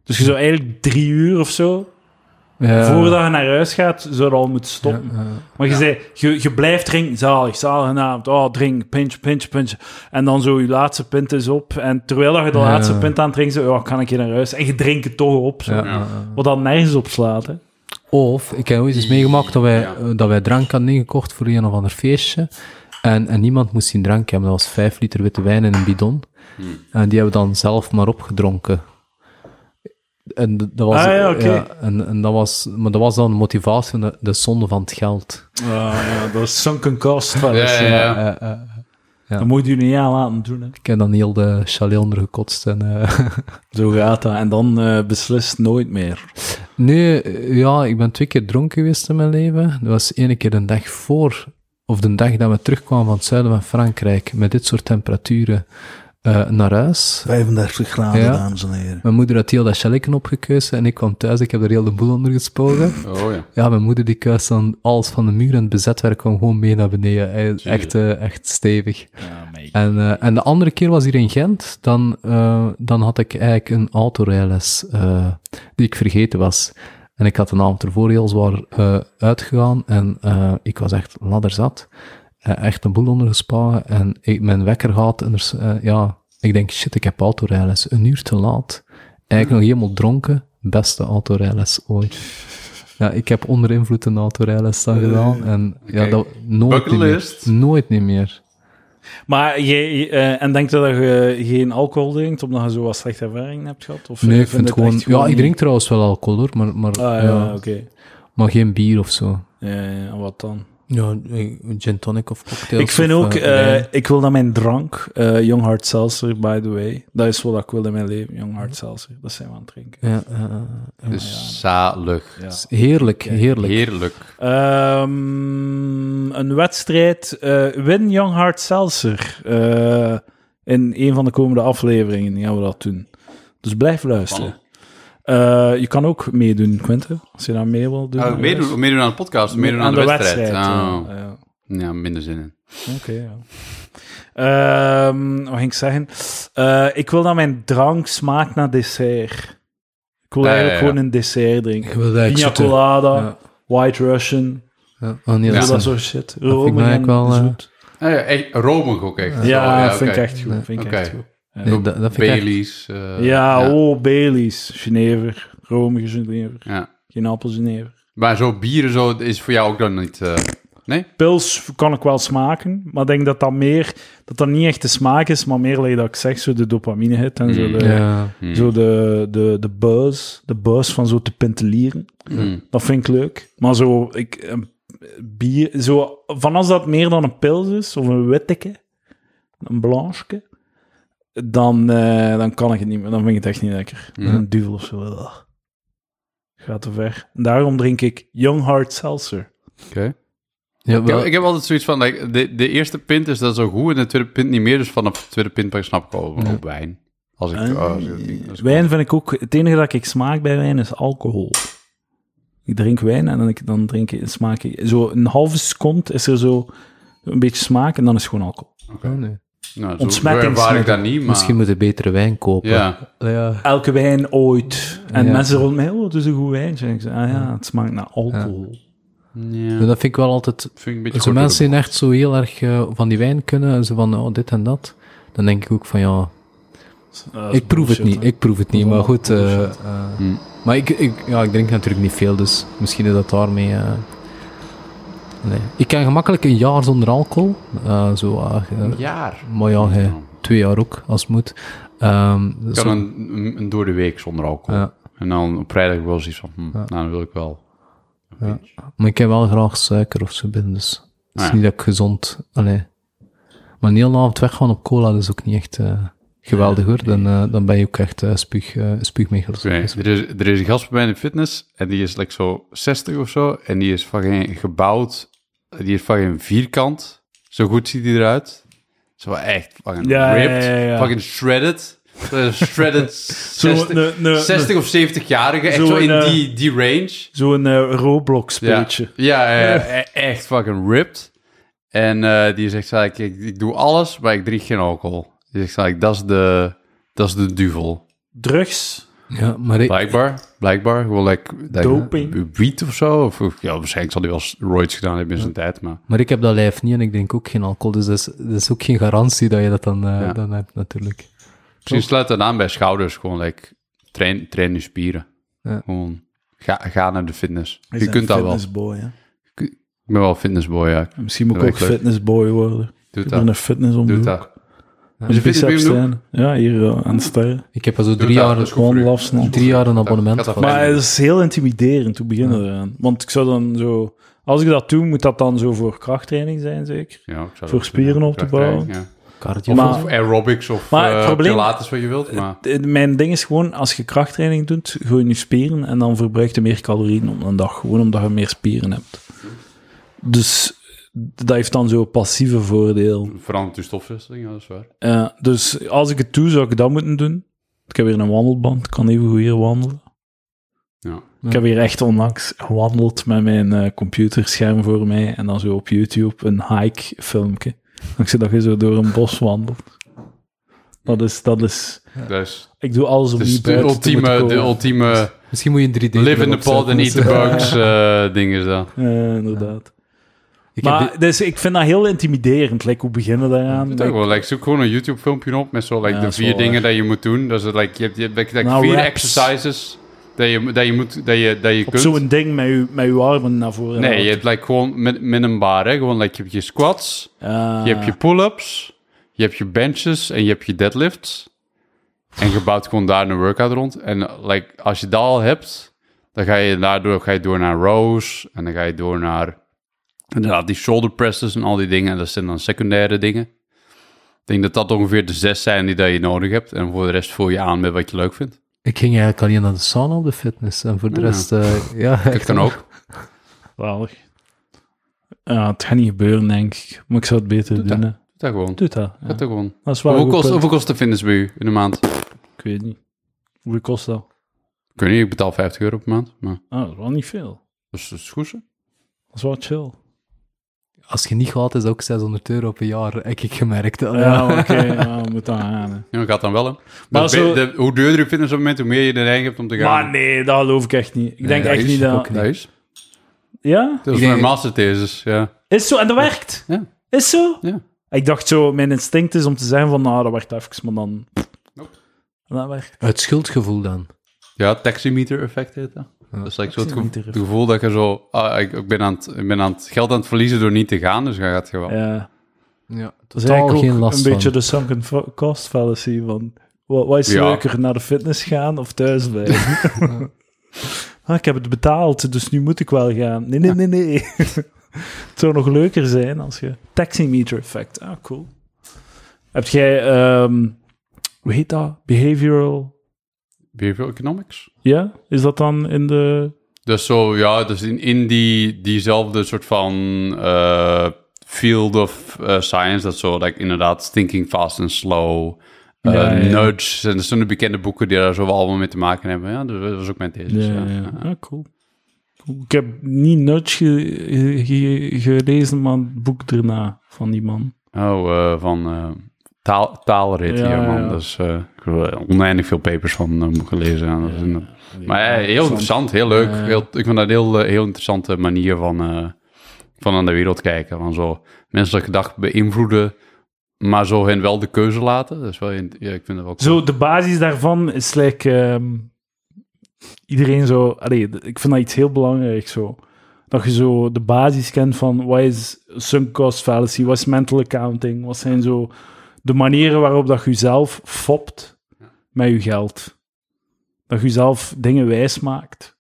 [SPEAKER 1] Dus je zou eigenlijk drie uur of zo,
[SPEAKER 3] Ja.
[SPEAKER 1] voordat je naar huis gaat, zou je al moeten stoppen.
[SPEAKER 3] eh, Ja, eh,
[SPEAKER 1] Maar je zei, je, je blijft drinken, zalig, zalig avond. Oh, drink, pinch, pinch, pinch. En dan zo, je laatste pint is op. En terwijl dat je de
[SPEAKER 3] Ja.
[SPEAKER 1] laatste pint aan het drinken bent, oh, kan ik hier naar huis? En je drinkt het toch op. Zo.
[SPEAKER 3] ja, ja, ja.
[SPEAKER 1] Wat dan nergens op slaat, hè.
[SPEAKER 3] Of, ik heb ooit eens meegemaakt dat wij,
[SPEAKER 2] Ja.
[SPEAKER 3] eh, dat wij drank hadden ingekocht voor een of ander feestje. En, en niemand moest zijn drank hebben. Dat was vijf liter witte wijn in een bidon. En die hebben we dan zelf maar opgedronken. En d- dat was,
[SPEAKER 1] Ah, ja, oké.
[SPEAKER 3] en, en dat was, maar dat was dan de motivatie, de, de zonde van het geld.
[SPEAKER 1] Ah, ja, dat is sunken cost. wel eens,
[SPEAKER 2] Ja, ja, ja.
[SPEAKER 3] Eh, eh,
[SPEAKER 1] Dat moet je niet aan laten doen. Hè.
[SPEAKER 3] ik heb dan heel de chalet ondergekotst. En, eh,
[SPEAKER 1] Zo gaat dat. En dan eh, beslist nooit meer.
[SPEAKER 3] Nee, eh, ja, ik ben twee keer dronken geweest in mijn leven. Dat was ene keer een dag voor, of de dag dat we terugkwamen van het zuiden van Frankrijk, met dit soort temperaturen, eh, naar huis.
[SPEAKER 5] 35 graden,
[SPEAKER 3] Ja.
[SPEAKER 5] dames en heren.
[SPEAKER 3] Mijn moeder had heel dat shelleken opgekeuzen en ik kwam thuis, ik heb er heel de boel onder gespogen.
[SPEAKER 2] Oh ja.
[SPEAKER 3] Ja, mijn moeder die kuist dan alles van de muur en het bezetwerk kwam gewoon mee naar beneden. Eh, Echt, eh, echt stevig.
[SPEAKER 1] Ja, mate.
[SPEAKER 3] En, eh, en de andere keer was hier in Gent, dan, eh, dan had ik eigenlijk een autorijles eh, die ik vergeten was. En ik had de avond ervoor heel zwaar eh, uitgegaan en eh, ik was echt ladderzat. Eh, echt een boel ondergespannen en ik, mijn wekker gaat en er, is, eh, ja, ik denk shit, ik heb autorijles. Een uur te laat. Eigenlijk nog helemaal dronken. Beste autorijles ooit. Ja, ik heb onder invloed een autorijles dan gedaan en ja,
[SPEAKER 2] kijk.
[SPEAKER 3] dat, nooit niet meer.
[SPEAKER 2] Bucketlist.
[SPEAKER 3] Nooit niet meer.
[SPEAKER 1] Maar je, je, eh, en denk je dat je geen alcohol drinkt omdat je zo wat slechte ervaring hebt gehad? Of
[SPEAKER 3] Nee,
[SPEAKER 1] je
[SPEAKER 3] ik vind
[SPEAKER 1] vindt
[SPEAKER 3] het gewoon...
[SPEAKER 1] echt
[SPEAKER 3] Ja, ik
[SPEAKER 1] niet-
[SPEAKER 3] drink trouwens wel alcohol, hoor, maar, maar,
[SPEAKER 1] Ah, ja,
[SPEAKER 3] ja,
[SPEAKER 1] oké.
[SPEAKER 3] maar geen bier of zo.
[SPEAKER 1] Ja, ja, Eh, en wat dan?
[SPEAKER 3] Ja, gin tonic of cocktails.
[SPEAKER 1] ik vind ook, eh, ik wil dat mijn drank, eh Young Hard Seltzer, by the way, dat is wat ik wil in mijn leven, Young Hard Seltzer, dat zijn we aan het drinken.
[SPEAKER 3] ja, eh, eh,
[SPEAKER 2] Dus zalig.
[SPEAKER 1] Ja.
[SPEAKER 3] heerlijk, heerlijk.
[SPEAKER 2] Heerlijk.
[SPEAKER 1] Ehm, een wedstrijd, eh, win Young Hard Seltzer. Eh, in een van de komende afleveringen gaan we dat doen. Dus blijf luisteren. Eh, je kan ook meedoen, Quinten, als je daar mee wil doen.
[SPEAKER 2] Oh, meedoen, meedoen aan de podcast, meedoen aan, de, wedstrijd.
[SPEAKER 1] ja.
[SPEAKER 2] Oh.
[SPEAKER 1] Ja.
[SPEAKER 2] Ja, minder zin in.
[SPEAKER 1] Oké, ja. Ehm, wat ging ik zeggen? Eh, ik wil dat mijn drank smaakt naar dessert. Ik wil
[SPEAKER 2] Ja, ja,
[SPEAKER 1] eigenlijk
[SPEAKER 2] ja.
[SPEAKER 1] gewoon een dessert
[SPEAKER 3] Ik
[SPEAKER 1] drinken.
[SPEAKER 3] wil eigenlijk
[SPEAKER 1] Pina
[SPEAKER 3] zoete-
[SPEAKER 1] colada,
[SPEAKER 3] Ja.
[SPEAKER 1] White Russian,
[SPEAKER 3] Ja, oh nee,
[SPEAKER 1] ja.
[SPEAKER 3] dat
[SPEAKER 1] dat
[SPEAKER 3] is-
[SPEAKER 1] soort shit. Romen
[SPEAKER 3] mij
[SPEAKER 1] en
[SPEAKER 3] ook wel, eh,
[SPEAKER 1] zoet.
[SPEAKER 2] Ah, ja, echt, romig ook echt.
[SPEAKER 1] Ja,
[SPEAKER 2] Oh,
[SPEAKER 1] vind
[SPEAKER 2] oké.
[SPEAKER 1] ik echt goed. Vind ik
[SPEAKER 2] Oké.
[SPEAKER 1] echt goed.
[SPEAKER 3] nee, dat, dat vind ik echt-
[SPEAKER 2] Baileys. eh,
[SPEAKER 1] ja,
[SPEAKER 2] ja.
[SPEAKER 1] oh, Baileys, Genever, romige Genever,
[SPEAKER 2] Ja.
[SPEAKER 1] geen appel Genever.
[SPEAKER 2] Maar zo bieren zo is voor jou ook dan niet... eh, nee?
[SPEAKER 1] Pils kan ik wel smaken, maar ik denk dat dat meer, dat dat niet echt de smaak is, maar meer, like dat ik zeg, zo de dopamine hit en zo
[SPEAKER 2] Mm.
[SPEAKER 1] de,
[SPEAKER 3] Ja.
[SPEAKER 1] Zo de, de, de buzz, de buzz van zo te pentelieren.
[SPEAKER 2] Mm.
[SPEAKER 1] Dat vind ik leuk. Maar zo, ik, een bier, zo, van als dat meer dan een pils is, of een witteke, een blancheke, dan, eh, dan kan ik het niet meer. Dan vind ik het echt niet lekker. Een duvel of zo. ugh. Gaat te ver. En daarom drink ik Young Hard Seltzer.
[SPEAKER 2] Oké.
[SPEAKER 3] Ja,
[SPEAKER 2] Ik, heb,
[SPEAKER 3] wel-
[SPEAKER 2] ik heb altijd zoiets van, like, de, de eerste pint is dat zo goed en de tweede pint niet meer. Dus vanaf de tweede pint pak ik snap ik al wel wijn. Als ik... oh, als ik- als ik-
[SPEAKER 1] Wijn vind ik ook... Het enige dat ik smaak bij wijn is alcohol. Ik drink wijn en dan, ik, dan drink ik, smaak ik... Zo een halve seconde is er zo een beetje smaak en dan is het gewoon alcohol.
[SPEAKER 3] oh, nee.
[SPEAKER 2] nou, zo- zo
[SPEAKER 1] ontsmetting-
[SPEAKER 2] ervaar ik dat niet, maar...
[SPEAKER 3] Misschien moet je betere wijn kopen.
[SPEAKER 2] Ja.
[SPEAKER 3] ja.
[SPEAKER 1] Elke wijn ooit. En
[SPEAKER 3] Ja.
[SPEAKER 1] mensen rond mij, oh, het is een goed wijntje. En ik zeg, ah ja, het smaakt naar alcohol.
[SPEAKER 2] ja.
[SPEAKER 3] Maar Dus Dat vind ik wel altijd...
[SPEAKER 2] Vind ik een beetje
[SPEAKER 3] Als
[SPEAKER 2] kort
[SPEAKER 3] er
[SPEAKER 2] door
[SPEAKER 3] mensen
[SPEAKER 2] de
[SPEAKER 3] die echt zo heel erg eh, van die wijn kunnen, en zo van oh, dit en dat, dan denk ik ook van ja,
[SPEAKER 1] Ah, dat is
[SPEAKER 3] Ik proef het
[SPEAKER 1] bullshit,
[SPEAKER 3] niet,
[SPEAKER 1] hè.
[SPEAKER 3] ik proef het niet, maar
[SPEAKER 1] allemaal
[SPEAKER 3] goed. eh, eh,
[SPEAKER 2] Hm.
[SPEAKER 3] Maar ik, ik, ja, ik drink natuurlijk niet veel, dus misschien is dat daarmee. eh, nee. Ik kan gemakkelijk een jaar zonder alcohol. eh, zo, eh, eh,
[SPEAKER 2] bocht. Een jaar.
[SPEAKER 3] Maar ja, eh, twee jaar ook, als het moet. Ehm,
[SPEAKER 2] Ik
[SPEAKER 3] zo-
[SPEAKER 2] kan een, een, een door de week zonder alcohol.
[SPEAKER 3] Ja.
[SPEAKER 2] En dan op vrijdag wel zoiets van, hm, nou, dan wil ik wel. een
[SPEAKER 3] Ja.
[SPEAKER 2] pintje.
[SPEAKER 3] Maar ik heb wel graag suiker of zo binnen, dus het is
[SPEAKER 2] Ah, ja.
[SPEAKER 3] niet dat ik gezond... Allee. Maar een hele avond weggaan op cola dat is ook niet echt eh, geweldig, hoor. Dan, eh, dan ben je ook echt eh spuug, eh spuugmechels.
[SPEAKER 2] Oké, Dus er, is, er is een gast bij mij in de fitness en die is like zo 60 of zo. En die is fucking gebouwd. Die is fucking vierkant. Zo goed ziet hij eruit. Zo echt fucking
[SPEAKER 1] Ja, ja,
[SPEAKER 2] ripped.
[SPEAKER 1] ja, ja.
[SPEAKER 2] Fucking shredded. Zo shredded 60,
[SPEAKER 1] ne- ne-
[SPEAKER 2] 60 of 70-jarige. Echt
[SPEAKER 1] Zo'n,
[SPEAKER 2] zo, in
[SPEAKER 1] eh,
[SPEAKER 2] die, die range.
[SPEAKER 1] Zo'n eh,
[SPEAKER 2] Ja.
[SPEAKER 1] Roblox-speeltje.
[SPEAKER 2] Ja, ja, ja, e- echt fucking ripped. En eh, die zegt, zei ik, ik, ik doe alles, maar ik drink geen alcohol. Die zegt, zei ik, dat is de, dat is de duvel.
[SPEAKER 1] Drugs.
[SPEAKER 3] Ja, maar ik,
[SPEAKER 2] Blijkbaar, blijkbaar. Gewoon like, like
[SPEAKER 1] Doping.
[SPEAKER 2] Wiet of zo. Of, of- ja, waarschijnlijk zal hij wel eens roids gedaan hebben in zijn tijd, maar...
[SPEAKER 3] Maar ik heb dat lijf niet en ik drink ook geen alcohol, dus dat is, dat is ook geen garantie dat je dat dan, eh,
[SPEAKER 2] Ja.
[SPEAKER 3] dan hebt, natuurlijk.
[SPEAKER 2] Misschien sluit dat aan bij schouders. Gewoon like, train, train je spieren.
[SPEAKER 3] Ja.
[SPEAKER 2] Gewoon, Ga, ga naar de fitness.
[SPEAKER 1] Hij
[SPEAKER 2] je
[SPEAKER 1] is
[SPEAKER 2] kunt
[SPEAKER 1] een
[SPEAKER 2] dat wel.
[SPEAKER 1] fitnessboy, hè.
[SPEAKER 2] Ik ben wel fitnessboy, ja.
[SPEAKER 1] Misschien moet ik
[SPEAKER 2] Dat
[SPEAKER 1] ook
[SPEAKER 2] werkt leuk.
[SPEAKER 1] fitnessboy worden.
[SPEAKER 2] Doe
[SPEAKER 1] Ik ben
[SPEAKER 2] dat.
[SPEAKER 1] een fitness om de
[SPEAKER 2] Doe
[SPEAKER 1] hoek.
[SPEAKER 2] dat.
[SPEAKER 1] Met
[SPEAKER 2] Is er
[SPEAKER 1] biceps
[SPEAKER 2] fitness om de
[SPEAKER 1] staan. Ja, hier eh, aan de sterren.
[SPEAKER 3] Ik heb al zo
[SPEAKER 2] Doe
[SPEAKER 3] drie
[SPEAKER 2] dat,
[SPEAKER 3] jaar,
[SPEAKER 2] dat is goed.
[SPEAKER 1] Gewoon
[SPEAKER 2] voor u.
[SPEAKER 1] lafsnel.
[SPEAKER 3] drie jaar een
[SPEAKER 2] Dat-
[SPEAKER 3] abonnement
[SPEAKER 2] dat-
[SPEAKER 3] gehad.
[SPEAKER 2] dat-
[SPEAKER 1] Maar het is heel intimiderend hoe beginnen we eraan. Want ik zou dan zo... Als ik dat doe, moet dat dan zo voor krachttraining zijn, zeker?
[SPEAKER 2] Ja, ik zou
[SPEAKER 1] Voor
[SPEAKER 2] dat
[SPEAKER 1] spieren
[SPEAKER 2] doen.
[SPEAKER 1] op te
[SPEAKER 2] Krachttraining, ja.
[SPEAKER 3] Cardio.
[SPEAKER 1] Maar-
[SPEAKER 2] Of aerobics of
[SPEAKER 1] Maar het
[SPEAKER 2] eh,
[SPEAKER 1] probleem-
[SPEAKER 2] pilates, wat je wilt. Maar
[SPEAKER 1] Eh, Mijn ding is gewoon, als je krachttraining doet, groeien je spieren en dan verbruik je meer calorieën op een dag. Gewoon omdat je meer spieren hebt. Dus dat heeft dan zo'n passieve voordeel.
[SPEAKER 2] verandert je stofwisseling, ja, dat is waar.
[SPEAKER 1] Eh, dus als ik het doe, zou ik dat moeten doen. Ik heb hier een wandelband, ik kan even goed hier wandelen.
[SPEAKER 2] Ja.
[SPEAKER 1] Ik heb hier echt onlangs gewandeld met mijn eh, computerscherm voor mij en dan zo op YouTube een hike filmpje. Dankzij dat je zo door een bos wandelt. Dat is, dat is...
[SPEAKER 2] Dat is,
[SPEAKER 1] Ik doe alles om
[SPEAKER 2] dat is
[SPEAKER 1] niet
[SPEAKER 2] de
[SPEAKER 1] buiten te moeten
[SPEAKER 2] ultieme, de
[SPEAKER 1] komen.
[SPEAKER 2] ultieme
[SPEAKER 3] Misschien moet je een 3D...
[SPEAKER 2] live in the
[SPEAKER 3] erop
[SPEAKER 2] pod and eat
[SPEAKER 3] zetten.
[SPEAKER 2] the bugs eh, ding is dat.
[SPEAKER 1] Eh, inderdaad.
[SPEAKER 3] Ik heb
[SPEAKER 1] maar
[SPEAKER 3] dit-
[SPEAKER 1] dus, ik vind dat heel intimiderend. Like, hoe beginnen daaraan?
[SPEAKER 2] Dat is ook wel, like, zoek gewoon een YouTube filmpje op met zo like,
[SPEAKER 1] Ja,
[SPEAKER 2] de
[SPEAKER 1] dat is
[SPEAKER 2] vier
[SPEAKER 1] wel
[SPEAKER 2] dingen dat je moet doen. Dat is het, like, je hebt, je hebt like,
[SPEAKER 1] Nou,
[SPEAKER 2] vier
[SPEAKER 1] reps.
[SPEAKER 2] exercises dat je, dat je, moet, dat je, dat je
[SPEAKER 1] op
[SPEAKER 2] kunt.
[SPEAKER 1] zo'n ding met je, met je armen naar voren.
[SPEAKER 2] Nee, je hebt like, gewoon met, met een bar. Hè? Gewoon, like, je hebt je squats,
[SPEAKER 1] Ah,
[SPEAKER 2] je hebt je pull-ups, je hebt je benches en je hebt je deadlifts. En je bouwt gewoon daar een workout rond. En eh, like, als je dat al hebt, dan ga je, daardoor, ga je door naar rows en dan ga je door naar inderdaad die shoulder presses en al die dingen. En dat zijn dan secundaire dingen. Ik denk dat dat ongeveer de zes zijn die dat je nodig hebt. En voor de rest vul je aan met wat je leuk vindt.
[SPEAKER 3] Ik ging eigenlijk alleen naar de sauna op de fitness. En voor de
[SPEAKER 2] Ja.
[SPEAKER 3] rest... eh, ja,
[SPEAKER 2] Dat kan ook.
[SPEAKER 1] zalig. Ja, het gaat niet gebeuren, denk ik. Maar ik zou het beter
[SPEAKER 2] Doe
[SPEAKER 1] doen.
[SPEAKER 2] dat.
[SPEAKER 1] hè.
[SPEAKER 2] Doe dat gewoon.
[SPEAKER 1] Doe dat. ja.
[SPEAKER 2] Doe dat gewoon.
[SPEAKER 1] Dat is wel een
[SPEAKER 2] Hoeveel
[SPEAKER 1] goed
[SPEAKER 2] kost,
[SPEAKER 1] punt.
[SPEAKER 2] hoeveel kost de fitness bij u in de maand?
[SPEAKER 1] Ik weet niet. Hoeveel kost dat?
[SPEAKER 2] Ik weet niet, ik betaal 50 euro per maand. Maar
[SPEAKER 1] Ah, dat is wel niet veel.
[SPEAKER 2] dat is, dat is goed, hè?
[SPEAKER 1] Dat is wel chill.
[SPEAKER 3] Als je niet gaat, is dat ook 600 euro per jaar. Heb ik gemerkt.
[SPEAKER 2] Oh,
[SPEAKER 1] Ja, oké. ja, we moeten dat gaan. hè.
[SPEAKER 2] Ja, dat gaat dan wel, hè?
[SPEAKER 1] Maar
[SPEAKER 2] Maar
[SPEAKER 1] zo-
[SPEAKER 2] de- hoe duurder je fitness op het moment, hoe meer je er eigen hebt om te gaan.
[SPEAKER 1] Maar nee, dat geloof ik echt niet. Ik denk
[SPEAKER 2] dat
[SPEAKER 1] echt
[SPEAKER 2] is
[SPEAKER 1] niet dat...
[SPEAKER 3] ook
[SPEAKER 2] Dat is,
[SPEAKER 1] Ja?
[SPEAKER 2] dat
[SPEAKER 3] Ik
[SPEAKER 2] is
[SPEAKER 3] denk-
[SPEAKER 2] mijn masterthesis, ja.
[SPEAKER 1] Is zo, en dat werkt.
[SPEAKER 2] Ja.
[SPEAKER 1] Is zo.
[SPEAKER 2] Ja.
[SPEAKER 1] Ik dacht zo, mijn instinct is om te zeggen van, nou, dat werkt even, maar dan...
[SPEAKER 2] Nope.
[SPEAKER 1] Dat werkt.
[SPEAKER 3] Het schuldgevoel dan.
[SPEAKER 2] Ja, taximeter effect heet dat. Dat is like zo het, gevo-
[SPEAKER 1] Taximeter
[SPEAKER 2] het gevoel dat je zo... Ah, ik, ik ben aan het, ik ben aan het geld aan het verliezen door niet te gaan, dus dan gaat je wel.
[SPEAKER 1] Ja.
[SPEAKER 3] Ja,
[SPEAKER 1] Dat is eigenlijk
[SPEAKER 3] totaal geen
[SPEAKER 1] ook
[SPEAKER 3] last
[SPEAKER 1] een
[SPEAKER 3] van.
[SPEAKER 1] beetje de sunken fa- cost fallacy, van... Wat, wat is
[SPEAKER 2] Ja.
[SPEAKER 1] leuker, naar de fitness gaan of thuis blijven? ah, ik heb het betaald, dus nu moet ik wel gaan. Nee, nee, nee, nee. het zou nog leuker zijn als je... Taximeter effect. Ah, cool. Heb jij... ehm, hoe heet dat? Behavioral...
[SPEAKER 2] Behavioral economics.
[SPEAKER 1] Ja? Is dat dan in de...
[SPEAKER 2] Dus zo, ja, dus in, in die, diezelfde soort van eh, field of eh, science, dat zo, like, inderdaad, Thinking Fast and Slow, eh
[SPEAKER 1] Ja, ja.
[SPEAKER 2] Nudge, en dat zijn de bekende boeken die daar zo wel allemaal mee te maken hebben. Ja, dus dat was ook mijn thesis.
[SPEAKER 1] Ja,
[SPEAKER 2] ja.
[SPEAKER 1] ja. Ah, cool. Cool. Ik heb niet Nudge ge- ge- ge- gelezen, maar het boek erna van die man.
[SPEAKER 2] Oh, eh, van eh, taal, taalrit
[SPEAKER 1] Ja,
[SPEAKER 2] hier, man.
[SPEAKER 1] ja.
[SPEAKER 2] Dat is, eh, ik heb er oneindig veel papers van eh, gelezen. Ja, dat is een- maar ja, heel interessant, heel leuk.
[SPEAKER 1] Ja, ja.
[SPEAKER 2] Heel, ik vind dat een heel, eh, heel interessante manier van, eh, van aan de wereld kijken. Van zo menselijk gedrag beïnvloeden, maar zo hen wel de keuze laten. Dat is wel, in- ja, ik vind dat wel cool.
[SPEAKER 1] Zo, de basis daarvan is like, ehm, iedereen zo... Allee, d- ik vind dat iets heel belangrijk, zo. Dat je zo de basis kent van wat is sunk cost fallacy, wat is mental accounting, wat zijn zo de manieren waarop dat je jezelf fopt met je geld. Dat je jezelf dingen wijs maakt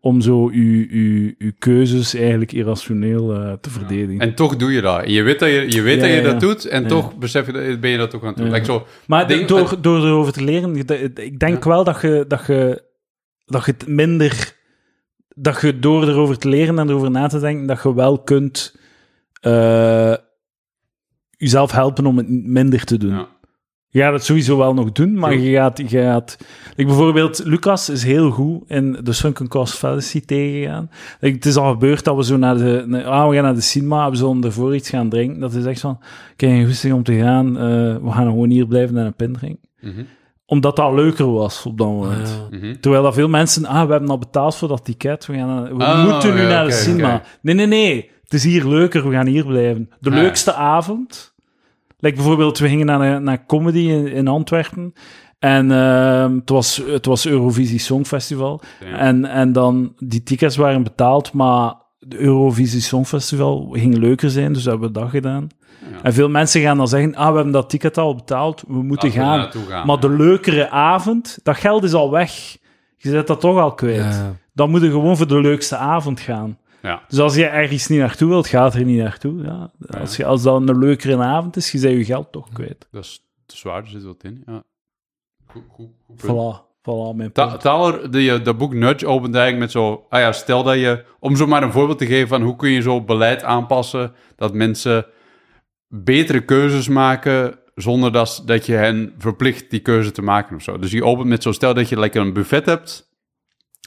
[SPEAKER 1] om zo je, je, je keuzes eigenlijk irrationeel eh, te verdedigen.
[SPEAKER 2] En toch doe je dat. En Je weet dat je, je, weet
[SPEAKER 1] Ja,
[SPEAKER 2] dat, je
[SPEAKER 1] ja, ja.
[SPEAKER 2] dat doet en
[SPEAKER 1] Ja.
[SPEAKER 2] toch besef je dat, ben je dat ook aan het doen.
[SPEAKER 1] Ja.
[SPEAKER 2] Like zo,
[SPEAKER 1] Maar
[SPEAKER 2] Ding-
[SPEAKER 1] door, door erover te leren, ik d- ik denk wel dat je, dat, je, dat je het minder. Dat je door erover te leren en erover na te denken, dat je wel kunt eh, jezelf helpen om het minder te doen.
[SPEAKER 2] Ja.
[SPEAKER 1] Je gaat het sowieso wel nog doen, maar
[SPEAKER 2] True.
[SPEAKER 1] je gaat, je gaat... Like bijvoorbeeld, Lucas is heel goed in de Sunken Cost Fallacy tegengaan. Like, het is al gebeurd dat we zo naar de... naar- ah, we gaan naar de cinema, we zullen ervoor iets gaan drinken. Dat is echt van, ik heb geen goesting om te gaan, eh, we gaan gewoon hier blijven en een pint drinken.
[SPEAKER 2] mhm,
[SPEAKER 1] Omdat dat leuker was op dat moment.
[SPEAKER 2] mhm.
[SPEAKER 1] Terwijl dat veel mensen, ah, we hebben al betaald voor dat ticket, we, gaan, naar- we
[SPEAKER 2] Oh,
[SPEAKER 1] moeten nu
[SPEAKER 2] ja,
[SPEAKER 1] naar de
[SPEAKER 2] oké,
[SPEAKER 1] cinema.
[SPEAKER 2] oké.
[SPEAKER 1] Nee, nee, nee, het is hier leuker, we gaan hier blijven. De
[SPEAKER 2] Ah, ja.
[SPEAKER 1] leukste avond, like bijvoorbeeld, we gingen naar, naar comedy in, in Antwerpen En ehm, het, was, het was Eurovisie Songfestival.
[SPEAKER 2] Ja.
[SPEAKER 1] En, en dan, die tickets waren betaald, maar de Eurovisie Songfestival ging leuker zijn, dus hebben we dat gedaan.
[SPEAKER 2] Ja.
[SPEAKER 1] En veel mensen gaan dan zeggen, ah, we hebben dat ticket al betaald, we moeten
[SPEAKER 2] Laten we
[SPEAKER 1] gaan.
[SPEAKER 2] naartoe gaan,
[SPEAKER 1] Maar
[SPEAKER 2] Ah, ja.
[SPEAKER 1] de leukere avond, dat geld is al weg. Je zet dat toch al kwijt.
[SPEAKER 3] Ja.
[SPEAKER 1] Dan moet je gewoon voor de leukste avond gaan.
[SPEAKER 2] Ja.
[SPEAKER 1] Dus als je ergens niet naartoe wilt, gaat er niet naartoe. Ja. Als, je, als dat een leukere avond is, je zet je geld toch kwijt.
[SPEAKER 2] Dat is te zwaar, er zit wat in. Ja. Goed, goed, goed punt.
[SPEAKER 1] Voilà, voilà mijn
[SPEAKER 2] Ta
[SPEAKER 1] eh, punt.
[SPEAKER 2] Taler, die, eh, dat boek Nudge opent eigenlijk met zo... Ah ja, stel dat je... Om zo maar een voorbeeld te geven van hoe kun je zo beleid aanpassen... dat mensen betere keuzes maken... zonder dat, s- dat je hen verplicht die keuze te maken of zo. Dus die opent met zo... Stel dat je lekker een buffet hebt...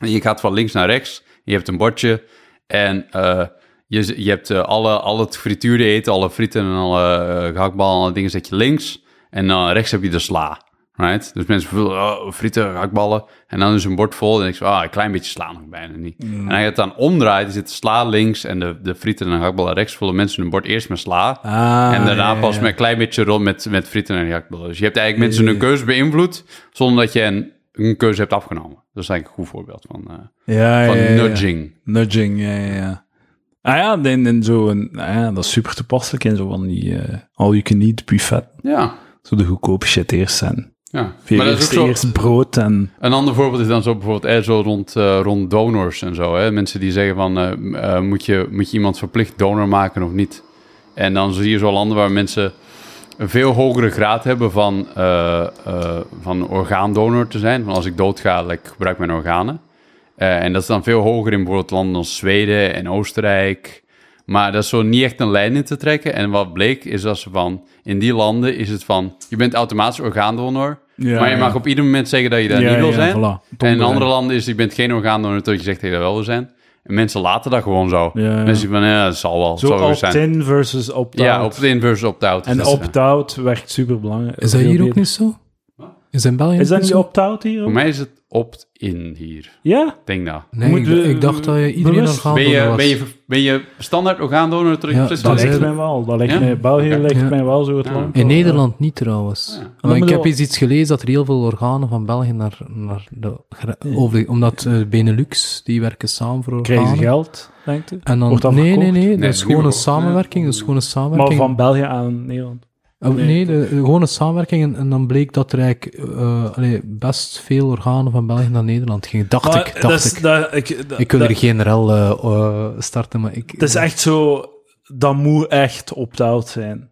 [SPEAKER 2] en je gaat van links naar rechts... je hebt een bordje... en eh, je, z- je hebt eh, alle, al het frituurde eten... alle frieten en alle eh, gehaktballen en alle dingen zet je links... en dan rechts heb je de sla... Right? Dus mensen vullen oh, frieten, hakballen. En dan is een bord vol. En ik zeg, ah, een klein beetje sla nog bijna niet.
[SPEAKER 1] Mm.
[SPEAKER 2] En hij het dan omdraait, er zit sla links en de, de frieten en hakballen rechts. Vullen mensen hun bord eerst met sla.
[SPEAKER 1] Ah,
[SPEAKER 2] en daarna
[SPEAKER 1] ja, ja,
[SPEAKER 2] pas
[SPEAKER 1] ja.
[SPEAKER 2] met een klein beetje rond met, met frieten en hakballen. Dus je hebt eigenlijk mensen hun keuze beïnvloed. zonder dat je een, een keuze hebt afgenomen. Dat is eigenlijk een goed voorbeeld van, eh,
[SPEAKER 1] Ja,
[SPEAKER 2] van
[SPEAKER 1] ja, ja, ja.
[SPEAKER 2] nudging.
[SPEAKER 1] Nudging, ja, ja, ja. Ah ja, en, en zo, en, ah ja, dat is super toepasselijk en zo van die eh all-you-can-eat buffet.
[SPEAKER 2] Ja.
[SPEAKER 1] Zo de goedkope shit eerst zijn.
[SPEAKER 2] ja.
[SPEAKER 1] Eerst,
[SPEAKER 2] Maar dat is ook zo,
[SPEAKER 1] eerst brood en...
[SPEAKER 2] Een ander voorbeeld is dan zo bijvoorbeeld eh, zo rond, eh, rond donors en zo. Hè? Mensen die zeggen van, eh, m- eh, moet, je, moet je iemand verplicht donor maken of niet? En dan zie je zo landen waar mensen een veel hogere graad hebben van, eh, eh, van orgaandonor te zijn. Van als ik doodga, like, gebruik mijn organen. Eh, en dat is dan veel hoger in bijvoorbeeld landen als Zweden en Oostenrijk. Maar dat is zo niet echt een lijn in te trekken. En wat bleek is dat ze van, in die landen is het van, je bent automatisch orgaandonor.
[SPEAKER 1] Ja,
[SPEAKER 2] maar je mag
[SPEAKER 1] ja.
[SPEAKER 2] op ieder moment zeggen dat je dat
[SPEAKER 1] Ja,
[SPEAKER 2] niet wil
[SPEAKER 1] ja, voilà.
[SPEAKER 2] zijn. En in
[SPEAKER 1] Dombereid.
[SPEAKER 2] andere landen is, je bent geen orgaandonor tot je zegt dat je dat wel wil zijn. En mensen laten dat gewoon zo.
[SPEAKER 1] Ja, ja.
[SPEAKER 2] Mensen van, ja, dat zal wel,
[SPEAKER 1] Zo
[SPEAKER 2] zal wel zijn.
[SPEAKER 1] opt-in versus opt-out.
[SPEAKER 2] Ja, opt-in versus opt-out. eh,
[SPEAKER 1] en opt-out werkt super belangrijk.
[SPEAKER 3] Is dat hier ook niet zo? Is dat in België
[SPEAKER 1] Is dat
[SPEAKER 3] ook
[SPEAKER 1] niet
[SPEAKER 3] zo?
[SPEAKER 1] opt-out hier?
[SPEAKER 2] Voor mij is het opt-in hier.
[SPEAKER 1] Ja?
[SPEAKER 2] Denk nou.
[SPEAKER 3] Nee,
[SPEAKER 1] Moet
[SPEAKER 3] ik,
[SPEAKER 1] je-
[SPEAKER 3] ik dacht dat je iedereen
[SPEAKER 1] bewust-
[SPEAKER 3] orgaandonor
[SPEAKER 2] Ben je,
[SPEAKER 3] was.
[SPEAKER 2] ben, je, ben je standaard orgaandonor tot je
[SPEAKER 3] Ja,
[SPEAKER 2] beslist
[SPEAKER 3] dat
[SPEAKER 1] Dat
[SPEAKER 2] wordt?
[SPEAKER 3] is
[SPEAKER 1] lijkt
[SPEAKER 3] het.
[SPEAKER 1] mij wel. Dat lijkt
[SPEAKER 2] Ja?
[SPEAKER 1] mij, België
[SPEAKER 2] Ja.
[SPEAKER 1] lijkt
[SPEAKER 3] Ja.
[SPEAKER 1] mij wel zo het
[SPEAKER 2] Ja.
[SPEAKER 1] land. wel,
[SPEAKER 3] In
[SPEAKER 1] ja.
[SPEAKER 3] Nederland niet trouwens.
[SPEAKER 2] Ja.
[SPEAKER 1] Dan
[SPEAKER 3] Maar ik
[SPEAKER 1] moet
[SPEAKER 3] heb
[SPEAKER 1] wel-
[SPEAKER 3] eens iets gelezen dat er heel veel organen van België naar, naar de, gra- over, omdat eh, Benelux, die werken samen voor organen.
[SPEAKER 1] Krijgen ze Eh, geld, denkt u?
[SPEAKER 3] En dan,
[SPEAKER 1] Wordt dat
[SPEAKER 3] nee, nee, nee, dat
[SPEAKER 2] Nee,
[SPEAKER 3] is
[SPEAKER 2] nu
[SPEAKER 3] gewoon een
[SPEAKER 2] wordt-
[SPEAKER 3] samenwerking. Dat is gewoon een
[SPEAKER 1] Maar
[SPEAKER 3] samenwerking.
[SPEAKER 1] van België aan Nederland.
[SPEAKER 3] Eh, nee, de- gewoon een samenwerking. En, en dan bleek dat er eigenlijk eh, allee, best veel organen van België naar Nederland gingen. Dacht
[SPEAKER 1] Maar
[SPEAKER 3] ik,
[SPEAKER 1] dat
[SPEAKER 3] dacht
[SPEAKER 1] is-
[SPEAKER 3] ik.
[SPEAKER 1] dat- ik. dat-
[SPEAKER 3] ik wil
[SPEAKER 1] dat-
[SPEAKER 3] er genereel eh, eh, starten, maar ik...
[SPEAKER 1] Het is echt zo, dat moet echt opt-out zijn.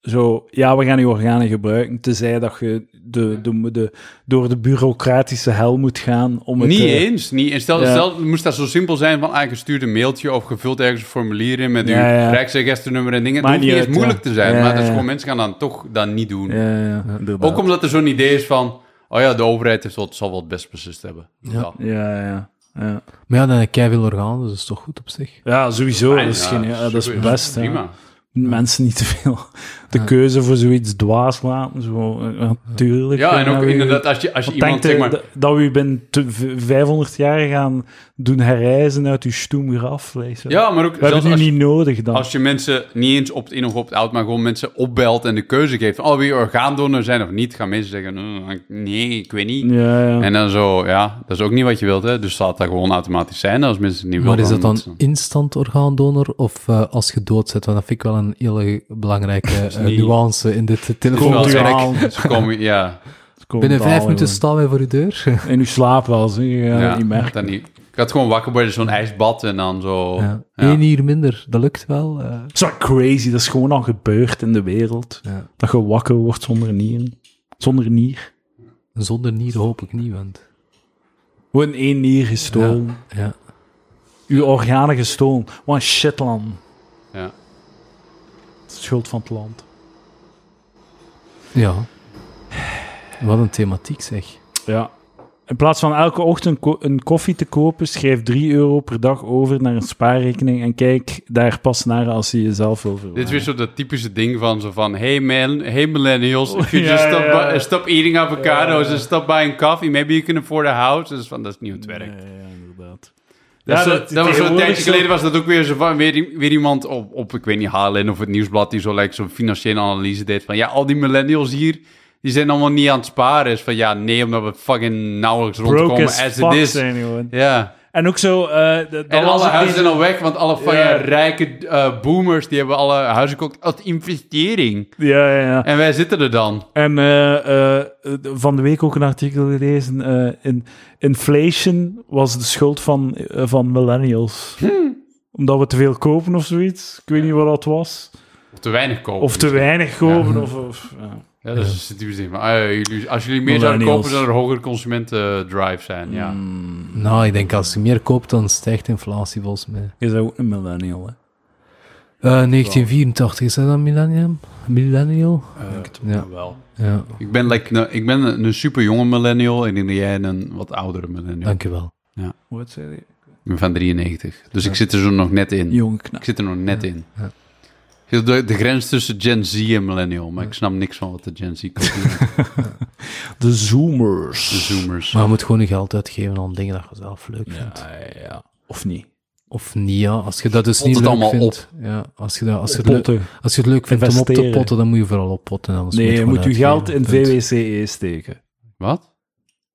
[SPEAKER 1] Zo, ja, we gaan je organen gebruiken, tenzij dat je de, de, de, door de bureaucratische hel moet gaan om het...
[SPEAKER 2] Niet
[SPEAKER 1] eh,
[SPEAKER 2] eens. Niet, eens. stel,
[SPEAKER 1] Ja.
[SPEAKER 2] stel, moest dat zo simpel zijn van, eigenlijk stuurt een mailtje of gevuld ergens een formulier in met
[SPEAKER 1] Ja,
[SPEAKER 2] uw
[SPEAKER 1] ja.
[SPEAKER 2] rijksregisternummer en dingen. Het
[SPEAKER 1] Maakt
[SPEAKER 2] hoeft niet
[SPEAKER 1] niet
[SPEAKER 2] eens
[SPEAKER 1] uit,
[SPEAKER 2] moeilijk
[SPEAKER 1] ja.
[SPEAKER 2] te zijn,
[SPEAKER 1] Ja,
[SPEAKER 2] maar dat is
[SPEAKER 1] ja.
[SPEAKER 2] gewoon mensen gaan dan toch dat niet doen.
[SPEAKER 1] Ja, ja, inderdaad.
[SPEAKER 2] Ook omdat er zo'n idee is van, oh ja, de overheid heeft wel, zal wel het best beslist hebben. Ja.
[SPEAKER 1] Ja, ja, ja.
[SPEAKER 3] Maar ja, dan heb ik veel organen, dus dat is toch goed op zich.
[SPEAKER 1] Ja, sowieso. Dat is,
[SPEAKER 2] Ja,
[SPEAKER 1] geen, ja, dat is
[SPEAKER 2] super.
[SPEAKER 1] best. hè.
[SPEAKER 2] Prima.
[SPEAKER 1] Mensen niet te veel de
[SPEAKER 3] Ja.
[SPEAKER 1] keuze voor zoiets dwaas laten. Zo, eh, natuurlijk.
[SPEAKER 2] Ja, en
[SPEAKER 1] eh,
[SPEAKER 2] ook
[SPEAKER 1] we-
[SPEAKER 2] inderdaad, als je, als je
[SPEAKER 1] Wat
[SPEAKER 2] iemand,
[SPEAKER 1] denkt
[SPEAKER 2] zeg
[SPEAKER 1] u
[SPEAKER 2] maar...
[SPEAKER 1] dat- dat we u binnen te- v- 500 jaar gaan doen herreizen uit uw stoemgraf? weet je?
[SPEAKER 2] Ja, maar ook
[SPEAKER 1] we
[SPEAKER 2] zelfs
[SPEAKER 1] hebben u
[SPEAKER 2] als je,
[SPEAKER 1] niet nodig dan.
[SPEAKER 2] als je mensen niet eens opt-in of opt-out, maar gewoon mensen opbelt en de keuze geeft van, oh, wil je orgaandonor zijn of niet? Gaan mensen zeggen, "Mm, nee, ik weet niet.
[SPEAKER 1] ja, ja.
[SPEAKER 2] En dan zo, ja, dat is ook niet wat je wilt, hè. Dus laat dat gewoon automatisch zijn als mensen het niet willen.
[SPEAKER 3] Maar is dat dan
[SPEAKER 2] moeten ze-
[SPEAKER 3] instant orgaandonor of eh, als je dood zit? Want dat vind ik wel een hele belangrijke eh,
[SPEAKER 2] niet-
[SPEAKER 3] nuance in dit
[SPEAKER 2] Wel,
[SPEAKER 1] Komt u
[SPEAKER 3] telefoongesprek.
[SPEAKER 2] kijk,
[SPEAKER 1] aan?
[SPEAKER 2] ze komen, ja,
[SPEAKER 3] Binnen vijf minuten staan wij voor uw deur.
[SPEAKER 1] En u slaapt wel, zeg. Je gaat
[SPEAKER 2] ja,
[SPEAKER 1] het niet merken.
[SPEAKER 2] dat niet. Ik had gewoon wakker worden, zo'n ijsbad en dan zo...
[SPEAKER 3] Ja.
[SPEAKER 2] ja.
[SPEAKER 3] Eén uur minder, dat lukt wel. eh.
[SPEAKER 1] Dat is wel crazy. Dat is gewoon al gebeurd in de wereld.
[SPEAKER 3] Ja.
[SPEAKER 1] Dat je wakker wordt zonder nieren. Zonder nier.
[SPEAKER 3] Zonder nieren hoop ik niet, want...
[SPEAKER 1] Gewoon één nier gestolen.
[SPEAKER 3] Ja.
[SPEAKER 1] Uw organen gestolen. Wat een shitland.
[SPEAKER 2] Ja.
[SPEAKER 1] Het is schuld van het land.
[SPEAKER 3] ja. Wat een thematiek, zeg.
[SPEAKER 1] Ja. In plaats van elke ochtend ko- een koffie te kopen, schrijf 3 euro per dag over naar een spaarrekening en kijk daar pas naar als je jezelf wil verwarmen.
[SPEAKER 2] Dit is weer zo dat typische ding van zo van... Hey, man, hey millennials, if you
[SPEAKER 1] Oh, Ja,
[SPEAKER 2] just stop,
[SPEAKER 1] ja, ja.
[SPEAKER 2] bu- stop eating avocados and stop buying coffee, maybe you can afford a house. Dus van, dat is niet hoe het werkt.
[SPEAKER 1] Ja, ja, inderdaad.
[SPEAKER 2] Dat,
[SPEAKER 1] Ja,
[SPEAKER 2] is zo-
[SPEAKER 1] dat-
[SPEAKER 2] dat was zo'n
[SPEAKER 1] tegenwoordig
[SPEAKER 2] tijdje
[SPEAKER 1] zo-
[SPEAKER 2] geleden was dat ook weer, zo van, weer, weer iemand op, op, ik weet niet, HLN of het Nieuwsblad, die zo like, zo'n financiële analyse deed van, ja, al die millennials hier, Die zijn allemaal niet aan het sparen. Is van ja, nee, omdat we fucking nauwelijks
[SPEAKER 1] Broke
[SPEAKER 2] rondkomen.
[SPEAKER 1] as
[SPEAKER 2] as
[SPEAKER 1] fuck
[SPEAKER 2] it is.
[SPEAKER 1] zijn gewoon.
[SPEAKER 2] Ja.
[SPEAKER 1] En ook zo... eh, de- dan
[SPEAKER 2] En
[SPEAKER 1] was
[SPEAKER 2] alle
[SPEAKER 1] het
[SPEAKER 2] huizen
[SPEAKER 1] niet-
[SPEAKER 2] zijn al weg, want alle fucking
[SPEAKER 1] Ja.
[SPEAKER 2] rijke eh, boomers die hebben alle huizen gekocht als investering.
[SPEAKER 1] Ja, ja, ja.
[SPEAKER 2] En wij zitten er dan.
[SPEAKER 1] En eh, eh, van de week ook een artikel gelezen. eh, in, inflation was de schuld van, eh, van millennials. Omdat we te veel kopen of zoiets. Ik weet niet wat dat was.
[SPEAKER 2] Of te weinig kopen.
[SPEAKER 1] Of te weinig kopen. Of, of, ja.
[SPEAKER 2] Ja, dat is het zin van, ah, ja, jullie, als jullie meer zouden
[SPEAKER 1] Millennials. Mm.
[SPEAKER 2] kopen, zou er hogere consumentendrive zijn. Ja.
[SPEAKER 1] Hmm.
[SPEAKER 3] Nou, ik denk als je meer koopt, dan stijgt inflatie volgens mij.
[SPEAKER 1] Je bent ook een millennial, hè?
[SPEAKER 3] Eh, 1984, is dat dan millennium? Millennial? ja.
[SPEAKER 2] Wel.
[SPEAKER 3] ja,
[SPEAKER 2] Eh, Ik ben, like, een- ik ben een, een super jonge millennial en ik denk dat jij een wat oudere millennial.
[SPEAKER 3] dankjewel.
[SPEAKER 1] Wat zei je?
[SPEAKER 2] Ik ben van 93. Dus ik zit er zo nog net in.
[SPEAKER 1] Jonge
[SPEAKER 2] Ik
[SPEAKER 1] knap.
[SPEAKER 2] zit er nog net in.
[SPEAKER 3] ja.
[SPEAKER 2] Ik zit op De, de grens tussen Gen Z en millennial, maar ik snap niks van wat de Gen Z komt.
[SPEAKER 1] De zoomers.
[SPEAKER 2] de zoomers.
[SPEAKER 3] Maar je moet gewoon je geld uitgeven aan dingen dat je zelf leuk vindt.
[SPEAKER 1] ja. Of niet?
[SPEAKER 3] Of niet, ja. Als je dat dus
[SPEAKER 2] Pot
[SPEAKER 3] niet
[SPEAKER 2] het
[SPEAKER 3] leuk
[SPEAKER 2] allemaal
[SPEAKER 3] vindt... Ja, als je, dat, als, je het leuk,
[SPEAKER 1] Potten.
[SPEAKER 3] als je het leuk vindt om op te
[SPEAKER 1] Investeren.
[SPEAKER 3] potten, dan moet je vooral oppotten. anders
[SPEAKER 1] Nee, je
[SPEAKER 3] gewoon
[SPEAKER 1] moet je
[SPEAKER 3] uitgeven,
[SPEAKER 1] geld in
[SPEAKER 3] punt.
[SPEAKER 1] VWCE E steken.
[SPEAKER 2] Wat?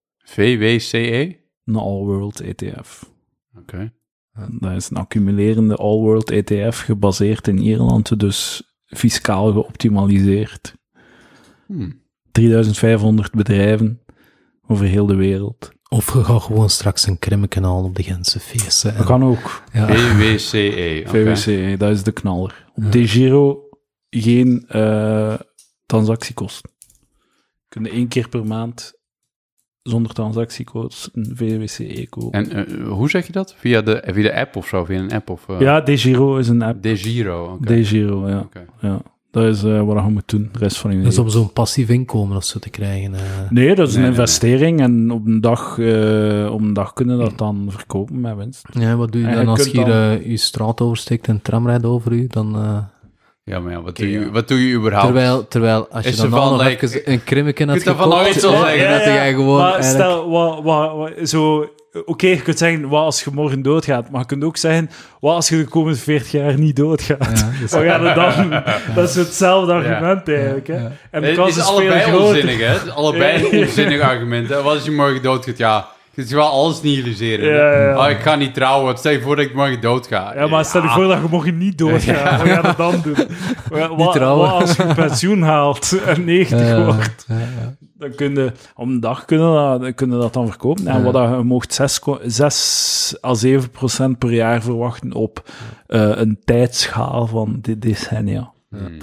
[SPEAKER 3] E?
[SPEAKER 2] VWCE?
[SPEAKER 1] Een E all-world ETF.
[SPEAKER 2] Oké.
[SPEAKER 1] Dat is een accumulerende all-world ETF gebaseerd in Ierland, dus fiscaal geoptimaliseerd.
[SPEAKER 2] Hmm.
[SPEAKER 1] 3500 bedrijven over heel de wereld.
[SPEAKER 3] Of je gaat gewoon straks een krimmeken halen op de Gentse feesten.
[SPEAKER 1] Dat
[SPEAKER 3] En,
[SPEAKER 1] kan ook.
[SPEAKER 3] ja,
[SPEAKER 2] VWCE. E, oké.
[SPEAKER 3] E.
[SPEAKER 1] VWC, dat is de knaller. Op De Giro geen eh, transactiekosten. Kunnen één keer per maand zonder transactiekosten een VWC E kopen.
[SPEAKER 2] En eh, hoe zeg je dat? Via de, via de app of zo? Via een app of... eh,
[SPEAKER 1] Ja, De Giro is een app.
[SPEAKER 2] De Giro. oké.
[SPEAKER 1] De Giro, ja.
[SPEAKER 2] Oké.
[SPEAKER 1] ja. Dat is eh, wat je moet doen de rest van je
[SPEAKER 3] dat is
[SPEAKER 1] leven.
[SPEAKER 3] om zo'n passief inkomen of zo te krijgen. eh.
[SPEAKER 1] Nee, dat is
[SPEAKER 2] Nee,
[SPEAKER 1] een
[SPEAKER 2] nee,
[SPEAKER 1] investering en op een dag, eh, op een dag kunnen dat dan verkopen met winst.
[SPEAKER 3] Ja, wat doe je
[SPEAKER 1] En
[SPEAKER 3] dan
[SPEAKER 1] je
[SPEAKER 3] als je
[SPEAKER 1] kunt
[SPEAKER 3] hier
[SPEAKER 1] dan-
[SPEAKER 3] eh, je straat oversteekt en een tram rijdt over u? Dan, eh,
[SPEAKER 2] Ja, maar ja, wat, doe je, wat doe je überhaupt?
[SPEAKER 3] terwijl, terwijl als je
[SPEAKER 2] Is
[SPEAKER 3] dan
[SPEAKER 2] er van,
[SPEAKER 3] nog
[SPEAKER 2] like,
[SPEAKER 3] even een krimmeken had
[SPEAKER 2] kunt dat van
[SPEAKER 3] gekocht,
[SPEAKER 2] ooit zo
[SPEAKER 3] eh,
[SPEAKER 2] zeggen?
[SPEAKER 3] dat jij gewoon
[SPEAKER 1] maar
[SPEAKER 3] eigenlijk-
[SPEAKER 1] stel, wat, wat, wat- zo, oké, je kunt zeggen, wat als je morgen doodgaat, maar je kunt ook zeggen, wat als je de komende 40 jaar niet doodgaat?
[SPEAKER 3] Ja, dus-
[SPEAKER 1] Wat gaan we dan? Dat is hetzelfde argument eigenlijk. Hè? En de kans
[SPEAKER 2] het Eh, is
[SPEAKER 1] veel
[SPEAKER 2] allebei
[SPEAKER 1] groter.
[SPEAKER 2] onzinnig, hè? Het is allebei een onzinnig argument. Hè? Wat als je morgen doodgaat? Ja, het is wel alles nihiliseren.
[SPEAKER 1] Ja, ja, ja.
[SPEAKER 2] Oh, ik ga niet trouwen. Wat Stel je voor dat ik morgen doodga.
[SPEAKER 1] Ja, maar stel je voor dat je morgen niet doodgaat. Wat gaan we dan doen? Wat, wat
[SPEAKER 3] trouwen.
[SPEAKER 1] als je pensioen haalt en 90
[SPEAKER 3] eh,
[SPEAKER 1] wordt?
[SPEAKER 3] ja, ja.
[SPEAKER 1] Dan kun je, om een dag kunnen dat, kunnen dat dan verkopen. En
[SPEAKER 3] Ja.
[SPEAKER 1] wat dat, je mocht 6, 6 à 7 procent per jaar verwachten op eh, een tijdschaal van de decennia.
[SPEAKER 2] Hmm.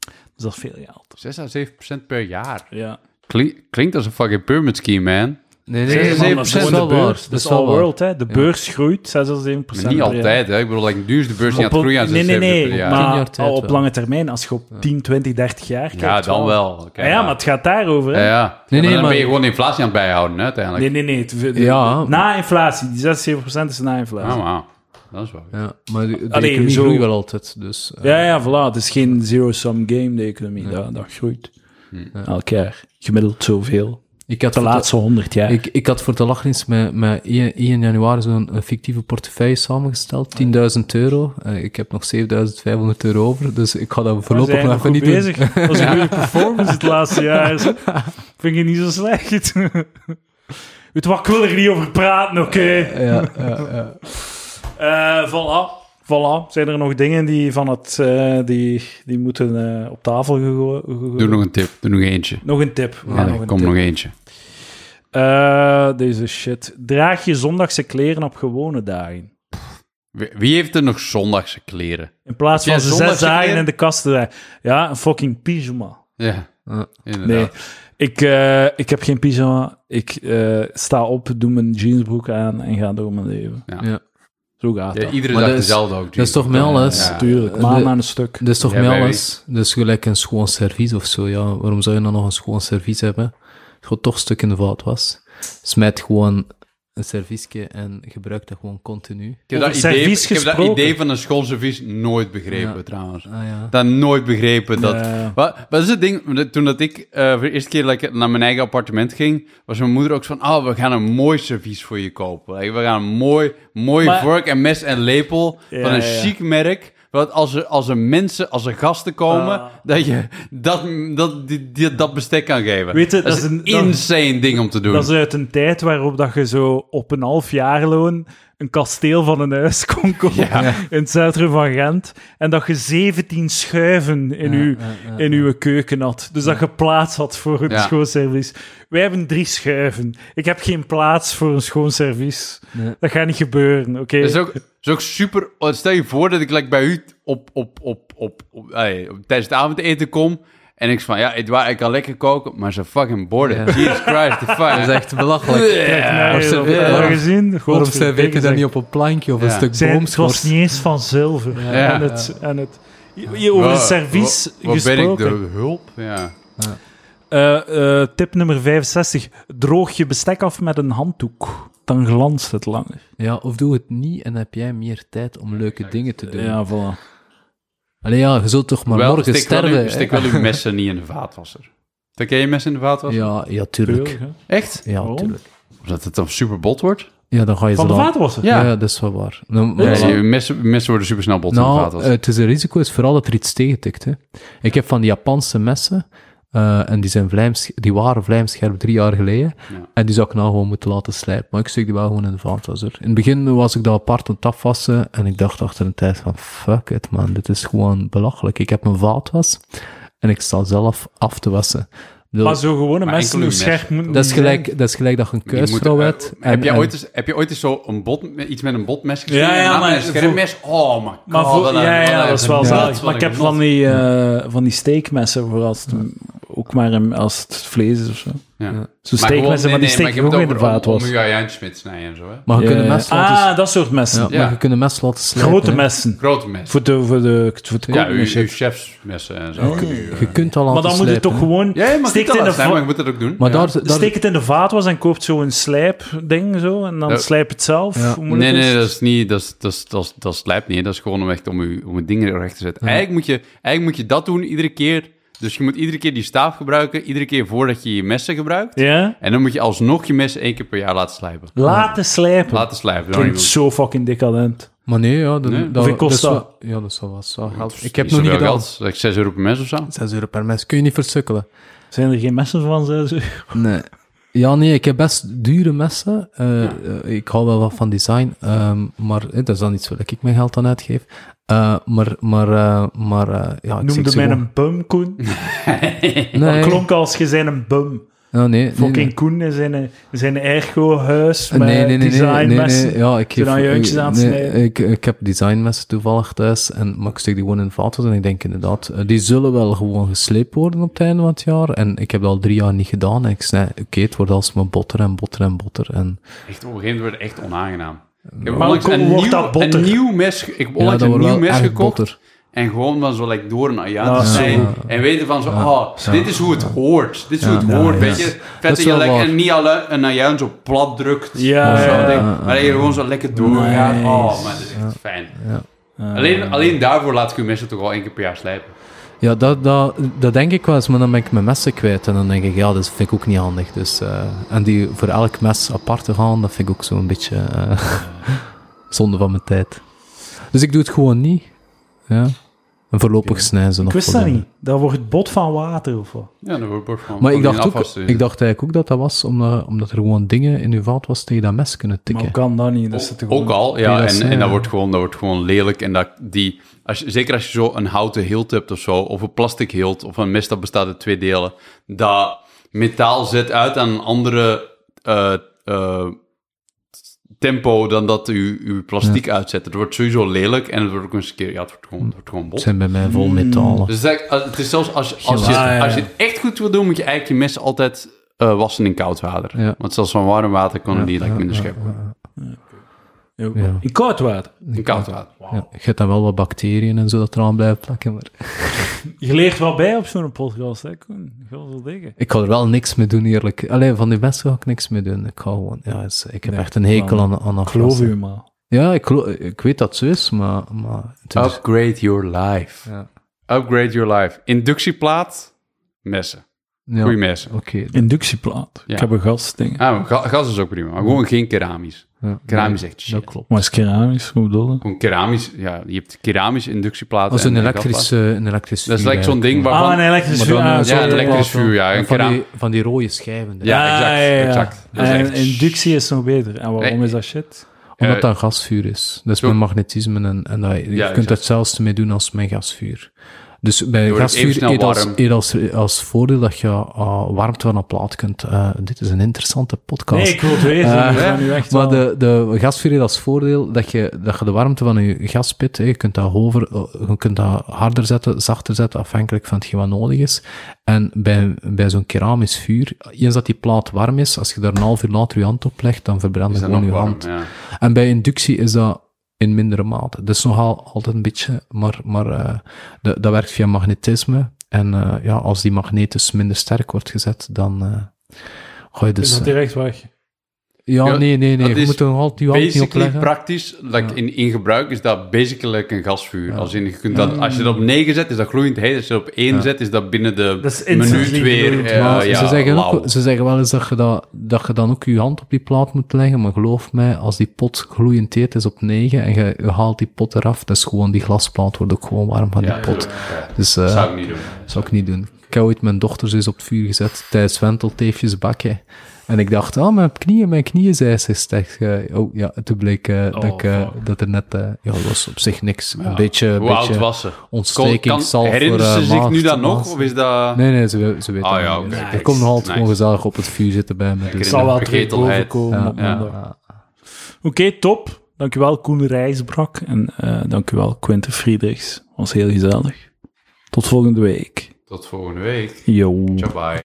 [SPEAKER 1] Dus dat is veel geld.
[SPEAKER 2] 6 à 7 procent per jaar.
[SPEAKER 1] Ja.
[SPEAKER 2] Klink- klinkt als een fucking pyramid scheme, man.
[SPEAKER 3] Nee,
[SPEAKER 2] Zeg,
[SPEAKER 3] nee,
[SPEAKER 2] man,
[SPEAKER 3] nee,
[SPEAKER 2] dat
[SPEAKER 3] dat
[SPEAKER 2] is
[SPEAKER 3] is
[SPEAKER 2] gewoon
[SPEAKER 3] wel
[SPEAKER 1] de beurs.
[SPEAKER 3] waar.
[SPEAKER 1] Dat is all world, hè. De beurs groeit 6 à 7 procent
[SPEAKER 2] Maar niet
[SPEAKER 1] per jaar.
[SPEAKER 2] altijd, hè? Ik bedoel, like, nu is de beurs niet
[SPEAKER 1] Op
[SPEAKER 2] aan het
[SPEAKER 1] een-
[SPEAKER 2] groeien aan 6
[SPEAKER 1] nee, nee, nee.
[SPEAKER 2] per jaar.
[SPEAKER 3] Tien
[SPEAKER 1] Maar
[SPEAKER 3] jaar tijd
[SPEAKER 1] al op
[SPEAKER 3] wel.
[SPEAKER 1] lange termijn, als je op 10, 20, 30 jaar kijkt... Ah
[SPEAKER 2] ja, dan wel. Oké,
[SPEAKER 1] Ja, ja, maar het gaat daarover, hè.
[SPEAKER 2] Ja, ja.
[SPEAKER 3] Nee, nee,
[SPEAKER 2] maar dan
[SPEAKER 3] maar-
[SPEAKER 2] ben je gewoon inflatie aan het bijhouden, hè, uiteindelijk.
[SPEAKER 1] Nee, nee, nee. het-
[SPEAKER 3] Ja.
[SPEAKER 1] Na inflatie. Die 6, 7 procent is na inflatie.
[SPEAKER 2] Ah, wauw. Dat is wel.
[SPEAKER 3] Ja, maar de, de
[SPEAKER 1] Allee,
[SPEAKER 3] economie
[SPEAKER 1] zo-
[SPEAKER 3] groeit wel altijd, dus... eh,
[SPEAKER 1] Ja, ja, voilà. Het is geen zero-sum game, de economie. Dat, dat groeit. Elk jaar. Gemiddeld zoveel.
[SPEAKER 3] ik had
[SPEAKER 1] De
[SPEAKER 3] voor de-
[SPEAKER 1] laatste honderd jaar.
[SPEAKER 3] Ik, ik had voor de lach eens met, met 1, 1 januari zo'n een fictieve portefeuille samengesteld, 10.000 euro. Eh, ik heb nog 7.500 euro over, dus ik ga dat
[SPEAKER 1] We
[SPEAKER 3] voorlopig
[SPEAKER 1] zijn
[SPEAKER 3] nog
[SPEAKER 1] nog
[SPEAKER 3] even
[SPEAKER 1] goed
[SPEAKER 3] niet doen.
[SPEAKER 1] bezig. Dat was een goede performance het laatste jaar. zeg. Vind je niet zo slecht. Weet wat, ik wil er niet over praten, oké.
[SPEAKER 3] Ja, ja, ja.
[SPEAKER 1] Eh, voilà. Voilà. Zijn er nog dingen die, van het, eh, die, die moeten eh, op tafel gegooid
[SPEAKER 2] Doe nog een tip. Doe nog eentje.
[SPEAKER 1] Nog een tip. We gaan
[SPEAKER 2] Ja,
[SPEAKER 1] nog een
[SPEAKER 2] kom
[SPEAKER 1] tip.
[SPEAKER 2] nog eentje.
[SPEAKER 1] Eh, deze shit. Draag je zondagse kleren op gewone dagen.
[SPEAKER 2] Wie- Wie heeft er nog zondagse kleren?
[SPEAKER 1] In plaats van
[SPEAKER 2] Heb jij
[SPEAKER 1] ze zes
[SPEAKER 2] zondagse
[SPEAKER 1] dagen
[SPEAKER 2] kleren?
[SPEAKER 1] in de kast te leggen. Ja, een fucking pyjama.
[SPEAKER 2] Ja,
[SPEAKER 3] Ja.
[SPEAKER 1] Nee,
[SPEAKER 2] inderdaad.
[SPEAKER 1] ik, eh, ik heb geen pyjama. Ik eh, sta op, doe mijn jeansbroek aan en ga door mijn leven.
[SPEAKER 2] Ja.
[SPEAKER 3] Ja.
[SPEAKER 1] Zo gaat
[SPEAKER 2] Ja,
[SPEAKER 1] dat.
[SPEAKER 2] iedere
[SPEAKER 3] Maar
[SPEAKER 2] dag
[SPEAKER 3] dat is-
[SPEAKER 2] dezelfde ook.
[SPEAKER 3] dat is toch met alles?
[SPEAKER 2] Ja.
[SPEAKER 1] Tuurlijk,
[SPEAKER 3] eh,
[SPEAKER 1] maanden
[SPEAKER 3] de-
[SPEAKER 1] aan een stuk.
[SPEAKER 3] Dat is toch
[SPEAKER 2] Ja,
[SPEAKER 3] met
[SPEAKER 2] baby.
[SPEAKER 3] alles? Dat is gelijk een schoon servies of zo, ja. Waarom zou je dan nog een schoon servies hebben? Gewoon toch een stuk in de fout was. Smijt gewoon een serviesje en gebruik dat gewoon continu.
[SPEAKER 2] Ik heb,
[SPEAKER 1] Over
[SPEAKER 2] dat idee,
[SPEAKER 1] servies
[SPEAKER 2] ik heb dat
[SPEAKER 1] gesproken.
[SPEAKER 2] idee van een schoolservies nooit begrepen,
[SPEAKER 3] Ja.
[SPEAKER 2] trouwens.
[SPEAKER 3] Ah ja.
[SPEAKER 2] Dat nooit begrepen. Dat,
[SPEAKER 1] Ja.
[SPEAKER 2] wat, wat is het ding? dat- Toen dat ik eh, voor de eerste keer like, naar mijn eigen appartement ging, was mijn moeder ook zo van: Oh, we gaan een mooi servies voor je kopen. Like, we gaan een mooi, mooi
[SPEAKER 1] Maar-
[SPEAKER 2] vork en mes en lepel
[SPEAKER 1] Ja,
[SPEAKER 2] van een
[SPEAKER 1] ja, ja.
[SPEAKER 2] chic merk. Want als er, als er mensen, als er gasten komen,
[SPEAKER 1] Ah.
[SPEAKER 2] dat je dat, dat, die, die- dat bestek kan geven.
[SPEAKER 1] Weet je,
[SPEAKER 2] dat,
[SPEAKER 1] dat
[SPEAKER 2] is
[SPEAKER 1] is
[SPEAKER 2] een
[SPEAKER 1] een- dat-
[SPEAKER 2] insane ding om te doen.
[SPEAKER 1] Dat is uit een tijd waarop dat je zo op een half jaarloon een kasteel van een huis kon kopen in het centrum van Gent. En dat je 17 schuiven in, uw, in uw keuken had. Dus dat je plaats had voor een
[SPEAKER 2] Ja.
[SPEAKER 1] schoon servies. Wij hebben drie schuiven. Ik heb geen plaats voor een schoon servies.
[SPEAKER 3] Nee.
[SPEAKER 1] Dat gaat niet gebeuren, oké?
[SPEAKER 2] Dat is ook, is ook super. oh, Stel je voor dat ik like, bij u op, op, op, op, op, ey, op- tijdens het avondeten kom. En ik zeg van, ja, Edouard, ik kan lekker koken, maar ze fucking borden.
[SPEAKER 3] Ja.
[SPEAKER 2] Jesus Christ, the fuck.
[SPEAKER 3] Dat is echt belachelijk.
[SPEAKER 1] Kijk naar
[SPEAKER 3] Waarom
[SPEAKER 1] je,
[SPEAKER 3] serveer-
[SPEAKER 1] dat heb je
[SPEAKER 3] waarom-
[SPEAKER 1] gezien?
[SPEAKER 3] Waarom serveer je dat niet op een plankje of
[SPEAKER 2] Ja.
[SPEAKER 3] een stuk
[SPEAKER 1] Zijn, het was
[SPEAKER 3] boomschors?
[SPEAKER 1] niet eens van zilver.
[SPEAKER 2] Ja.
[SPEAKER 1] En het, en het, je- over een servies
[SPEAKER 2] Wat- wat ben ik,
[SPEAKER 1] gesproken.
[SPEAKER 2] de hulp? Ja.
[SPEAKER 1] Eh, eh, tip nummer 65. Droog je bestek af met een handdoek. Dan glanst het langer.
[SPEAKER 3] Ja, of doe het niet en heb jij meer tijd om leuke dingen te doen.
[SPEAKER 1] voilà.
[SPEAKER 3] Allee, ja, je zult toch maar
[SPEAKER 2] Wel,
[SPEAKER 3] morgen
[SPEAKER 2] stik wel uw-
[SPEAKER 3] sterven.
[SPEAKER 2] stik wel uw messen niet in de vaatwasser. Dan ken je messen in de vaatwasser?
[SPEAKER 3] Ja, ja, tuurlijk.
[SPEAKER 2] Echt?
[SPEAKER 3] Ja,
[SPEAKER 1] Waarom?
[SPEAKER 3] tuurlijk.
[SPEAKER 2] Omdat het dan super bot wordt?
[SPEAKER 3] Ja, dan ga je
[SPEAKER 1] Van
[SPEAKER 3] ze
[SPEAKER 1] de
[SPEAKER 3] dan...
[SPEAKER 1] vaatwasser?
[SPEAKER 3] Ja.
[SPEAKER 2] Ja.
[SPEAKER 3] ja, dat is wel waar. Dan-
[SPEAKER 2] Ja,
[SPEAKER 3] maar-
[SPEAKER 2] je messen, messen worden super snel bot in de
[SPEAKER 3] Nou, eh,
[SPEAKER 2] vaatwasser.
[SPEAKER 3] het is een risico is vooral dat er iets tegentikt. Hè. Ik heb van die Japanse messen, eh, en die, zijn vlijms, die waren vlijmscherp drie jaar geleden,
[SPEAKER 2] Ja.
[SPEAKER 3] en die zou ik nou gewoon moeten laten slijpen. Maar ik stuk die wel gewoon in de vaatwasser. In het begin was ik dat apart aan het afwassen, en ik dacht achter een tijd van, fuck it man, dit is gewoon belachelijk. Ik heb een vaatwas, en ik sta zelf af te wassen. Ik bedoel,
[SPEAKER 1] Maar zo gewone
[SPEAKER 2] Maar
[SPEAKER 1] mensen,
[SPEAKER 2] enkel
[SPEAKER 1] hoe
[SPEAKER 2] uw
[SPEAKER 1] scherp moeten
[SPEAKER 3] dat, is
[SPEAKER 1] die
[SPEAKER 3] gelijk,
[SPEAKER 1] zijn?
[SPEAKER 3] dat is gelijk dat je een
[SPEAKER 2] Die moeten,
[SPEAKER 3] kuisvrouw
[SPEAKER 2] eh,
[SPEAKER 3] hebt.
[SPEAKER 2] heb,
[SPEAKER 3] en-
[SPEAKER 2] jij
[SPEAKER 3] en-
[SPEAKER 2] ooit eens, heb je ooit eens zo een bot, iets met een botmes gezien?
[SPEAKER 1] Ja, ja,
[SPEAKER 2] En dan
[SPEAKER 1] maar
[SPEAKER 2] een scherpmes? Oh my god.
[SPEAKER 1] Maar voor,
[SPEAKER 2] wat een-
[SPEAKER 1] ja,
[SPEAKER 2] wat
[SPEAKER 1] ja,
[SPEAKER 2] een
[SPEAKER 1] dat is wel
[SPEAKER 2] genot,
[SPEAKER 1] zalig.
[SPEAKER 2] wat
[SPEAKER 1] Maar ik
[SPEAKER 2] een
[SPEAKER 1] heb
[SPEAKER 2] genot.
[SPEAKER 1] van die, eh van die steekmessen, voor als het, ook maar een- als het vlees is of zo.
[SPEAKER 2] Ja.
[SPEAKER 1] Zo
[SPEAKER 2] Maar gewoon-
[SPEAKER 1] steekmessen,
[SPEAKER 2] nee,
[SPEAKER 1] maar die
[SPEAKER 2] nee, maar ik
[SPEAKER 1] steken
[SPEAKER 2] heb
[SPEAKER 1] ook
[SPEAKER 2] het
[SPEAKER 1] in de
[SPEAKER 2] over om-
[SPEAKER 1] vaatwasser.
[SPEAKER 2] Om je handjes mee te snijden en zo, hè?
[SPEAKER 3] maar je kunt
[SPEAKER 1] Ja,
[SPEAKER 3] een mes
[SPEAKER 1] ja.
[SPEAKER 3] laten...
[SPEAKER 1] Ah, dat soort messen.
[SPEAKER 3] ja,
[SPEAKER 2] ja.
[SPEAKER 3] Maar je kunt een mes laten slijpen.
[SPEAKER 1] Grote
[SPEAKER 3] hè.
[SPEAKER 1] messen.
[SPEAKER 2] Grote mes.
[SPEAKER 1] Voor, de, voor, de, voor het
[SPEAKER 2] Ja,
[SPEAKER 1] koken
[SPEAKER 2] uw,
[SPEAKER 1] en
[SPEAKER 2] uw
[SPEAKER 1] shit.
[SPEAKER 2] chefsmessen en zo. Kun je, eh.
[SPEAKER 3] Je kunt al laten
[SPEAKER 1] Maar dan moet je
[SPEAKER 3] slijpen,
[SPEAKER 1] toch
[SPEAKER 3] hè.
[SPEAKER 1] gewoon...
[SPEAKER 2] Ja, je mag
[SPEAKER 1] steekt
[SPEAKER 2] het
[SPEAKER 1] in
[SPEAKER 2] wel
[SPEAKER 1] de
[SPEAKER 2] zijn,
[SPEAKER 1] va-
[SPEAKER 2] maar je moet dat ook doen.
[SPEAKER 3] Maar
[SPEAKER 2] Ja.
[SPEAKER 3] daar, daar,
[SPEAKER 1] Steek het in de vaatwas en koopt zo'n slijpding zo. En dan
[SPEAKER 2] Ja.
[SPEAKER 1] slijp het zelf.
[SPEAKER 3] Ja.
[SPEAKER 1] Hoe
[SPEAKER 2] Nee,
[SPEAKER 1] moeilijk is
[SPEAKER 2] nee,
[SPEAKER 1] het? dus-
[SPEAKER 2] dat is niet, dat, is, dat, is, dat, is, dat slijpt niet. Dat is gewoon om echt om je, om je dingen recht te zetten. Eigenlijk, moet je, eigenlijk moet je dat doen iedere keer. Dus je moet iedere keer die staaf gebruiken, iedere keer voordat je je messen gebruikt.
[SPEAKER 1] Ja?
[SPEAKER 2] En dan moet je alsnog je messen één keer per jaar laten slijpen.
[SPEAKER 1] Laten slijpen.
[SPEAKER 2] Laten slijpen. dan
[SPEAKER 1] Klinkt zo fucking decadent.
[SPEAKER 3] Maar nee, ja, dan,
[SPEAKER 2] Nee?
[SPEAKER 3] dat-
[SPEAKER 1] Hoeveel kost
[SPEAKER 3] is wel-
[SPEAKER 1] dat?
[SPEAKER 3] ja, dat is wel wat zwaar geld.
[SPEAKER 2] Is
[SPEAKER 3] Ik heb
[SPEAKER 2] niet
[SPEAKER 3] nog niet
[SPEAKER 2] zoveel
[SPEAKER 3] gedaan.
[SPEAKER 2] geld. Zeg, 6 euro per mes of zo?
[SPEAKER 3] 6 euro per mes. Kun je niet versukkelen?
[SPEAKER 1] Zijn er geen messen van zes uur?
[SPEAKER 3] Nee. Ja, nee, ik heb best dure messen. Eh, eh, ik hou wel wat van design, ehm, maar eh, dat is dan iets waar ik mijn geld aan uitgeef. Eh, maar, maar, eh, maar, eh, ja, ik zeg
[SPEAKER 1] Noemde
[SPEAKER 3] ze
[SPEAKER 1] mij
[SPEAKER 3] gewoon-
[SPEAKER 1] een bum, Koen.
[SPEAKER 3] Nee,
[SPEAKER 1] Dat klonk als je zijn een bum.
[SPEAKER 3] Ja, nee, nee,
[SPEAKER 1] Fucking
[SPEAKER 3] nee.
[SPEAKER 1] Koen in zijn, zijn ergo-huis met
[SPEAKER 3] nee, nee, nee, nee, nee,
[SPEAKER 1] designmessen.
[SPEAKER 3] nee, ja, ik
[SPEAKER 1] Zijn
[SPEAKER 3] geef-
[SPEAKER 1] aan je handjes aan het
[SPEAKER 3] nee,
[SPEAKER 1] snijden.
[SPEAKER 3] ik, ik heb designmessen toevallig thuis, en, maar ik steek die gewoon in de vaatwas en ik denk inderdaad, eh, die zullen wel gewoon gesleept worden op het einde van het jaar. En ik heb dat al drie jaar niet gedaan en ik snij, oké, het wordt alsmaar botter en botter en botter. En,
[SPEAKER 2] Echt, op een gegeven moment wordt het echt onaangenaam. Ik heb
[SPEAKER 1] Maar
[SPEAKER 2] onlangs
[SPEAKER 1] hoe
[SPEAKER 2] een
[SPEAKER 1] wordt
[SPEAKER 2] nieuw,
[SPEAKER 1] dat botter?
[SPEAKER 2] een nieuw mes, ge- ik heb
[SPEAKER 3] ja,
[SPEAKER 2] onlangs een
[SPEAKER 3] wordt
[SPEAKER 2] nieuw
[SPEAKER 3] wel
[SPEAKER 2] mes
[SPEAKER 3] erg
[SPEAKER 2] gekocht.
[SPEAKER 3] botter.
[SPEAKER 2] En gewoon van zo like, door een Ajaat
[SPEAKER 1] Ja,
[SPEAKER 2] te zijn.
[SPEAKER 3] ja.
[SPEAKER 2] En weten van zo, oh, dit is hoe het hoort. Dit is hoe het
[SPEAKER 3] ja,
[SPEAKER 2] hoort,
[SPEAKER 3] ja.
[SPEAKER 2] weet je. Vet dat,
[SPEAKER 3] is
[SPEAKER 2] je
[SPEAKER 3] wel
[SPEAKER 2] like,
[SPEAKER 3] waar.
[SPEAKER 2] en niet alleen een Ajaat zo plat drukt.
[SPEAKER 1] Ja,
[SPEAKER 2] of zo,
[SPEAKER 1] ja, ja.
[SPEAKER 2] ding, Maar dat je gewoon zo lekker doorgaat.
[SPEAKER 1] Nice.
[SPEAKER 2] Oh, maar dat is echt fijn. Alleen, alleen daarvoor laat ik uw messen toch wel één keer per jaar slijpen.
[SPEAKER 3] Ja, dat, dat, dat denk ik wel eens, maar dan ben ik mijn messen kwijt en dan denk ik, ja, dat vind ik ook niet handig. Dus, eh, en die voor elk mes apart te gaan, dat vind ik ook zo'n beetje eh, zonde van mijn tijd. Dus ik doe het gewoon niet. Ja. En voorlopig snijden ze nog.
[SPEAKER 1] Ik wist
[SPEAKER 3] voor
[SPEAKER 1] dat
[SPEAKER 3] de-
[SPEAKER 1] niet. Dat wordt het bot van water of wat.
[SPEAKER 2] Ja, dan wordt het gewoon
[SPEAKER 3] Maar ik
[SPEAKER 2] gewoon
[SPEAKER 3] dacht,
[SPEAKER 2] in
[SPEAKER 3] ook,
[SPEAKER 2] afwas eh, te
[SPEAKER 3] ik
[SPEAKER 2] zitten.
[SPEAKER 3] dacht eigenlijk ook dat dat was omdat, omdat er gewoon dingen in uw vaat was tegen dat mes kunnen
[SPEAKER 1] Maar
[SPEAKER 3] tikken.
[SPEAKER 1] hoe kan dat niet? Dat is toch
[SPEAKER 2] Ook
[SPEAKER 1] gewoon-
[SPEAKER 2] al,
[SPEAKER 3] Nee,
[SPEAKER 2] ja.
[SPEAKER 3] dat is,
[SPEAKER 2] en en
[SPEAKER 3] eh,
[SPEAKER 2] dat, wordt gewoon, dat wordt gewoon lelijk. En dat, die, als je, zeker als je zo een houten hilt hebt of zo, of een plastic hilt, of een mes dat bestaat uit twee delen, dat metaal zet uit aan een andere eh, eh, tempo dan dat u, uw plastiek uitzet. Het wordt sowieso lelijk en het wordt ook eens een keer, ja, het wordt gewoon, het wordt gewoon
[SPEAKER 3] Het
[SPEAKER 2] bot.
[SPEAKER 3] zijn bij mij vol
[SPEAKER 1] Hmm.
[SPEAKER 3] metalen.
[SPEAKER 2] Dus dat, eh, het is zelfs als, je- als, je,
[SPEAKER 1] Ja, ja, ja.
[SPEAKER 2] als je het echt goed wil doen, moet je eigenlijk je mes altijd eh, wassen in koud water.
[SPEAKER 3] Ja.
[SPEAKER 2] Want zelfs van warm water kan die like, minder scherp worden.
[SPEAKER 1] Ja. In koud water.
[SPEAKER 2] In koud water.
[SPEAKER 3] Ja, je hebt dan wel wat bacteriën en zo dat eraan blijven plakken, maar...
[SPEAKER 1] Je leert wel bij op zo'n podcast, hè, Koen? Heel veel dingen.
[SPEAKER 3] Ik ga er wel niks mee doen, eerlijk. Alleen van die mensen ga ik niks mee doen. Ik ga gewoon, ja, dus ik heb echt een hekel aan, aan
[SPEAKER 1] Ik geloof
[SPEAKER 3] afwassen.
[SPEAKER 1] u maar.
[SPEAKER 3] Ja, ik, geloof- ik weet dat zo is, maar. maar het is-
[SPEAKER 2] Oh, Upgrade your life.
[SPEAKER 3] Ja.
[SPEAKER 2] Upgrade your life. Inductieplaat, messen.
[SPEAKER 3] Ja.
[SPEAKER 2] Goeie mes.
[SPEAKER 3] Oké.
[SPEAKER 1] Inductieplaat.
[SPEAKER 2] Ja.
[SPEAKER 1] Ik heb een gasting.
[SPEAKER 2] Ah, ga- gas is ook prima. Maar gewoon geen keramisch.
[SPEAKER 3] Ja.
[SPEAKER 2] Keramisch is echt shit.
[SPEAKER 3] Dat klopt.
[SPEAKER 1] Maar is keramisch, hoe bedoel je?
[SPEAKER 2] Gewoon keramisch, ja, je hebt keramisch inductieplaten.
[SPEAKER 3] Als een
[SPEAKER 2] en- en
[SPEAKER 3] elektrisch,
[SPEAKER 2] gasplaten.
[SPEAKER 3] eh, een elektrisch
[SPEAKER 2] Dat is
[SPEAKER 3] vuur
[SPEAKER 2] like zo'n ding
[SPEAKER 3] eigenlijk.
[SPEAKER 2] waarvan...
[SPEAKER 1] Ah, een elektrisch
[SPEAKER 3] Maar
[SPEAKER 1] vuur.
[SPEAKER 3] dan, eh,
[SPEAKER 1] ah,
[SPEAKER 3] zo'n
[SPEAKER 1] sorry. Ah,
[SPEAKER 2] ja, een elektrisch
[SPEAKER 3] platen.
[SPEAKER 2] vuur, ja. Een
[SPEAKER 3] van,
[SPEAKER 2] keraam-
[SPEAKER 3] die, van die rode schijven. dus.
[SPEAKER 2] Ja, exact, exact. Dat is
[SPEAKER 1] En
[SPEAKER 2] echt-
[SPEAKER 1] inductie is zo beter. En waarom
[SPEAKER 2] Nee.
[SPEAKER 1] is dat shit?
[SPEAKER 3] Omdat
[SPEAKER 2] eh,
[SPEAKER 3] dat gasvuur is. Dat is
[SPEAKER 2] zo-
[SPEAKER 3] met magnetisme en, en dat, je
[SPEAKER 2] exact.
[SPEAKER 3] kunt daar hetzelfde mee doen als met gasvuur. Dus bij
[SPEAKER 2] wordt even
[SPEAKER 3] gasvuur
[SPEAKER 2] snel
[SPEAKER 3] eet als,
[SPEAKER 2] warm.
[SPEAKER 3] eet als, als voordeel dat je eh, warmte van een plaat kunt. eh, dit is een interessante podcast.
[SPEAKER 1] Nee, ik wil het weten.
[SPEAKER 3] Eh,
[SPEAKER 1] ik ben nu echt
[SPEAKER 3] Maar
[SPEAKER 1] wel-
[SPEAKER 3] de, de gasvuur heeft als voordeel dat je, dat je de warmte van je gaspit, hè, je kunt dat, hoger, eh, je kunt dat harder zetten, zachter zetten, afhankelijk van hetgeen wat nodig is. En bij, bij zo'n keramisch vuur, eens dat die plaat warm is, als je daar een half uur later je hand op legt, dan verbrandt
[SPEAKER 2] Is dat
[SPEAKER 3] gewoon
[SPEAKER 2] nog
[SPEAKER 3] je
[SPEAKER 2] warm,
[SPEAKER 3] hand.
[SPEAKER 2] ja.
[SPEAKER 3] En bij inductie is dat in mindere mate. Dat is nogal altijd een beetje, maar, maar eh, de- dat werkt via magnetisme. En eh, ja, als die magneet dus minder sterk wordt gezet, dan eh, ga je dus...
[SPEAKER 1] is dat direct weg?
[SPEAKER 3] Ja,
[SPEAKER 2] Ja,
[SPEAKER 3] nee, nee,
[SPEAKER 2] dat
[SPEAKER 3] nee. Je
[SPEAKER 2] is
[SPEAKER 3] moet er nog altijd je hand niet
[SPEAKER 2] Basically,
[SPEAKER 3] opleggen.
[SPEAKER 2] praktisch, like
[SPEAKER 3] Ja.
[SPEAKER 2] in, in gebruik is dat basically een gasvuur. Als, in, je kunt dat, als je dat op 9 zet, is dat gloeiend heet. Als je dat op 1 zet, is dat binnen de
[SPEAKER 1] Dat is instantly
[SPEAKER 2] minuut weer
[SPEAKER 1] gloeiend.
[SPEAKER 2] eh,
[SPEAKER 3] Maar
[SPEAKER 2] ja,
[SPEAKER 3] ze, zeggen
[SPEAKER 2] lauw.
[SPEAKER 3] ook, ze zeggen wel eens dat je, dat, dat je dan ook je hand op die plaat moet leggen, maar geloof mij, als die pot gloeiend heet is op 9 en je, je haalt die pot eraf, dat is gewoon die glasplaat wordt ook gewoon warm van
[SPEAKER 2] Ja,
[SPEAKER 3] die pot.
[SPEAKER 2] ja.
[SPEAKER 3] Dus eh,
[SPEAKER 2] Dat zou ik niet doen.
[SPEAKER 3] zou ik niet doen. Ik heb ooit mijn dochters eens op het vuur gezet tijdens wentelteefjes bakken. En ik dacht, ah, mijn knieën, mijn knieën zijn ze sterk. Eh, Oh ja, toen bleek eh, dat, ik, eh, dat er net, eh, ja, dat was op zich niks. Een beetje, een
[SPEAKER 2] Hoe oud
[SPEAKER 3] beetje
[SPEAKER 2] was ze?
[SPEAKER 3] ontsteking zal
[SPEAKER 2] Herinnert
[SPEAKER 3] voor,
[SPEAKER 2] ze
[SPEAKER 3] eh,
[SPEAKER 2] zich nu
[SPEAKER 3] maag,
[SPEAKER 2] dat nog?
[SPEAKER 3] maag.
[SPEAKER 2] Of is dat...
[SPEAKER 3] Nee, nee, ze, we- ze weten
[SPEAKER 2] Ah,
[SPEAKER 3] het
[SPEAKER 2] ja,
[SPEAKER 3] niet.
[SPEAKER 2] oké.
[SPEAKER 3] Ik kom nog altijd
[SPEAKER 2] Nice.
[SPEAKER 3] gewoon gezellig op het vuur zitten bij
[SPEAKER 1] Het
[SPEAKER 3] me. Dus.
[SPEAKER 2] Lekker
[SPEAKER 1] zal wel
[SPEAKER 2] de
[SPEAKER 1] terug
[SPEAKER 2] vergetelheid.
[SPEAKER 1] bovenkomen
[SPEAKER 3] Ja,
[SPEAKER 1] op
[SPEAKER 2] ja.
[SPEAKER 1] maandag.
[SPEAKER 3] Ja.
[SPEAKER 1] Oké, top. Dankjewel Koen Rijsbrak. En eh dankjewel Quinten Friedrichs. Was heel gezellig. Tot volgende week.
[SPEAKER 2] Tot volgende week.
[SPEAKER 1] Yo.
[SPEAKER 2] Ciao, bye.